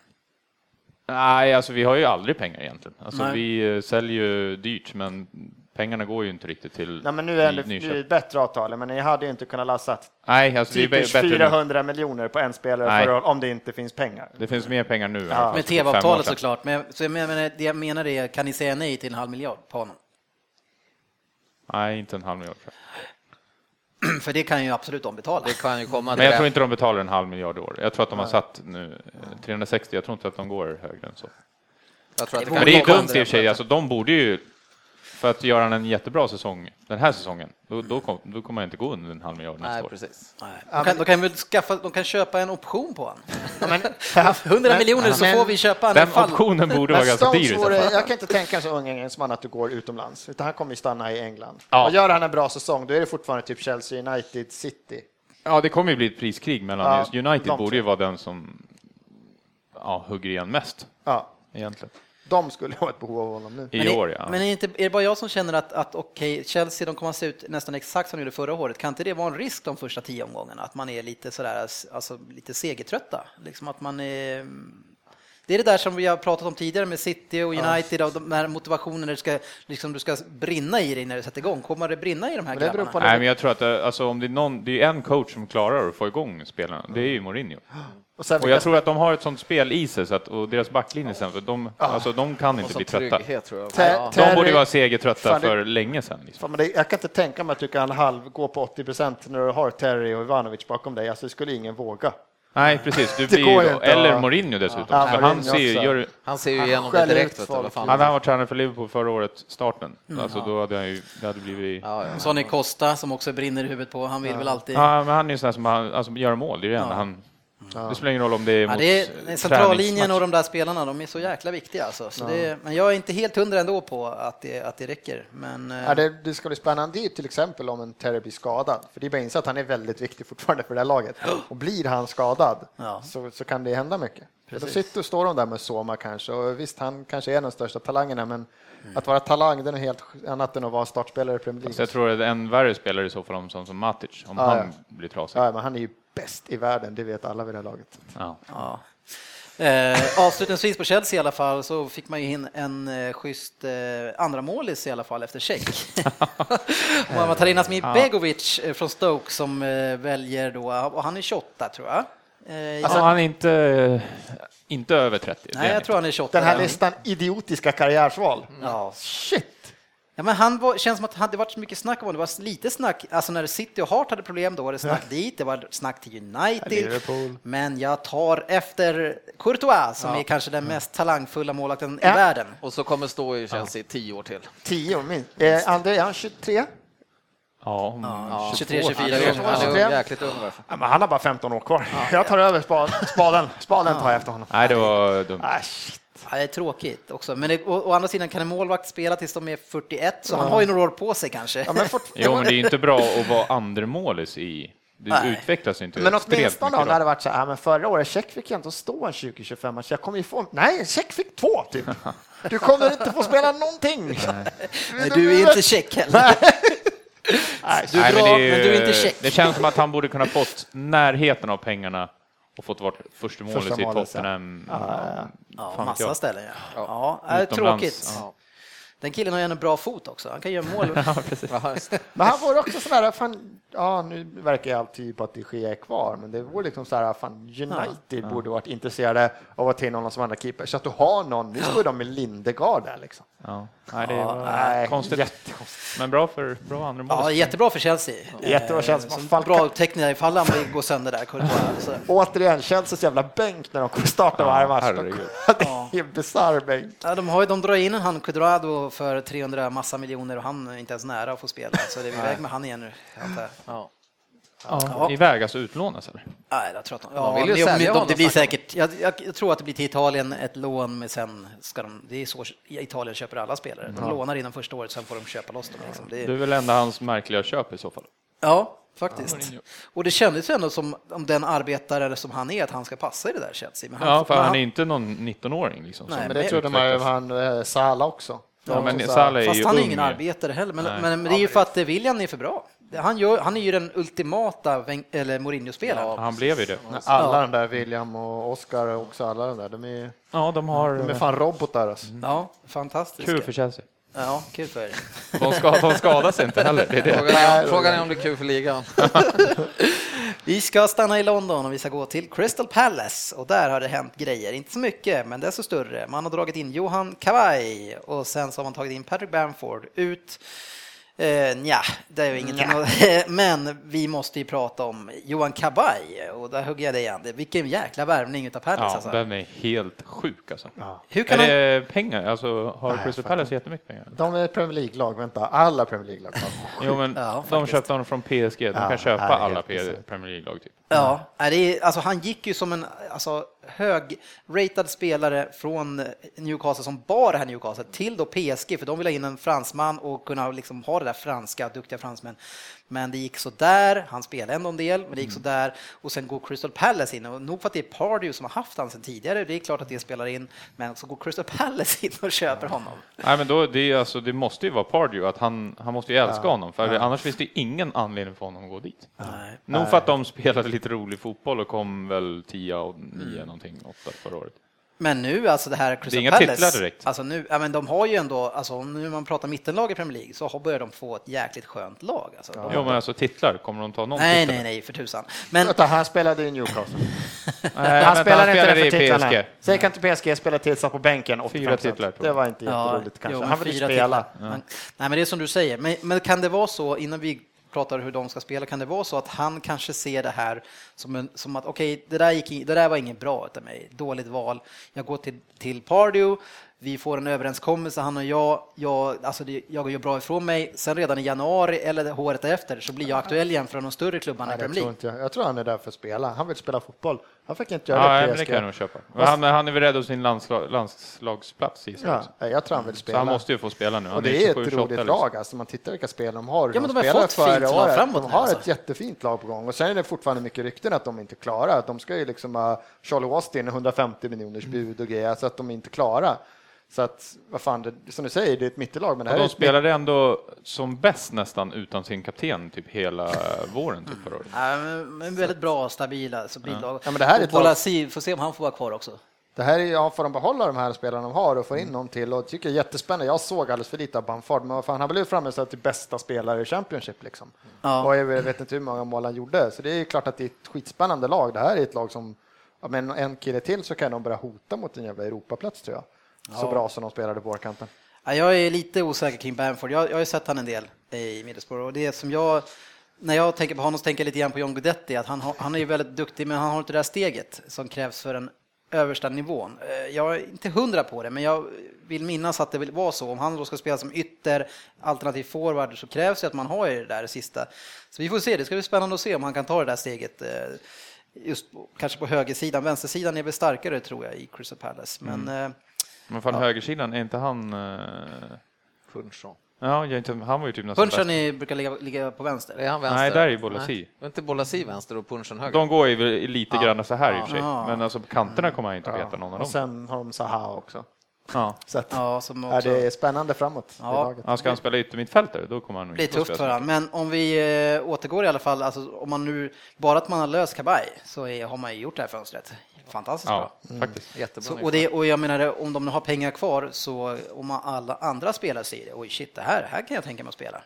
Speaker 3: Nej, alltså vi har ju aldrig pengar egentligen. Alltså,
Speaker 1: Nej.
Speaker 3: vi eh, säljer ju dyrt, men pengarna går ju inte riktigt till
Speaker 4: Nej, men nu är
Speaker 3: ny-
Speaker 4: det, nu är det
Speaker 3: nyköp.
Speaker 4: ett bättre avtal, men ni hade ju inte kunnat lassa
Speaker 3: Nej, alltså det är
Speaker 4: typiskt
Speaker 3: bä- bättre nu.
Speaker 4: 400 miljoner på en spelare
Speaker 3: Nej.
Speaker 4: för, om det inte finns pengar.
Speaker 3: Det finns mer pengar nu. än
Speaker 4: Ja.
Speaker 3: för typ
Speaker 1: Med
Speaker 3: fem år
Speaker 1: tv-avtalet
Speaker 3: sedan.
Speaker 1: såklart, men så jag menar, det jag menar är, kan ni säga nej till en halv miljard på honom?
Speaker 3: Nej, inte en halv miljard. tror jag.
Speaker 1: För det kan ju absolut de betala.
Speaker 2: Det kan ju komma
Speaker 3: Men jag
Speaker 2: till
Speaker 3: tror
Speaker 2: det.
Speaker 3: inte de betalar en halv miljard i år. Jag tror att de har satt nu eh, 360. Jag tror inte att de går högre än så.
Speaker 2: Jag tror att det
Speaker 1: Men
Speaker 2: kan
Speaker 3: Men det är ju
Speaker 2: komma
Speaker 3: dumt i och
Speaker 2: till
Speaker 3: för sig. Alltså, de borde ju, för att göra en jättebra säsong den här säsongen, då, då, kom, då kommer jag inte gå under en halv miljard nästa
Speaker 2: Nej,
Speaker 3: år.
Speaker 2: precis.
Speaker 1: Nej. De kan, de kan väl skaffa, de kan köpa en option på honom.
Speaker 4: men-
Speaker 1: 100
Speaker 4: men-
Speaker 1: miljoner så
Speaker 4: men-
Speaker 1: får vi köpa en
Speaker 3: Den
Speaker 1: i fall.
Speaker 3: optionen borde vara ganska dyr. i så
Speaker 4: vore,
Speaker 3: fall.
Speaker 4: jag kan inte tänka en så ung engelsman att du går utomlands, utan han kommer ju stanna i England.
Speaker 3: Ja.
Speaker 4: Och gör han en bra säsong, då är det fortfarande typ Chelsea United City.
Speaker 3: Ja, det kommer ju bli ett priskrig mellan
Speaker 4: Ja,
Speaker 3: United.
Speaker 4: de
Speaker 3: borde ju vara den som ja, hugger igen mest
Speaker 4: Ja,
Speaker 3: egentligen.
Speaker 4: de skulle ha ett behov av honom nu.
Speaker 3: I
Speaker 1: Men är-
Speaker 3: år, ja.
Speaker 1: Men är, inte, är det bara jag som känner att, att okej, Chelsea de kommer att se ut nästan exakt som de gjorde förra året. Kan inte det vara en risk de första tio omgångarna? Att man är lite sådär, alltså lite segertrötta? Liksom att man är... Det är det där som vi har pratat om tidigare med City och United, och de här motivationen där du ska, liksom, du ska brinna i dig när du sätter igång. Kommer det brinna i de här
Speaker 4: Men det beror
Speaker 1: grabbarna?
Speaker 4: på-
Speaker 3: Nej, men jag tror att det, alltså, om det, är någon, det är en coach som klarar att få igång spelarna, det är ju Mourinho.
Speaker 4: Och sen
Speaker 3: Och jag tror att de har ett sånt spel i sig, så att, och deras backlinje sen, för de, alltså, de kan
Speaker 2: Och
Speaker 3: inte
Speaker 2: som
Speaker 3: bli trötta.
Speaker 2: trygghet tror jag.
Speaker 4: Tä-
Speaker 2: Ja.
Speaker 4: tä-
Speaker 3: De borde
Speaker 4: Ah. Terry-
Speaker 3: ju vara segertrötta
Speaker 4: Fan, det-
Speaker 3: för länge sedan. Liksom.
Speaker 4: Fan, men det, jag kan inte tänka mig att du kan halv, gå på 80 procent när du har Terry och Ivanovic bakom dig. Alltså, det skulle ingen våga.
Speaker 3: Nej, precis. Du
Speaker 4: Det
Speaker 3: blir,
Speaker 4: går
Speaker 3: ju-
Speaker 4: ju inte, ja.
Speaker 3: eller Mourinho dessutom.
Speaker 4: Ja,
Speaker 3: för
Speaker 4: Mourinho
Speaker 3: han, ser ju,
Speaker 4: också.
Speaker 3: gör,
Speaker 2: Han ser ju
Speaker 4: Han
Speaker 2: igenom det
Speaker 4: skäller
Speaker 2: direkt.
Speaker 4: ut
Speaker 2: Vet du, vad
Speaker 4: folk.
Speaker 3: hade
Speaker 2: fan.
Speaker 3: han varit tränare för Liverpool förra året, starten, alltså, då hade han ju, det hade blivit... Ja.
Speaker 2: Ja, ja.
Speaker 1: Sonny Costa som också brinner i huvudet på, han vill väl alltid...
Speaker 3: men han är ju sån här som han, alltså, gör mål, det är det enda han... Det spelar ingen roll om det är
Speaker 1: Ja,
Speaker 3: mot
Speaker 1: det
Speaker 3: eh,
Speaker 1: är centrallinjen
Speaker 3: träningsmatch.
Speaker 1: och de där spelarna, de är så jäkla viktiga alltså. Så det, men jag är inte helt hundra ändå på att det, att det räcker. Men, eh,
Speaker 4: Ja, det, det ska bli spännande ju till exempel om en Terry blir skadad. För det är bara att inse att han är väldigt viktig fortfarande för det här laget. Och blir han skadad
Speaker 1: Ja.
Speaker 4: så, så kan det hända mycket. Då sitter och står de där med Soma kanske. Och visst, han kanske är en av de största talangerna, men att vara talang det är något helt annat än att vara startspelare i Premier
Speaker 3: Så
Speaker 4: League.
Speaker 3: jag tror att en värre spelare i så fall om sån som Matic, om
Speaker 4: Ja,
Speaker 3: han
Speaker 4: ja.
Speaker 3: blir trasig.
Speaker 4: Ja, men han är ju bäst i världen, det vet alla vid det här laget.
Speaker 3: Ja.
Speaker 1: Ja. Eh, avslutningsvis på Chelsea i alla fall så fick man ju in en eh, schysst eh, andra målis i alla fall efter check. Och man tar in Asmi Begovic eh, från Stoke som eh, väljer då, och han är 28 tror jag. Eh,
Speaker 3: Alltså, han är inte, inte över 30. det är
Speaker 1: nej,
Speaker 3: han
Speaker 1: jag
Speaker 3: inte.
Speaker 1: tror han är 28.
Speaker 4: Den här
Speaker 1: även.
Speaker 4: listan idiotiska karriärsval.
Speaker 1: Ja.
Speaker 4: Shit!
Speaker 1: Mm. Ja, men han var, känns som att han, det var så mycket snack om honom. Det var lite snack, alltså när City och Hart hade problem, då var det snack dit, det var snack till United.
Speaker 4: Liverpool.
Speaker 1: Men jag tar efter Courtois som är kanske den mest talangfulla målvakten
Speaker 4: Mm. Ja.
Speaker 1: i världen.
Speaker 2: Och så kommer stå i Chelsea i tio år till.
Speaker 4: Tio minst. Eh, André, är han 23?
Speaker 3: Ja, om-
Speaker 2: Ja.
Speaker 1: 23,
Speaker 2: Han
Speaker 1: 24
Speaker 2: är ung,
Speaker 1: kanske.
Speaker 2: han är ung,
Speaker 4: Ja.
Speaker 2: jäkligt ung. varför?
Speaker 4: Ja, men han har bara 15 år kvar. Jag tar över spa- spaden. Spaden tar jag efter honom.
Speaker 3: Nej, det var dumt.
Speaker 4: Ah, shit.
Speaker 1: Ja, det är tråkigt också, men det, å, å andra sidan kan en målvakt spela tills de är 41, så han har ju några år på sig kanske.
Speaker 4: Ja, men, fort-
Speaker 3: Jo, men det är ju inte bra att vara andremålis i... Du
Speaker 1: Nej.
Speaker 3: utvecklas ju inte
Speaker 4: Men
Speaker 3: extremt
Speaker 4: åtminstone då,
Speaker 3: mycket
Speaker 4: när det hade
Speaker 3: då.
Speaker 4: varit så här, "Ah, men förra året, check fick jag inte stå en 20-25 match, jag kommer ju få, nej, check fick två typ. Du kommer inte få spela någonting.
Speaker 1: Nej, du är inte check heller. Du är
Speaker 3: Nej,
Speaker 1: bra,
Speaker 3: det
Speaker 1: men,
Speaker 3: ju-
Speaker 1: du är inte check.
Speaker 3: Det känns som att han borde kunna fått närheten av pengarna och fått vara första målet
Speaker 4: Första
Speaker 3: i
Speaker 4: målet, ja.
Speaker 3: Tottenham.
Speaker 1: Ja,
Speaker 3: Fan,
Speaker 1: massa
Speaker 3: jag-
Speaker 1: ställen ja. ja. det är
Speaker 3: Utomlands,
Speaker 1: tråkigt.
Speaker 3: ja.
Speaker 1: Den killen har ju en bra fot också, han kan göra mål.
Speaker 2: Ja, just det.
Speaker 4: Men han vore också sån här, fan, ja nu verkar ju allt tyda på att de Gea är kvar, men det vore liksom så här, fan United borde varit intresserade av att ta in honom som andra keeper, så att du har någon, nu står ju de med Lindegard där liksom.
Speaker 3: Ja. Nej, det
Speaker 1: Ja,
Speaker 3: var
Speaker 4: nej,
Speaker 3: konstigt. Men bra för bra
Speaker 1: Ja,
Speaker 3: andremålis.
Speaker 1: jättebra för Chelsea.
Speaker 4: Jättebra Chelsea.
Speaker 1: Eh, så
Speaker 4: Fan,
Speaker 1: Bra
Speaker 4: kan-
Speaker 1: upptäckning ifall han vill gå sönder där. Courtois. Så,
Speaker 4: Återigen, Chelseas jävla bänk när de kommer starta varje match.
Speaker 3: herregud.
Speaker 4: Det är en bisarr bänk.
Speaker 1: ja, de, har ju, de drar in en han Cuadrado för 300 massa miljoner och han är inte ens nära att få spela. Så det är vi iväg med han igen nu. antar jag.
Speaker 2: Ja.
Speaker 3: Ja. Iväg, alltså utlånas eller?
Speaker 1: Nej, jag tror att de, ja,
Speaker 2: De vill ju
Speaker 1: men om-
Speaker 2: sälja
Speaker 1: om,
Speaker 2: honom,
Speaker 1: det blir
Speaker 2: snackar de.
Speaker 1: säkert, jag, jag, jag tror att det blir till Italien ett lån, men sen ska de, det är så Italien köper alla spelare. De lånar inom första året, sen får de köpa loss dem. Liksom. Det,
Speaker 3: Det är väl enda hans märkliga köp i så fall.
Speaker 1: Ja, faktiskt. Och det kändes ju ändå som om den arbetare som han är, att han ska passa i det där Chelsea. Men
Speaker 3: Ja, för han är inte någon 19-åring liksom.
Speaker 1: Nej,
Speaker 3: som
Speaker 4: Men det trodde man ju om han eh, Salah också.
Speaker 3: Ja, men
Speaker 4: Så här,
Speaker 3: Salah är
Speaker 1: Fast
Speaker 3: ju
Speaker 1: han är
Speaker 3: ung.
Speaker 1: ingen
Speaker 3: ju.
Speaker 1: arbetare heller, men,
Speaker 3: Nej.
Speaker 1: men, men det är ju för att eh, Willian är för bra. Han, gör, han är ju den ultimata Weng- eller Mourinho-spelaren.
Speaker 3: Han blev ju det.
Speaker 4: Alla de där, William och Oscar och också alla de där, de är,
Speaker 3: Ja, de har...
Speaker 4: de är fan robotar alltså.
Speaker 3: Mm.
Speaker 1: Ja, fantastiskt.
Speaker 3: Kul för Chelsea.
Speaker 1: Ja, kul för er.
Speaker 3: De, ska, de skadas inte heller. Det är det.
Speaker 2: Frågan är, om- frågan är om det är kul för ligan.
Speaker 1: Vi ska stanna i London och vi ska gå till Crystal Palace och där har det hänt grejer. Inte så mycket, men desto större. Man har dragit in Johan Kawai och sen så har man tagit in Patrick Bamford ut. Eh, nja, det är ju ingenting. att- Men vi måste ju prata om Johan Kabaj och där hugger jag dig igen. Vilken jäkla värvning utav Palace
Speaker 3: Ja,
Speaker 1: alltså.
Speaker 3: den är helt sjuk alltså.
Speaker 1: Hur
Speaker 3: Är
Speaker 1: kan han...
Speaker 3: det pengar? Alltså, har Crystal Palace jättemycket pengar?
Speaker 4: De är Premier League-lag, vänta, alla Premier League-lag. har-
Speaker 3: Jo, men
Speaker 1: Ja,
Speaker 3: de
Speaker 1: faktiskt.
Speaker 3: köpte honom från PSG. De
Speaker 4: Ja,
Speaker 3: kan köpa
Speaker 4: nej, det är
Speaker 3: alla
Speaker 4: helt
Speaker 3: P-
Speaker 4: bisarrt.
Speaker 3: Premier League-lag typ.
Speaker 1: Ja, nej, det är, alltså han gick ju som en alltså, hög-ratad spelare från Newcastle som bar det här Newcastle till då PSG för de ville ha in en fransman och kunna liksom ha det där franska, duktiga fransmän. Men det gick så där. han spelade ändå en del, men det gick så där och sen går Crystal Palace in och nog för att det är Pardew som har haft han sedan tidigare, det är klart att det spelar in, men så går Crystal Palace in och köper honom.
Speaker 3: Nej, men då, det, är alltså, det måste ju vara Pardew, att han, han måste ju älska honom, för annars finns det ju ingen anledning för honom att gå dit.
Speaker 1: Nej. Mm.
Speaker 3: Nog för att de spelade lite rolig fotboll och kom väl 10 och 9 någonting, åtta förra året.
Speaker 1: Men nu, alltså det här Crystal
Speaker 3: inga
Speaker 1: Palace,
Speaker 3: titlar direkt.
Speaker 1: Alltså nu, ja, men de har ju ändå, alltså om nu man pratar mittenlag i Premier League så har- börjar de få ett jäkligt skönt lag. Alltså. De-
Speaker 3: Jo, men alltså titlar, kommer de ta någon
Speaker 1: Nej,
Speaker 3: titel?
Speaker 1: nej, nej, för tusan. Men
Speaker 4: Vänta, han spelade i Newcastle.
Speaker 3: Nej,
Speaker 4: han
Speaker 3: Äh, vänta,
Speaker 4: spelade inte det för
Speaker 3: i
Speaker 4: titlarna.
Speaker 3: PSG.
Speaker 4: Säg kan inte PSG spela tillsammans på bänken 85%.
Speaker 3: Fyra titlar, tror
Speaker 4: Det
Speaker 3: jag.
Speaker 4: var inte jätteroligt
Speaker 1: jo,
Speaker 4: kanske.
Speaker 1: men
Speaker 4: Han ville
Speaker 1: fyra
Speaker 4: spela.
Speaker 1: titlar. Men, nej, men det är som du säger. Men, men kan det vara så, innan vi pratar hur de ska spela, kan det vara så att han kanske ser det här som, en, som att okej, det, där gick in- det där var inget bra utav mig, dåligt val. Jag går till, till Pardew, vi får en överenskommelse, han och jag, jag, alltså det, jag gör bra ifrån mig. Sen redan i januari eller året efter så blir jag aktuell igen för de större klubbarna i
Speaker 4: Nej, det
Speaker 1: Premier
Speaker 4: tror
Speaker 1: League.
Speaker 4: inte jag. jag tror han är där för att spela. Han vill spela fotboll. Han fick inte göra
Speaker 3: Ja,
Speaker 4: det i
Speaker 3: men det
Speaker 4: PSG.
Speaker 3: kan jag nog köpa. Men Han, han är väl rädd om sin landslag, landslagsplats i Israel.
Speaker 4: Ja, nej, jag tror han vill
Speaker 3: Så
Speaker 4: spela.
Speaker 3: han måste ju få spela nu. Han
Speaker 4: och det är
Speaker 3: 27,
Speaker 4: ett
Speaker 3: 28
Speaker 4: roligt
Speaker 3: liksom.
Speaker 4: lag, alltså man tittar vilka spel de har. hur
Speaker 1: Ja, men de har
Speaker 4: spelar
Speaker 1: fått
Speaker 4: förra
Speaker 1: fint lag
Speaker 4: året.
Speaker 1: framåt
Speaker 4: De
Speaker 1: nu,
Speaker 4: har
Speaker 1: alltså.
Speaker 4: ett jättefint lag på gång och sen är det fortfarande mycket rykten att de inte är klara. Att de ska ju liksom ha Charlie Austin, 150 miljoners
Speaker 1: Mm.
Speaker 4: bud och grejer, så att de är inte klara. Så att, vad fan, det, som du säger, det är ett mittelag, men det här
Speaker 3: Och
Speaker 4: är
Speaker 3: de
Speaker 4: ett
Speaker 3: spelade ändå som bäst nästan utan sin kapten typ hela våren typ förra året.
Speaker 1: Ja, men- men väldigt bra, stabila, stabilt lag.
Speaker 4: Ja, men det här är
Speaker 1: och
Speaker 4: ett lag-
Speaker 1: Bolasie, får se om han får vara kvar också.
Speaker 4: Det här är ju, ja, får de behålla de här spelarna de har och få in någon till och tycker jag är jättespännande. Jag såg alldeles för lite av Bamford, men vad fan, han blev ju framhävd till bästa spelare i Championship liksom.
Speaker 1: Ja.
Speaker 4: Och jag vet inte hur många mål han gjorde, så det är ju klart att det är ett skitspännande lag. Det här är ett lag som, ja, men en kille till så kan de börja hota mot en jävla Europaplats tror jag. Så bra som de spelade på vårkanten.
Speaker 1: Ja, jag är lite osäker kring Bamford. Jag, jag har ju sett han en del i Middlesbrough och det som jag, när jag tänker på honom så tänker jag lite grann på John Guidetti, att han, har- han är ju väldigt duktig men han har inte det där steget som krävs för den översta nivån. Eh, Jag är inte hundra på det, men jag vill minnas att det vill vara så. Om han då ska spela som ytter, alternativ forward, så krävs det att man har ju det där sista. Så vi får se, det ska bli spännande att se om han kan ta det där steget. eh, Just på, kanske på högersidan, vänstersidan är väl starkare tror jag i Crystal Palace. Men
Speaker 3: Mm.
Speaker 1: eh,
Speaker 3: Men fan högersidan, är inte han... eh, Ja, jag är inte, han var ju typ nästan
Speaker 1: Punchen
Speaker 3: bäst.
Speaker 1: är, brukar ligga, ligga på vänster.
Speaker 2: Är han vänster?
Speaker 3: Nej, där är ju Bolasie.
Speaker 2: Nej, det är inte Bolasi vänster och punchen höger?
Speaker 3: De går ju väl lite
Speaker 2: Ja.
Speaker 3: grann så här i och
Speaker 2: Ja.
Speaker 3: för sig. Men alltså på kanterna kommer han inte att peta någon av
Speaker 4: Och
Speaker 3: dem.
Speaker 4: sen har de Zaha också.
Speaker 3: Ja.
Speaker 4: Så att,
Speaker 1: Ja, som
Speaker 4: ja,
Speaker 1: också
Speaker 4: det är spännande framåt
Speaker 1: Ja.
Speaker 4: i laget.
Speaker 3: Ja, ska han spela yttermittfältare, då kommer han nog
Speaker 1: blir
Speaker 3: inte att
Speaker 1: tufft för
Speaker 3: spela.
Speaker 1: honom. Men om vi eh, återgår i alla fall, alltså, om man nu, bara att man har löst Kabaj så är, har man ju gjort det här fönstret. Fantastiskt bra.
Speaker 3: Ja, faktiskt.
Speaker 2: Jättebra.
Speaker 1: Så, och,
Speaker 2: nyförvärv.
Speaker 1: det, och jag menar, om de nu har pengar kvar så om man alla andra spelare ser det, oj shit, det här, här kan jag tänka mig att spela.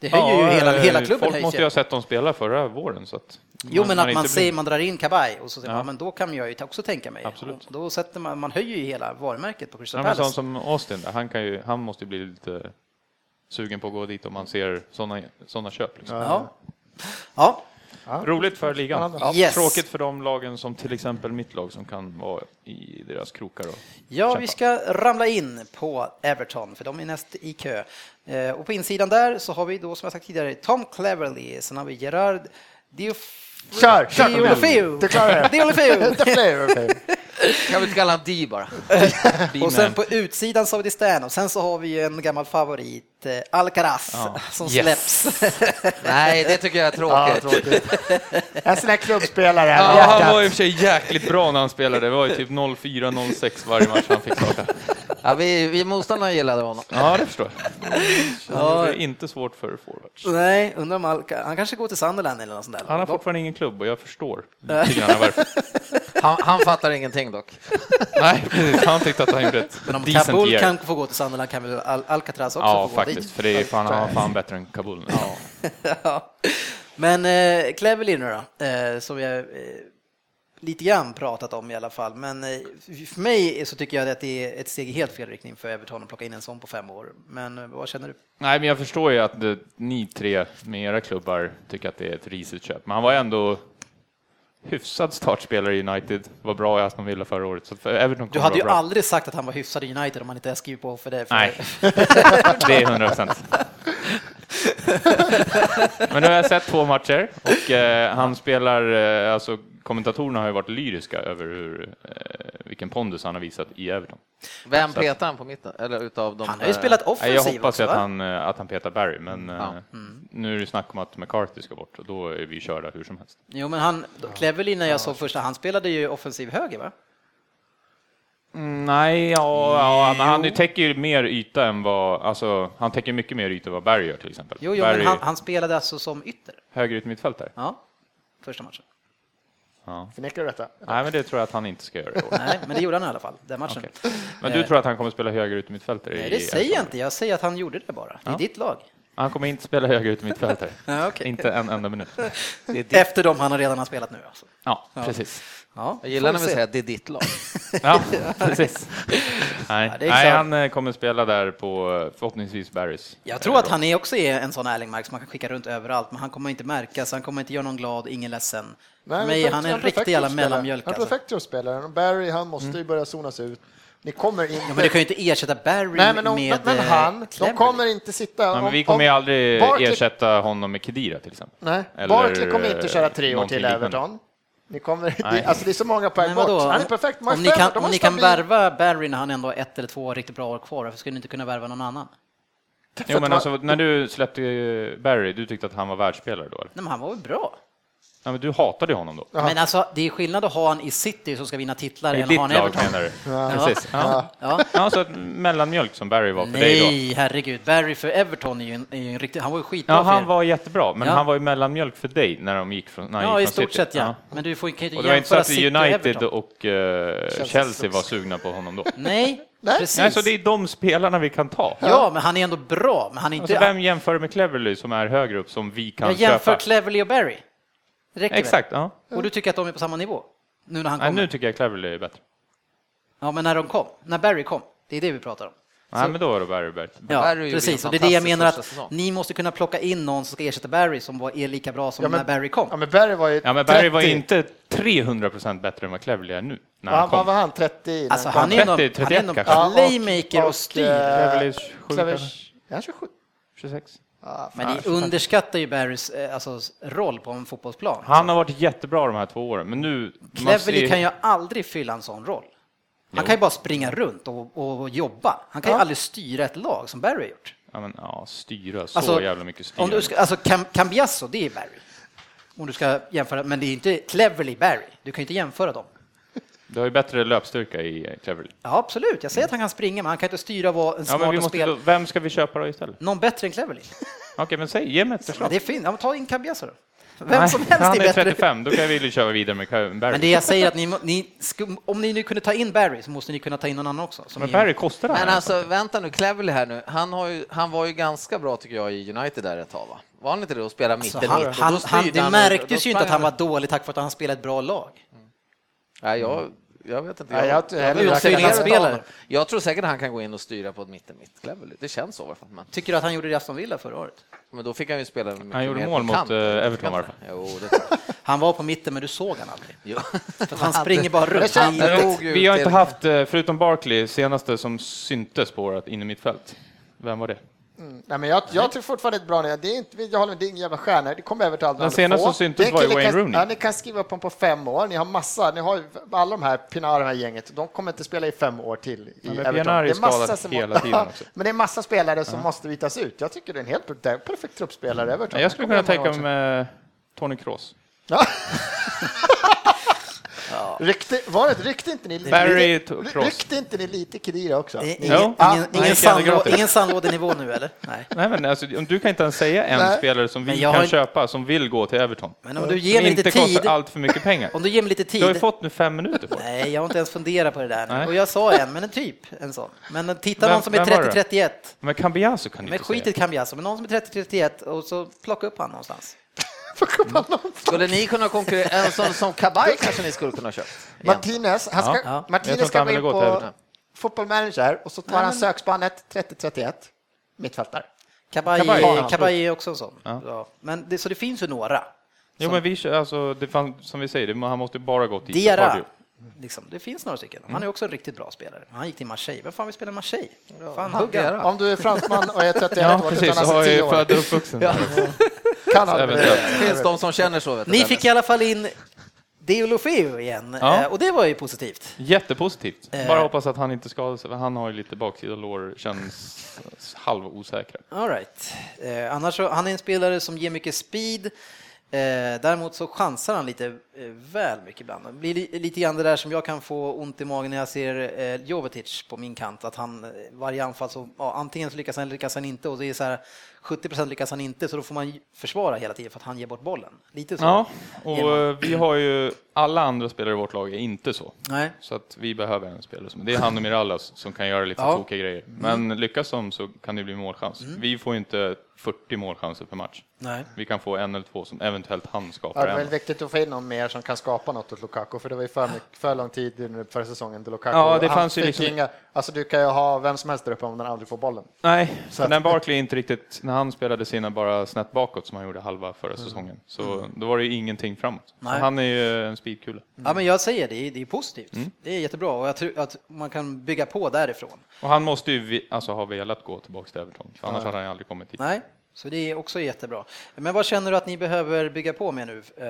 Speaker 1: Det höjer ju hela,
Speaker 3: eh,
Speaker 1: hela klubben.
Speaker 3: Folk
Speaker 1: höjs
Speaker 3: måste
Speaker 1: ju.
Speaker 3: ju ha sett dem spela förra våren. Så att
Speaker 1: Jo, men att man,
Speaker 3: inte
Speaker 1: säger,
Speaker 3: blir-
Speaker 1: man drar in Kabaj och så säger
Speaker 3: Ja.
Speaker 1: man, men då kan jag ju också tänka mig.
Speaker 3: Absolut.
Speaker 1: Och Då sätter man, man höjer ju hela varumärket på Crystal
Speaker 3: Ja, men
Speaker 1: Palace.
Speaker 3: sån som Austin, där, han, kan ju, han måste ju bli lite sugen på att gå dit om man ser sådana såna köp. Liksom.
Speaker 1: Ja. Ja,
Speaker 3: Roligt för ligan.
Speaker 1: Ja. Yes.
Speaker 3: Tråkigt för de lagen som till exempel mitt lag som kan vara i deras krokar. Och
Speaker 1: Ja,
Speaker 3: kämpa.
Speaker 1: vi ska ramla in på Everton, för de är näst i kö. Eh, och på insidan där så har vi då, som jag sagt tidigare, Tom Cleverley, sen har vi Gerard Diof...
Speaker 4: Kör, kör!
Speaker 1: Diolofeu!
Speaker 4: Du klarar det.
Speaker 1: Diolofeu!
Speaker 4: Det blev det.
Speaker 2: Kan vi inte kalla honom Di bara?
Speaker 1: Och sen på utsidan så har vi Di Stan och sen så har vi ju en gammal favorit, eh, Alcaraz, som
Speaker 3: Yes.
Speaker 1: släpps.
Speaker 2: Nej, det tycker jag är
Speaker 4: Ja,
Speaker 2: tråkigt.
Speaker 4: tråkigt. En sån här klubbspelare.
Speaker 3: Ja, han var i och
Speaker 4: hjärtat.
Speaker 3: för sig jäkligt bra när han spelade. Det var ju typ 0-4-0-6 varje match han fick starta.
Speaker 2: ja, vi, vi motståndarna gillade honom.
Speaker 3: Ja, det förstår jag. Det är inte svårt för forwards.
Speaker 1: Nej, undrar om Alca... Han kanske går till Sunderland eller något sånt där.
Speaker 3: Han har fortfarande ingen klubb och jag förstår lite grann varför.
Speaker 2: Han, han fattar ingenting dock.
Speaker 3: Nej, precis. Han tyckte att han gjorde ett
Speaker 1: Men om
Speaker 3: decent
Speaker 1: Kabul
Speaker 3: year.
Speaker 1: kan få gå till Sunderland kan väl Al- Alcatraz också
Speaker 3: Ja,
Speaker 1: få gå
Speaker 3: faktiskt.
Speaker 1: dit?
Speaker 3: För det är fan, han var fan bättre än Kabul. nu.
Speaker 1: Ja. Men eh, Cleverly nu då, eh, som jag eh, lite grann pratat om i alla fall. Men eh, för mig så tycker jag att det är ett steg i helt fel riktning för Everton att plocka in en sån på fem år. Men eh, vad känner du?
Speaker 3: Nej, men jag förstår ju att det, ni tre med era klubbar tycker att det är ett risigt köp. Men han var ändå hyfsad startspelare i United. Var bra i Aston Villa förra året. Så för Everton
Speaker 1: Du
Speaker 3: kommer
Speaker 1: hade ju
Speaker 3: vara bra.
Speaker 1: aldrig sagt att han var hyfsad i United om han inte hade skrivit på för det. För
Speaker 3: Nej, det är 100 procent. Men nu har jag sett två matcher och eh, han spelar, eh, alltså kommentatorerna har ju varit lyriska över hur, eh, vilken pondus han har visat i Everton.
Speaker 2: Vem petar han på mitten? Eller utav de
Speaker 1: Han har ju spelat
Speaker 3: Nej, jag
Speaker 1: offensivt
Speaker 3: hoppas
Speaker 1: också,
Speaker 3: ju att
Speaker 1: va? Mm.
Speaker 3: han, eh, att han petar Barry, men eh,
Speaker 2: Ja.
Speaker 3: nu är det snack om att McCarthy ska bort och då är vi körda hur som helst.
Speaker 1: Jo, men han, Cleverly när jag såg första, han spelade ju offensiv höger va?
Speaker 3: Mm, Nej, ja, ja men han täcker ju mer yta än vad, alltså han täcker mycket mer yta än vad Barry gör till exempel.
Speaker 1: Jo, jo
Speaker 3: Barry,
Speaker 1: men han, han spelade alltså som ytter.
Speaker 3: höger ut mittfältare.
Speaker 1: Ja, första matchen.
Speaker 3: Ja.
Speaker 4: Förnekar du detta?
Speaker 3: Nej, men det tror jag att han inte ska göra i år.
Speaker 1: Nej, men det gjorde han i alla fall, den matchen.
Speaker 3: Okej. Men du tror att han kommer spela höger ut i mittfältare?
Speaker 1: Nej,
Speaker 3: i
Speaker 1: det säger jag
Speaker 3: Elfsborg?
Speaker 1: inte. Jag säger att han gjorde det bara. Det är
Speaker 3: Ja.
Speaker 1: ditt lag.
Speaker 3: Han kommer inte spela höger ut i mittfältare.
Speaker 1: Ja, okej.
Speaker 3: Inte en enda minut.
Speaker 1: Efter de han redan har spelat nu alltså.
Speaker 3: Ja, precis.
Speaker 1: Ja,
Speaker 2: Jag
Speaker 1: får
Speaker 2: gillar när vi
Speaker 1: se.
Speaker 2: säger att det är ditt lag.
Speaker 3: Ja, precis. Nej,
Speaker 1: Ja, det är
Speaker 3: Nej
Speaker 1: klart.
Speaker 3: han eh, kommer spela där på eh, förhoppningsvis Barrys.
Speaker 1: Jag tror att han är också är en sån Erlingmark som man kan skicka runt överallt, men han kommer inte märkas, han kommer inte göra någon glad, ingen ledsen. För mig är
Speaker 4: perfekt-
Speaker 1: han en
Speaker 4: perfekt
Speaker 1: riktig jävla
Speaker 4: truppspelare.
Speaker 1: mellanmjölk.
Speaker 4: Han är
Speaker 1: Alltså. Mm.
Speaker 4: perfekt truppspelare. Och Barry, han måste ju börja zonas ut. Ni kommer inte...
Speaker 1: Ja, men du kan ju inte ersätta Barry
Speaker 4: Nej, men, de,
Speaker 1: med
Speaker 4: men
Speaker 1: eh,
Speaker 4: han, de
Speaker 1: Cleverly.
Speaker 4: kommer inte sitta...
Speaker 3: Nej,
Speaker 4: om-
Speaker 3: men vi kommer ju
Speaker 4: om-
Speaker 3: aldrig
Speaker 4: Barkley-
Speaker 3: ersätta honom med Kedira till exempel.
Speaker 4: Nej,
Speaker 3: Eller,
Speaker 4: Barkley kommer inte köra tre år
Speaker 3: någonting
Speaker 4: till
Speaker 3: liknande.
Speaker 4: Everton. Ni kommer, det,
Speaker 3: Nej.
Speaker 4: alltså det är så många poäng
Speaker 1: Men vadå?
Speaker 4: bort. Han är perfekt. De har
Speaker 1: Om ni
Speaker 4: fem-
Speaker 1: kan,
Speaker 4: de har
Speaker 1: om ni kan
Speaker 4: stabil-
Speaker 1: värva Barry när han ändå har ett eller två riktigt bra år kvar, varför skulle ni inte kunna värva någon annan?
Speaker 3: Jo, men alltså, när du släppte eh, Barry, du tyckte att han var världsspelare då? Eller?
Speaker 1: Nej, men han var väl bra?
Speaker 3: Nej, men du hatade ju honom då?
Speaker 4: Ja.
Speaker 1: Men alltså, det är skillnad att ha han i City som ska vinna titlar
Speaker 3: I
Speaker 1: än att ha
Speaker 3: ditt
Speaker 1: han i
Speaker 3: lag
Speaker 1: Everton.
Speaker 3: menar du? Precis. Ja.
Speaker 1: Ja.
Speaker 3: Ja, så att mellanmjölk som Barry var för dig då?
Speaker 1: Nej, herregud. Barry för Everton är ju en, är ju en riktig... Han var ju skitbra
Speaker 3: Ja,
Speaker 1: för
Speaker 3: han
Speaker 1: er.
Speaker 3: var jättebra, men
Speaker 1: Ja.
Speaker 3: han var ju mellanmjölk för dig när de gick från, när han
Speaker 1: Ja, i
Speaker 3: gick från
Speaker 1: stort
Speaker 3: City.
Speaker 1: sett ja. Men du får, kan ju
Speaker 3: Och
Speaker 1: inte
Speaker 3: det var inte så
Speaker 1: jämföra
Speaker 3: att
Speaker 1: City och
Speaker 3: United
Speaker 1: Everton.
Speaker 3: och eh, Chelsea var sugna på honom då?
Speaker 1: Nej,
Speaker 4: Nej.
Speaker 1: Mm. precis.
Speaker 3: Nej, så det är de spelarna vi kan ta.
Speaker 1: Ja, men han är ändå bra. Men han är inte...
Speaker 3: Alltså, vem jämför med Cleverly som är högre upp som vi kan
Speaker 1: jag jämför
Speaker 3: köpa?
Speaker 1: Cleverly och Barry. Det räcker väl?
Speaker 3: Exakt, ja.
Speaker 1: Och du tycker att de är på samma nivå? Nu när han
Speaker 3: Nej,
Speaker 1: kommer?
Speaker 3: nu tycker jag Cleverly är bättre.
Speaker 1: Ja, men när de kom? När Barry kom? Det är det vi pratar om.
Speaker 3: Nej, men då var det Barry bättre.
Speaker 1: Ja,
Speaker 2: Barry gjorde
Speaker 1: precis.
Speaker 2: en
Speaker 1: Och det är det jag
Speaker 2: fantastisk
Speaker 1: menar att
Speaker 2: första säsong.
Speaker 1: ni måste kunna plocka in någon som ska ersätta Barry som var, är lika bra som
Speaker 4: Ja, men-
Speaker 1: när Barry kom.
Speaker 4: Ja, men Barry var ju
Speaker 3: Ja, men Barry var
Speaker 4: 30.
Speaker 3: inte 300 procent bättre än vad Cleverly är nu när
Speaker 4: Vad
Speaker 3: han
Speaker 4: vad var
Speaker 3: kom.
Speaker 4: han? 30? när
Speaker 1: Alltså
Speaker 4: kom?
Speaker 1: han är någon,
Speaker 3: 30,
Speaker 1: han är någon
Speaker 3: 31 kanske.
Speaker 4: Ja,
Speaker 1: playmaker och, styr.
Speaker 4: eh,
Speaker 3: Cleverly är 27
Speaker 4: Clevers- Är han 27?
Speaker 3: 26.
Speaker 1: Men ni underskattar ju Barrys eh, alltså, roll på en fotbollsplan.
Speaker 3: Han har varit jättebra de här två åren, men nu... man
Speaker 1: Cleverly
Speaker 3: ser-
Speaker 1: kan ju aldrig fylla en sån roll. Han kan ju bara springa runt och, och, och jobba. Han kan ju
Speaker 4: Ja.
Speaker 1: aldrig styra ett lag som Barry har gjort.
Speaker 3: Ja, men, ja, styra. Så
Speaker 1: Alltså,
Speaker 3: jävla mycket styra.
Speaker 1: Om du ska, alltså Cam, Cambiasso, det är Barry. Om du ska jämföra, men det är inte Cleverly Barry. Du kan ju inte jämföra dem.
Speaker 3: Du har ju bättre löpstyrka i eh, Cleverly.
Speaker 1: Ja, absolut. Jag säger att han kan springa, men han kan inte styra vad en
Speaker 3: Ja,
Speaker 1: smart
Speaker 3: men vi
Speaker 1: och
Speaker 3: måste,
Speaker 1: spel...
Speaker 3: då- vem ska vi köpa då istället?
Speaker 1: Någon bättre än Cleverly.
Speaker 3: Okej, men säg, ge mig ett förslag.
Speaker 1: Men det är fint. Ja, men ta in Cambiasso då. Vem
Speaker 3: Nej,
Speaker 1: som helst
Speaker 3: Han
Speaker 1: är
Speaker 3: är
Speaker 1: bättre.
Speaker 3: 35, då kan vi ju köra vidare med Barry.
Speaker 1: Men det jag säger är att ni, må- ni, sku- om ni nu kunde ta in Barry så måste ni kunna ta in någon annan också. som
Speaker 3: Men
Speaker 1: är-
Speaker 3: Barry kostar han
Speaker 2: Men
Speaker 3: här.
Speaker 2: alltså, vänta nu, Cleverly här nu, han, har ju, han var ju ganska bra tycker jag i United där ett tag va? Var han inte det och spelade mitt
Speaker 1: Så
Speaker 2: eller
Speaker 1: Alltså, han,
Speaker 2: mitt?
Speaker 1: han, han, det märktes ju inte att han var
Speaker 2: dålig.
Speaker 1: dålig tack vare att han spelade ett bra lag.
Speaker 2: Nej, jag, jag vet inte.
Speaker 4: Nej, jag- jag-
Speaker 2: blev
Speaker 4: jag-
Speaker 2: fascinerad av
Speaker 1: spelare.
Speaker 2: honom. Jag tror säkert han kan gå in och styra på ett mitt mitt Cleverly. Det känns så i alla fall. Men,
Speaker 1: Tycker du att han gjorde det i Aston Villa förra året?
Speaker 2: men då fick han ju spela mycket
Speaker 3: Han gjorde
Speaker 2: mer
Speaker 3: mål
Speaker 2: på
Speaker 3: mot,
Speaker 2: kant.
Speaker 3: eh, Everton, i alla fall.
Speaker 2: Jo, det tror jag.
Speaker 1: Han var på mitten men du såg han aldrig.
Speaker 2: Jo.
Speaker 1: För att han springer bara runt.
Speaker 4: känner-
Speaker 1: Han,
Speaker 2: Jag drog ju
Speaker 3: Vi har
Speaker 2: till-
Speaker 3: inte haft, eh, förutom Barkley, senaste som syntes på vårt in i mitt fält. Vem var det?
Speaker 4: Nej, men jag, jag tycker fortfarande det är ett bra namn. Det är inte, jag håller med, det är ingen jävla stjärna. Det kommer över till aldrig
Speaker 3: Den senaste
Speaker 4: få.
Speaker 3: som syntes
Speaker 4: Det är
Speaker 3: var ju
Speaker 4: kille
Speaker 3: Wayne
Speaker 4: kan-
Speaker 3: Rooney.
Speaker 4: Ja, ni kan skriva upp honom på fem år. Ni har massa. Ni har ju alla de här Pinar, det här gänget. De kommer inte spela i fem år till i
Speaker 3: men
Speaker 4: Everton.
Speaker 3: Pinar är ju
Speaker 4: Det massa
Speaker 3: skadad
Speaker 4: som-
Speaker 3: hela tiden också.
Speaker 4: men det är massa spelare som måste bytas ut. Jag tycker det är en helt det är en perfekt truppspelare i Everton.
Speaker 3: Nej, Mm. jag skulle
Speaker 4: Kommer
Speaker 3: kunna
Speaker 4: de här
Speaker 3: tänka mig eh, Tony Kroos.
Speaker 4: matcherna. Rykte, var det, rykte inte ni lite?
Speaker 3: Barry
Speaker 4: ry-
Speaker 3: Cross.
Speaker 4: Rykte inte ni lite Kedira också?
Speaker 1: ingen
Speaker 4: Ni-
Speaker 1: ingen,
Speaker 3: Jo.
Speaker 4: Ja,
Speaker 1: ingen,
Speaker 3: nej,
Speaker 1: ingen,
Speaker 3: jag
Speaker 1: sandlå,
Speaker 3: gråter.
Speaker 1: ingen sandlådenivå nu eller? Nej.
Speaker 3: Nej, men alltså, om du kan inte ens säga en
Speaker 4: Nej.
Speaker 3: spelare som
Speaker 1: Men
Speaker 3: vi
Speaker 1: jag
Speaker 3: kan
Speaker 1: har inte-
Speaker 3: köpa, som vill gå till Everton.
Speaker 1: Men om du
Speaker 3: Som
Speaker 1: ger mig
Speaker 3: inte
Speaker 1: lite
Speaker 3: kostar
Speaker 1: tid.
Speaker 3: allt för mycket pengar.
Speaker 1: Om du ger mig lite
Speaker 3: Du har ju
Speaker 1: tid.
Speaker 3: fått nu fem minuter på dig.
Speaker 1: Nej, jag har inte ens funderat på det där. nu.
Speaker 3: Nej.
Speaker 1: Och jag sa en, men en typ en sån. Men titta
Speaker 3: Vem-
Speaker 1: någon som är
Speaker 3: vem var det?
Speaker 1: 30-31.
Speaker 3: Men Cambiaso kan du
Speaker 1: Men
Speaker 3: inte
Speaker 1: skit i
Speaker 3: säga.
Speaker 1: Cambiasso, alltså, men någon som är 30-31 och så plocka upp han någonstans.
Speaker 2: Skulle ni kunna konkurrera? En sån som Kabaj kanske ni skulle kunna köpa?
Speaker 4: Martinez, han ska,
Speaker 3: Ja.
Speaker 1: Ja.
Speaker 3: Jag tror
Speaker 4: Martinez
Speaker 3: inte
Speaker 4: ska
Speaker 3: han
Speaker 4: gå in
Speaker 3: ville gå till
Speaker 4: på
Speaker 3: Everton.
Speaker 4: football manager och så tar han sökspannet 30-31, mittfältare. Kabaj,
Speaker 1: Kabaj
Speaker 4: ja.
Speaker 1: Kabaj är också en sån.
Speaker 3: Ja.
Speaker 1: Ja. Men det, så det finns ju några.
Speaker 3: Jo, men vi, kö- alltså, det fann, som vi säger, det, han måste bara gå till
Speaker 1: Dera, liksom, det finns några stycken.
Speaker 3: Mm.
Speaker 1: Han är också en riktigt bra spelare. Han gick till Marseille. Vem fan vill spela i Marseille? Fan, hugg han.
Speaker 4: Om du är fransman och är 31
Speaker 3: Ja,
Speaker 4: år,
Speaker 3: precis.
Speaker 4: utan
Speaker 3: Och
Speaker 4: alltså 10
Speaker 3: är
Speaker 4: år,
Speaker 3: född och uppvuxen. där.
Speaker 4: kan han
Speaker 3: Eventuellt.
Speaker 2: Det finns de som känner så. Vet du,
Speaker 1: Ni
Speaker 2: Dennis.
Speaker 1: fick i alla fall in Deulofeu igen
Speaker 3: Ja.
Speaker 1: eh, och det var ju positivt.
Speaker 3: Jättepositivt.
Speaker 1: Eh.
Speaker 3: Bara hoppas att han inte skadar sig, för han har ju lite baksida lår, känns halvosäkra.
Speaker 1: All right. eh, annars så, han är en spelare som ger mycket speed. Eh, däremot så chansar han lite eh, väl mycket ibland. Det blir li, lite grann det där som jag kan få ont i magen när jag ser eh, Jovetic på min kant, att han eh, varje anfall så, ja, antingen så lyckas han eller lyckas han inte och det är så här 70 lyckas han inte så då får man ju försvara hela tiden för att han ger bort bollen. Lite så.
Speaker 3: Ja,
Speaker 1: ger
Speaker 3: och
Speaker 1: man.
Speaker 3: eh, vi har ju, alla andra spelare i vårt lag är inte så.
Speaker 1: Nej.
Speaker 3: Så att vi behöver en spelare som, det är han och Mirallas som kan göra lite
Speaker 1: Ja. Mm.
Speaker 3: tokiga grejer. Men lyckas de så kan det bli målchans. Vi får ju inte 40 målchanser per match.
Speaker 1: Nej.
Speaker 3: Vi kan få en eller två som eventuellt han
Speaker 4: Ja,
Speaker 3: skapar
Speaker 4: det är väl
Speaker 3: en.
Speaker 4: viktigt att få in någon mer som kan skapa något åt Lukaku, för det var ju för, mycket, för lång tid nu förra säsongen till Lukaku.
Speaker 3: Ja, det
Speaker 4: Han
Speaker 3: fanns ju
Speaker 4: fick
Speaker 3: liksom-
Speaker 4: inga, alltså du kan ju ha vem som helst där uppe om den aldrig får bollen.
Speaker 3: Nej,
Speaker 4: att-
Speaker 3: så när Barkley inte riktigt, när han spelade sina bara snett bakåt som han gjorde halva förra säsongen, så då var det ju ingenting framåt. Så
Speaker 1: Nej.
Speaker 3: han är ju en speedkula.
Speaker 1: Ja, men jag säger det, det är positivt. Det är jättebra och jag tror att man kan bygga på därifrån.
Speaker 3: Och han måste ju vi- alltså, ha velat gå tillbaka till Everton, för annars hade han ju aldrig kommit dit.
Speaker 1: Nej, så det är också jättebra. Men vad känner du att ni behöver bygga på med nu? Eh,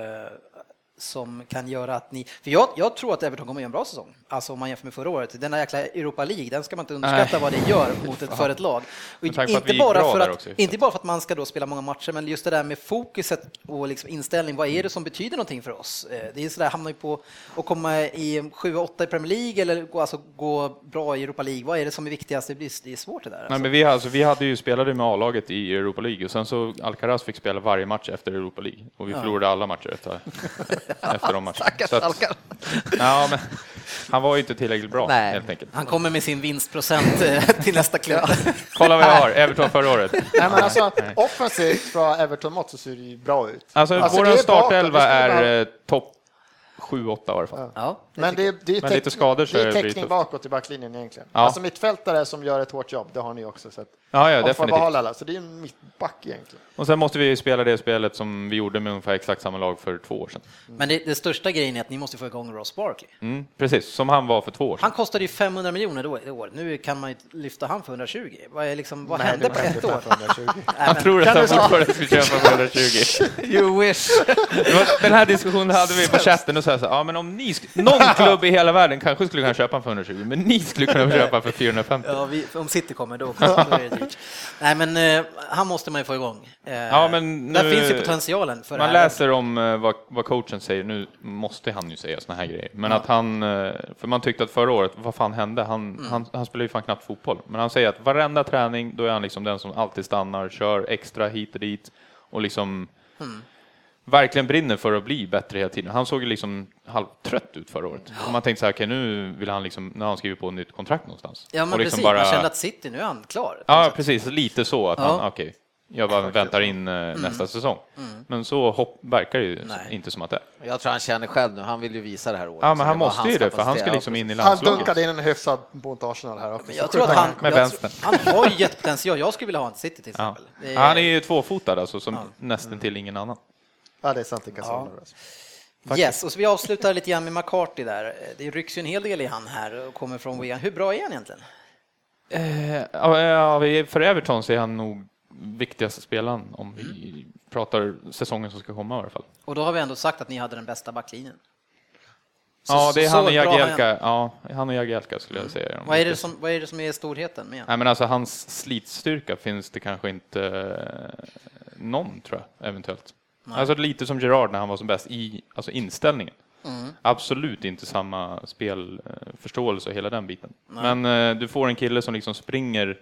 Speaker 1: som kan göra att ni... För jag, jag tror att Everton kommer göra en bra säsong. Alltså om man jämför med förra året. Den där jäkla Europa League, den ska man inte underskatta
Speaker 3: Nej.
Speaker 1: vad det gör mot ett, för ett lag. Och
Speaker 3: Med tanke på att
Speaker 1: inte,
Speaker 3: vi gick
Speaker 1: bara
Speaker 3: bra
Speaker 1: för
Speaker 3: där
Speaker 1: att,
Speaker 3: också,
Speaker 1: inte bara för att man ska då spela många matcher, men just det där med fokuset och liksom inställning. Vad är det som betyder någonting för oss? Eh, Det är sådär, hamnar ju på att komma i 7-8 i Premier League eller gå, alltså, gå bra i Europa League. Vad är det som är viktigast? Det, blir, det är svårt det där.
Speaker 3: Nej,
Speaker 1: alltså.
Speaker 3: men vi, alltså, vi hade ju spelade med A-laget i Europa League och sen så Alcaraz fick spela varje match efter Europa League och vi förlorade alla matcher efter, efter de matcherna.
Speaker 2: Stackars
Speaker 3: Så att-
Speaker 2: Alcaraz.
Speaker 3: Ja, men, han var ju inte tillräckligt bra
Speaker 2: Nej.
Speaker 3: helt enkelt.
Speaker 1: Han kommer med sin vinstprocent eh, till nästa klubb.
Speaker 3: Kolla vad jag har, Everton förra året.
Speaker 4: Nej, men alltså, offensivt från Everton mått så ser det ju bra ut.
Speaker 3: Alltså,
Speaker 4: Alltså, det
Speaker 3: vår
Speaker 4: är
Speaker 3: startelva
Speaker 4: bakåt, det ska vara-
Speaker 3: är eh, topp 7-8 i alla fall.
Speaker 1: Ja,
Speaker 4: Men det, är- det är ju
Speaker 3: Men lite
Speaker 4: täckning-
Speaker 3: skador så
Speaker 4: det är
Speaker 3: blir det
Speaker 4: täckning
Speaker 3: tufft.
Speaker 4: bakåt i backlinjen egentligen.
Speaker 3: Ja.
Speaker 4: Alltså mittfältare som gör ett hårt jobb, det har ni också sett.
Speaker 3: Ja, ja,
Speaker 4: Och får
Speaker 3: definitivt.
Speaker 4: behålla alla, så det är en mittback egentligen.
Speaker 3: Och sen måste vi ju spela det spelet som vi gjorde med ungefär exakt samma lag för två år sedan.
Speaker 1: men det, det största grejen är att ni måste få igång Ross Barkley.
Speaker 3: Mm, precis, som han var för två år sedan.
Speaker 1: Han kostade ju 500 miljoner då i år. Nu kan man ju lyfta han för 120. Vad, är liksom, vad
Speaker 4: Nej,
Speaker 1: hände
Speaker 4: det
Speaker 1: på
Speaker 4: var inte
Speaker 1: ett år?
Speaker 4: 520.
Speaker 1: Nej,
Speaker 3: Han
Speaker 1: men-
Speaker 3: tror att
Speaker 4: Kan
Speaker 3: han
Speaker 4: du säga-
Speaker 3: fortfarande ska köpa för 120.
Speaker 2: You wish!
Speaker 3: Det var- Den här diskussionen hade vi på chatten och så här, så här, ja men om ni, sk- någon klubb i hela världen kanske skulle kunna köpa för 120, men ni skulle kunna köpa för 450.
Speaker 1: Ja, vi, om City kommer då, då är det dyrt. Nej, men eh, han måste man ju få igång. Eh,
Speaker 3: Ja, men
Speaker 1: där
Speaker 3: nu-
Speaker 1: finns ju potentialen för
Speaker 3: Man
Speaker 1: det här.
Speaker 3: läser om eh, vad, vad coachen säger, nu måste han ju säga såna här grejer, men att han, eh, för man tyckte att förra året, vad fan hände? Han,
Speaker 1: Mm.
Speaker 3: han, han spelar ju fan knappt fotboll, men han säger att varenda träning, då är han liksom den som alltid stannar, kör extra hit och dit och liksom
Speaker 1: Mm.
Speaker 3: verkligen brinner för att bli bättre hela tiden. Han såg ju liksom halvtrött ut förra året. Och man tänkte så här, okej nu vill han liksom, nu har han skrivit på ett nytt kontrakt någonstans.
Speaker 1: Ja, men
Speaker 3: och liksom
Speaker 1: precis. Man känner att City, nu är han klar.
Speaker 3: Ja, precis. Lite så att
Speaker 1: Liksom. Ja. Mm.
Speaker 3: han, okej, jag bara väntar in eh, nästa säsong. Men så hopp, verkar det ju
Speaker 1: Nej.
Speaker 3: inte som att det är.
Speaker 2: Jag tror han känner själv nu, han vill ju visa det här året.
Speaker 3: Ja,
Speaker 2: Så
Speaker 3: men han
Speaker 2: var
Speaker 3: måste
Speaker 2: hans
Speaker 3: ju det, för han ska
Speaker 2: kapacitet.
Speaker 3: liksom in i
Speaker 4: Han
Speaker 3: landslaget.
Speaker 4: dunkade in en hyfsad mot Arsenal här också.
Speaker 1: Men jag tror att han,
Speaker 3: Med
Speaker 1: jag,
Speaker 3: vänstern.
Speaker 1: han har ju jättepotential. Jag skulle vilja ha en City till
Speaker 3: Ja.
Speaker 1: exempel. Det är- Mm.
Speaker 3: Han är ju tvåfotad alltså, som nästan till ingen annan.
Speaker 4: Ja, det är sant. Det kan ja.
Speaker 1: Yes, och så vi avslutar lite grann med McCarthy där. Det rycks ju en hel del i han här och kommer från Wigan. Hur bra är han egentligen?
Speaker 3: Ja, eh, ja, vi- för Everton så är han nog viktigaste spelaren om vi pratar
Speaker 1: Mm.
Speaker 3: säsongen som ska komma i alla fall.
Speaker 1: Och då har vi ändå sagt att ni hade den bästa backlinjen. Så-
Speaker 3: ja, det är
Speaker 1: så
Speaker 3: han och
Speaker 1: bra han- Mm.
Speaker 3: Jagielka. Ja, han och Jagielka skulle jag säga.
Speaker 1: Vad är det som, vad är, det som är storheten med honom?
Speaker 3: Nej, men alltså hans slitstyrka finns det kanske inte eh, någon, tror jag, eventuellt. Alltså lite som Gerard när han var som bäst i alltså inställningen.
Speaker 4: Mm.
Speaker 3: Absolut inte samma spelförståelse och hela den biten. Men eh, du får en kille som liksom springer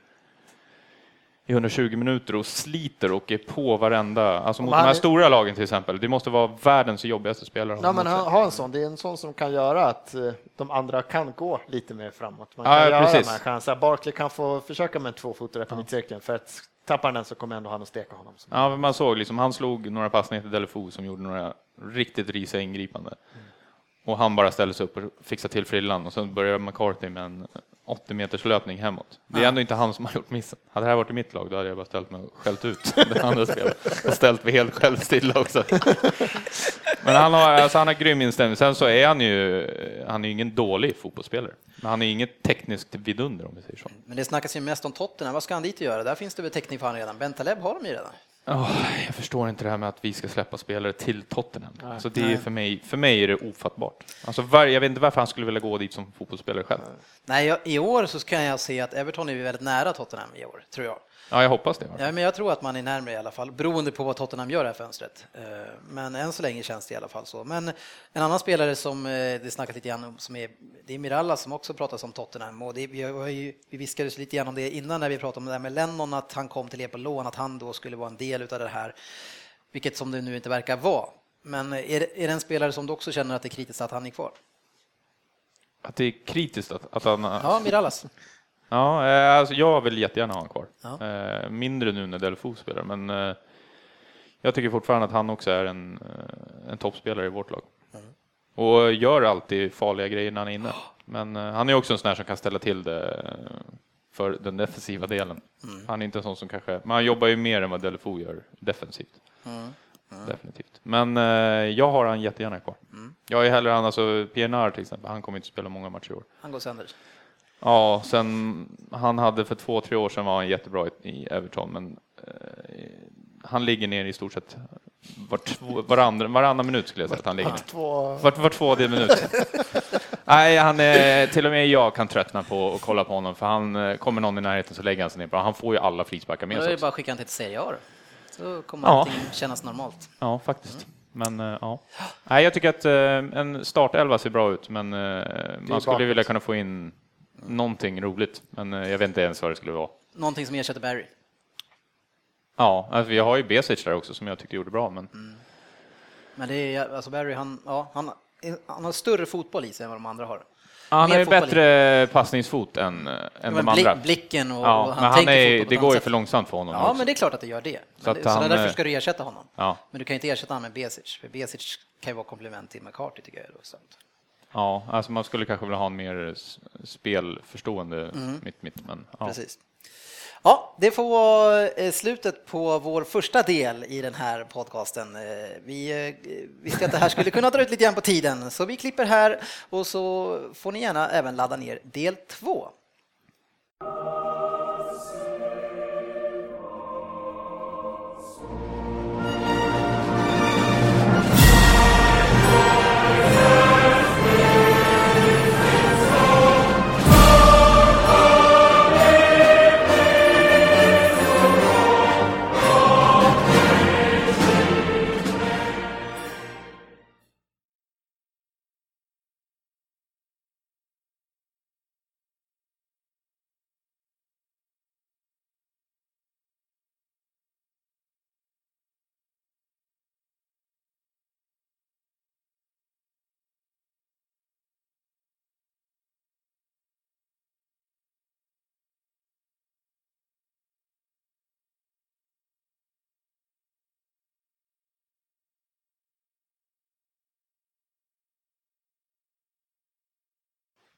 Speaker 3: i 120 minuter och sliter och är på varenda, alltså mot de
Speaker 4: han
Speaker 3: här
Speaker 4: är-
Speaker 3: stora lagen till exempel. Det måste vara världens jobbigaste spelare. att ha
Speaker 4: Nej, men
Speaker 3: emot sig.
Speaker 4: han har en sån. Det är en sån som kan göra att eh, de andra kan gå lite mer framåt. Man
Speaker 3: Ja,
Speaker 4: kan
Speaker 3: ja,
Speaker 4: göra
Speaker 3: precis.
Speaker 4: de här chanserna. Barkley kan få försöka med en tvåfotare på mittcirkeln för att tappar han den så kommer ändå han att steka honom.
Speaker 3: Ja, men man såg liksom, han slog några passningar till Delefou som gjorde några riktigt risiga ingripanden. Och han bara ställde sig upp och fixade till frillan och sen började McCarthy med en 80 meters löpning hemåt. Det är ändå inte han som har gjort missen. Hade det här varit i mitt lag då hade jag bara ställt mig och skällt ut det andra spelet. Och ställt mig helt själv stilla också. Men han har, alltså, han har grym inställning. Sen så är han ju, han är ju ingen dålig fotbollsspelare. Men han är inget tekniskt vidunder om vi säger så.
Speaker 1: Men det snackas ju mest om Tottenham. Vad ska han dit och göra? Där finns det väl täckning för han redan. Bentaleb har de ju redan.
Speaker 3: Åh, jag förstår inte det här med att vi ska släppa spelare till Tottenham. Alltså det är för, mig, för mig är det ofattbart. Alltså var, jag vet inte varför han skulle vilja gå dit som fotbollsspelare själv.
Speaker 1: Nej, jag, i år så kan jag se att Everton är väldigt nära Tottenham i år, tror jag.
Speaker 3: Ja, jag hoppas det.
Speaker 1: Ja, men jag tror att man är närmare i alla fall, beroende på vad Tottenham gör det här fönstret. Eh, Men än så länge känns det i alla fall så. Men en annan spelare som eh, det snackas lite grann om, som är, det är Miralla som också pratas om Tottenham. Och det, vi, har ju, vi viskades lite grann om det innan när vi pratade om det där med Lennon, att han kom till er på lån, att han då skulle vara en del av det här, vilket som det nu inte verkar vara. Men är det, är det en spelare som du också känner att det är kritiskt att han är kvar?
Speaker 3: Att det är kritiskt att, att han...
Speaker 1: Ja, Mirallas.
Speaker 3: Ja, eh, alltså jag vill jättegärna ha honom kvar.
Speaker 1: Ja.
Speaker 3: Eh, Mindre nu när Delfo spelar, men eh, jag tycker fortfarande att han också är en, eh, en toppspelare i vårt lag. Och gör alltid farliga grejer när han är inne. Men eh, han är också en sån här som kan ställa till det eh, för den defensiva delen. Han är inte en sån som kanske, men han jobbar ju mer än vad Delfo gör defensivt. Definitivt. Men eh, jag har han jättegärna kvar. Jag är hellre han, alltså PNR till exempel, han kommer inte spela många matcher i år.
Speaker 1: Han går sönder.
Speaker 3: Ja, sen han hade för två, tre år sedan var han jättebra i- i Everton, men eh, han ligger ner i stort sett var två, varandra, varannan minut skulle jag säga att han ligger ner.
Speaker 4: Två...
Speaker 3: Vart var tvåde minut. Nej, han är, till och med jag kan tröttna på att kolla på honom, för han eh, kommer någon i närheten så lägger han sig ner bra. Han får ju alla frisparkar
Speaker 1: Då
Speaker 3: med
Speaker 1: är
Speaker 3: sig.
Speaker 1: det bara
Speaker 3: också.
Speaker 1: att skicka honom till Serie A då. Så kommer
Speaker 3: Ja.
Speaker 1: allting kännas normalt.
Speaker 3: Ja, faktiskt. Men eh, ja, Nej, jag tycker att eh, en startelva ser bra ut, men eh, man skulle
Speaker 4: bakåt.
Speaker 3: vilja kunna få in någonting roligt, men eh, jag vet inte ens vad det skulle vara.
Speaker 1: Någonting som ersätter Barry.
Speaker 3: Ja, alltså vi har ju Besic där också som jag tyckte gjorde bra, men
Speaker 1: Mm. Men det är, alltså Barry, han, ja, han, han har större fotboll i sig än vad de andra har.
Speaker 3: han
Speaker 1: Mer
Speaker 3: har ju
Speaker 1: fotboll i-
Speaker 3: bättre passningsfot än, äh, än de
Speaker 1: Men bli-
Speaker 3: andra.
Speaker 1: Blicken och, och
Speaker 3: ja,
Speaker 1: han
Speaker 3: men han
Speaker 1: tänker
Speaker 3: är,
Speaker 1: fotboll på
Speaker 3: det
Speaker 1: ett
Speaker 3: går ju
Speaker 1: annat
Speaker 3: för
Speaker 1: sätt.
Speaker 3: långsamt för honom
Speaker 1: Ja,
Speaker 3: också.
Speaker 1: men det är klart att det gör det. Men
Speaker 3: Så att
Speaker 1: det, så
Speaker 3: han,
Speaker 1: därför
Speaker 3: eh,
Speaker 1: ska du ersätta honom.
Speaker 3: Ja.
Speaker 1: Men du kan ju inte ersätta honom med Besic, för Besic kan ju vara komplement till McCarthy tycker jag. Då, så. att-
Speaker 3: Ja, alltså man skulle kanske vilja ha en mer s- spelförstående mitt, mitt, men ja.
Speaker 1: Precis. Ja, det får vara eh, slutet på vår första del i den här podcasten. Eh, Vi eh, visste att det här skulle kunna dra ut lite grann på tiden, så vi klipper här och så får ni gärna även ladda ner del två.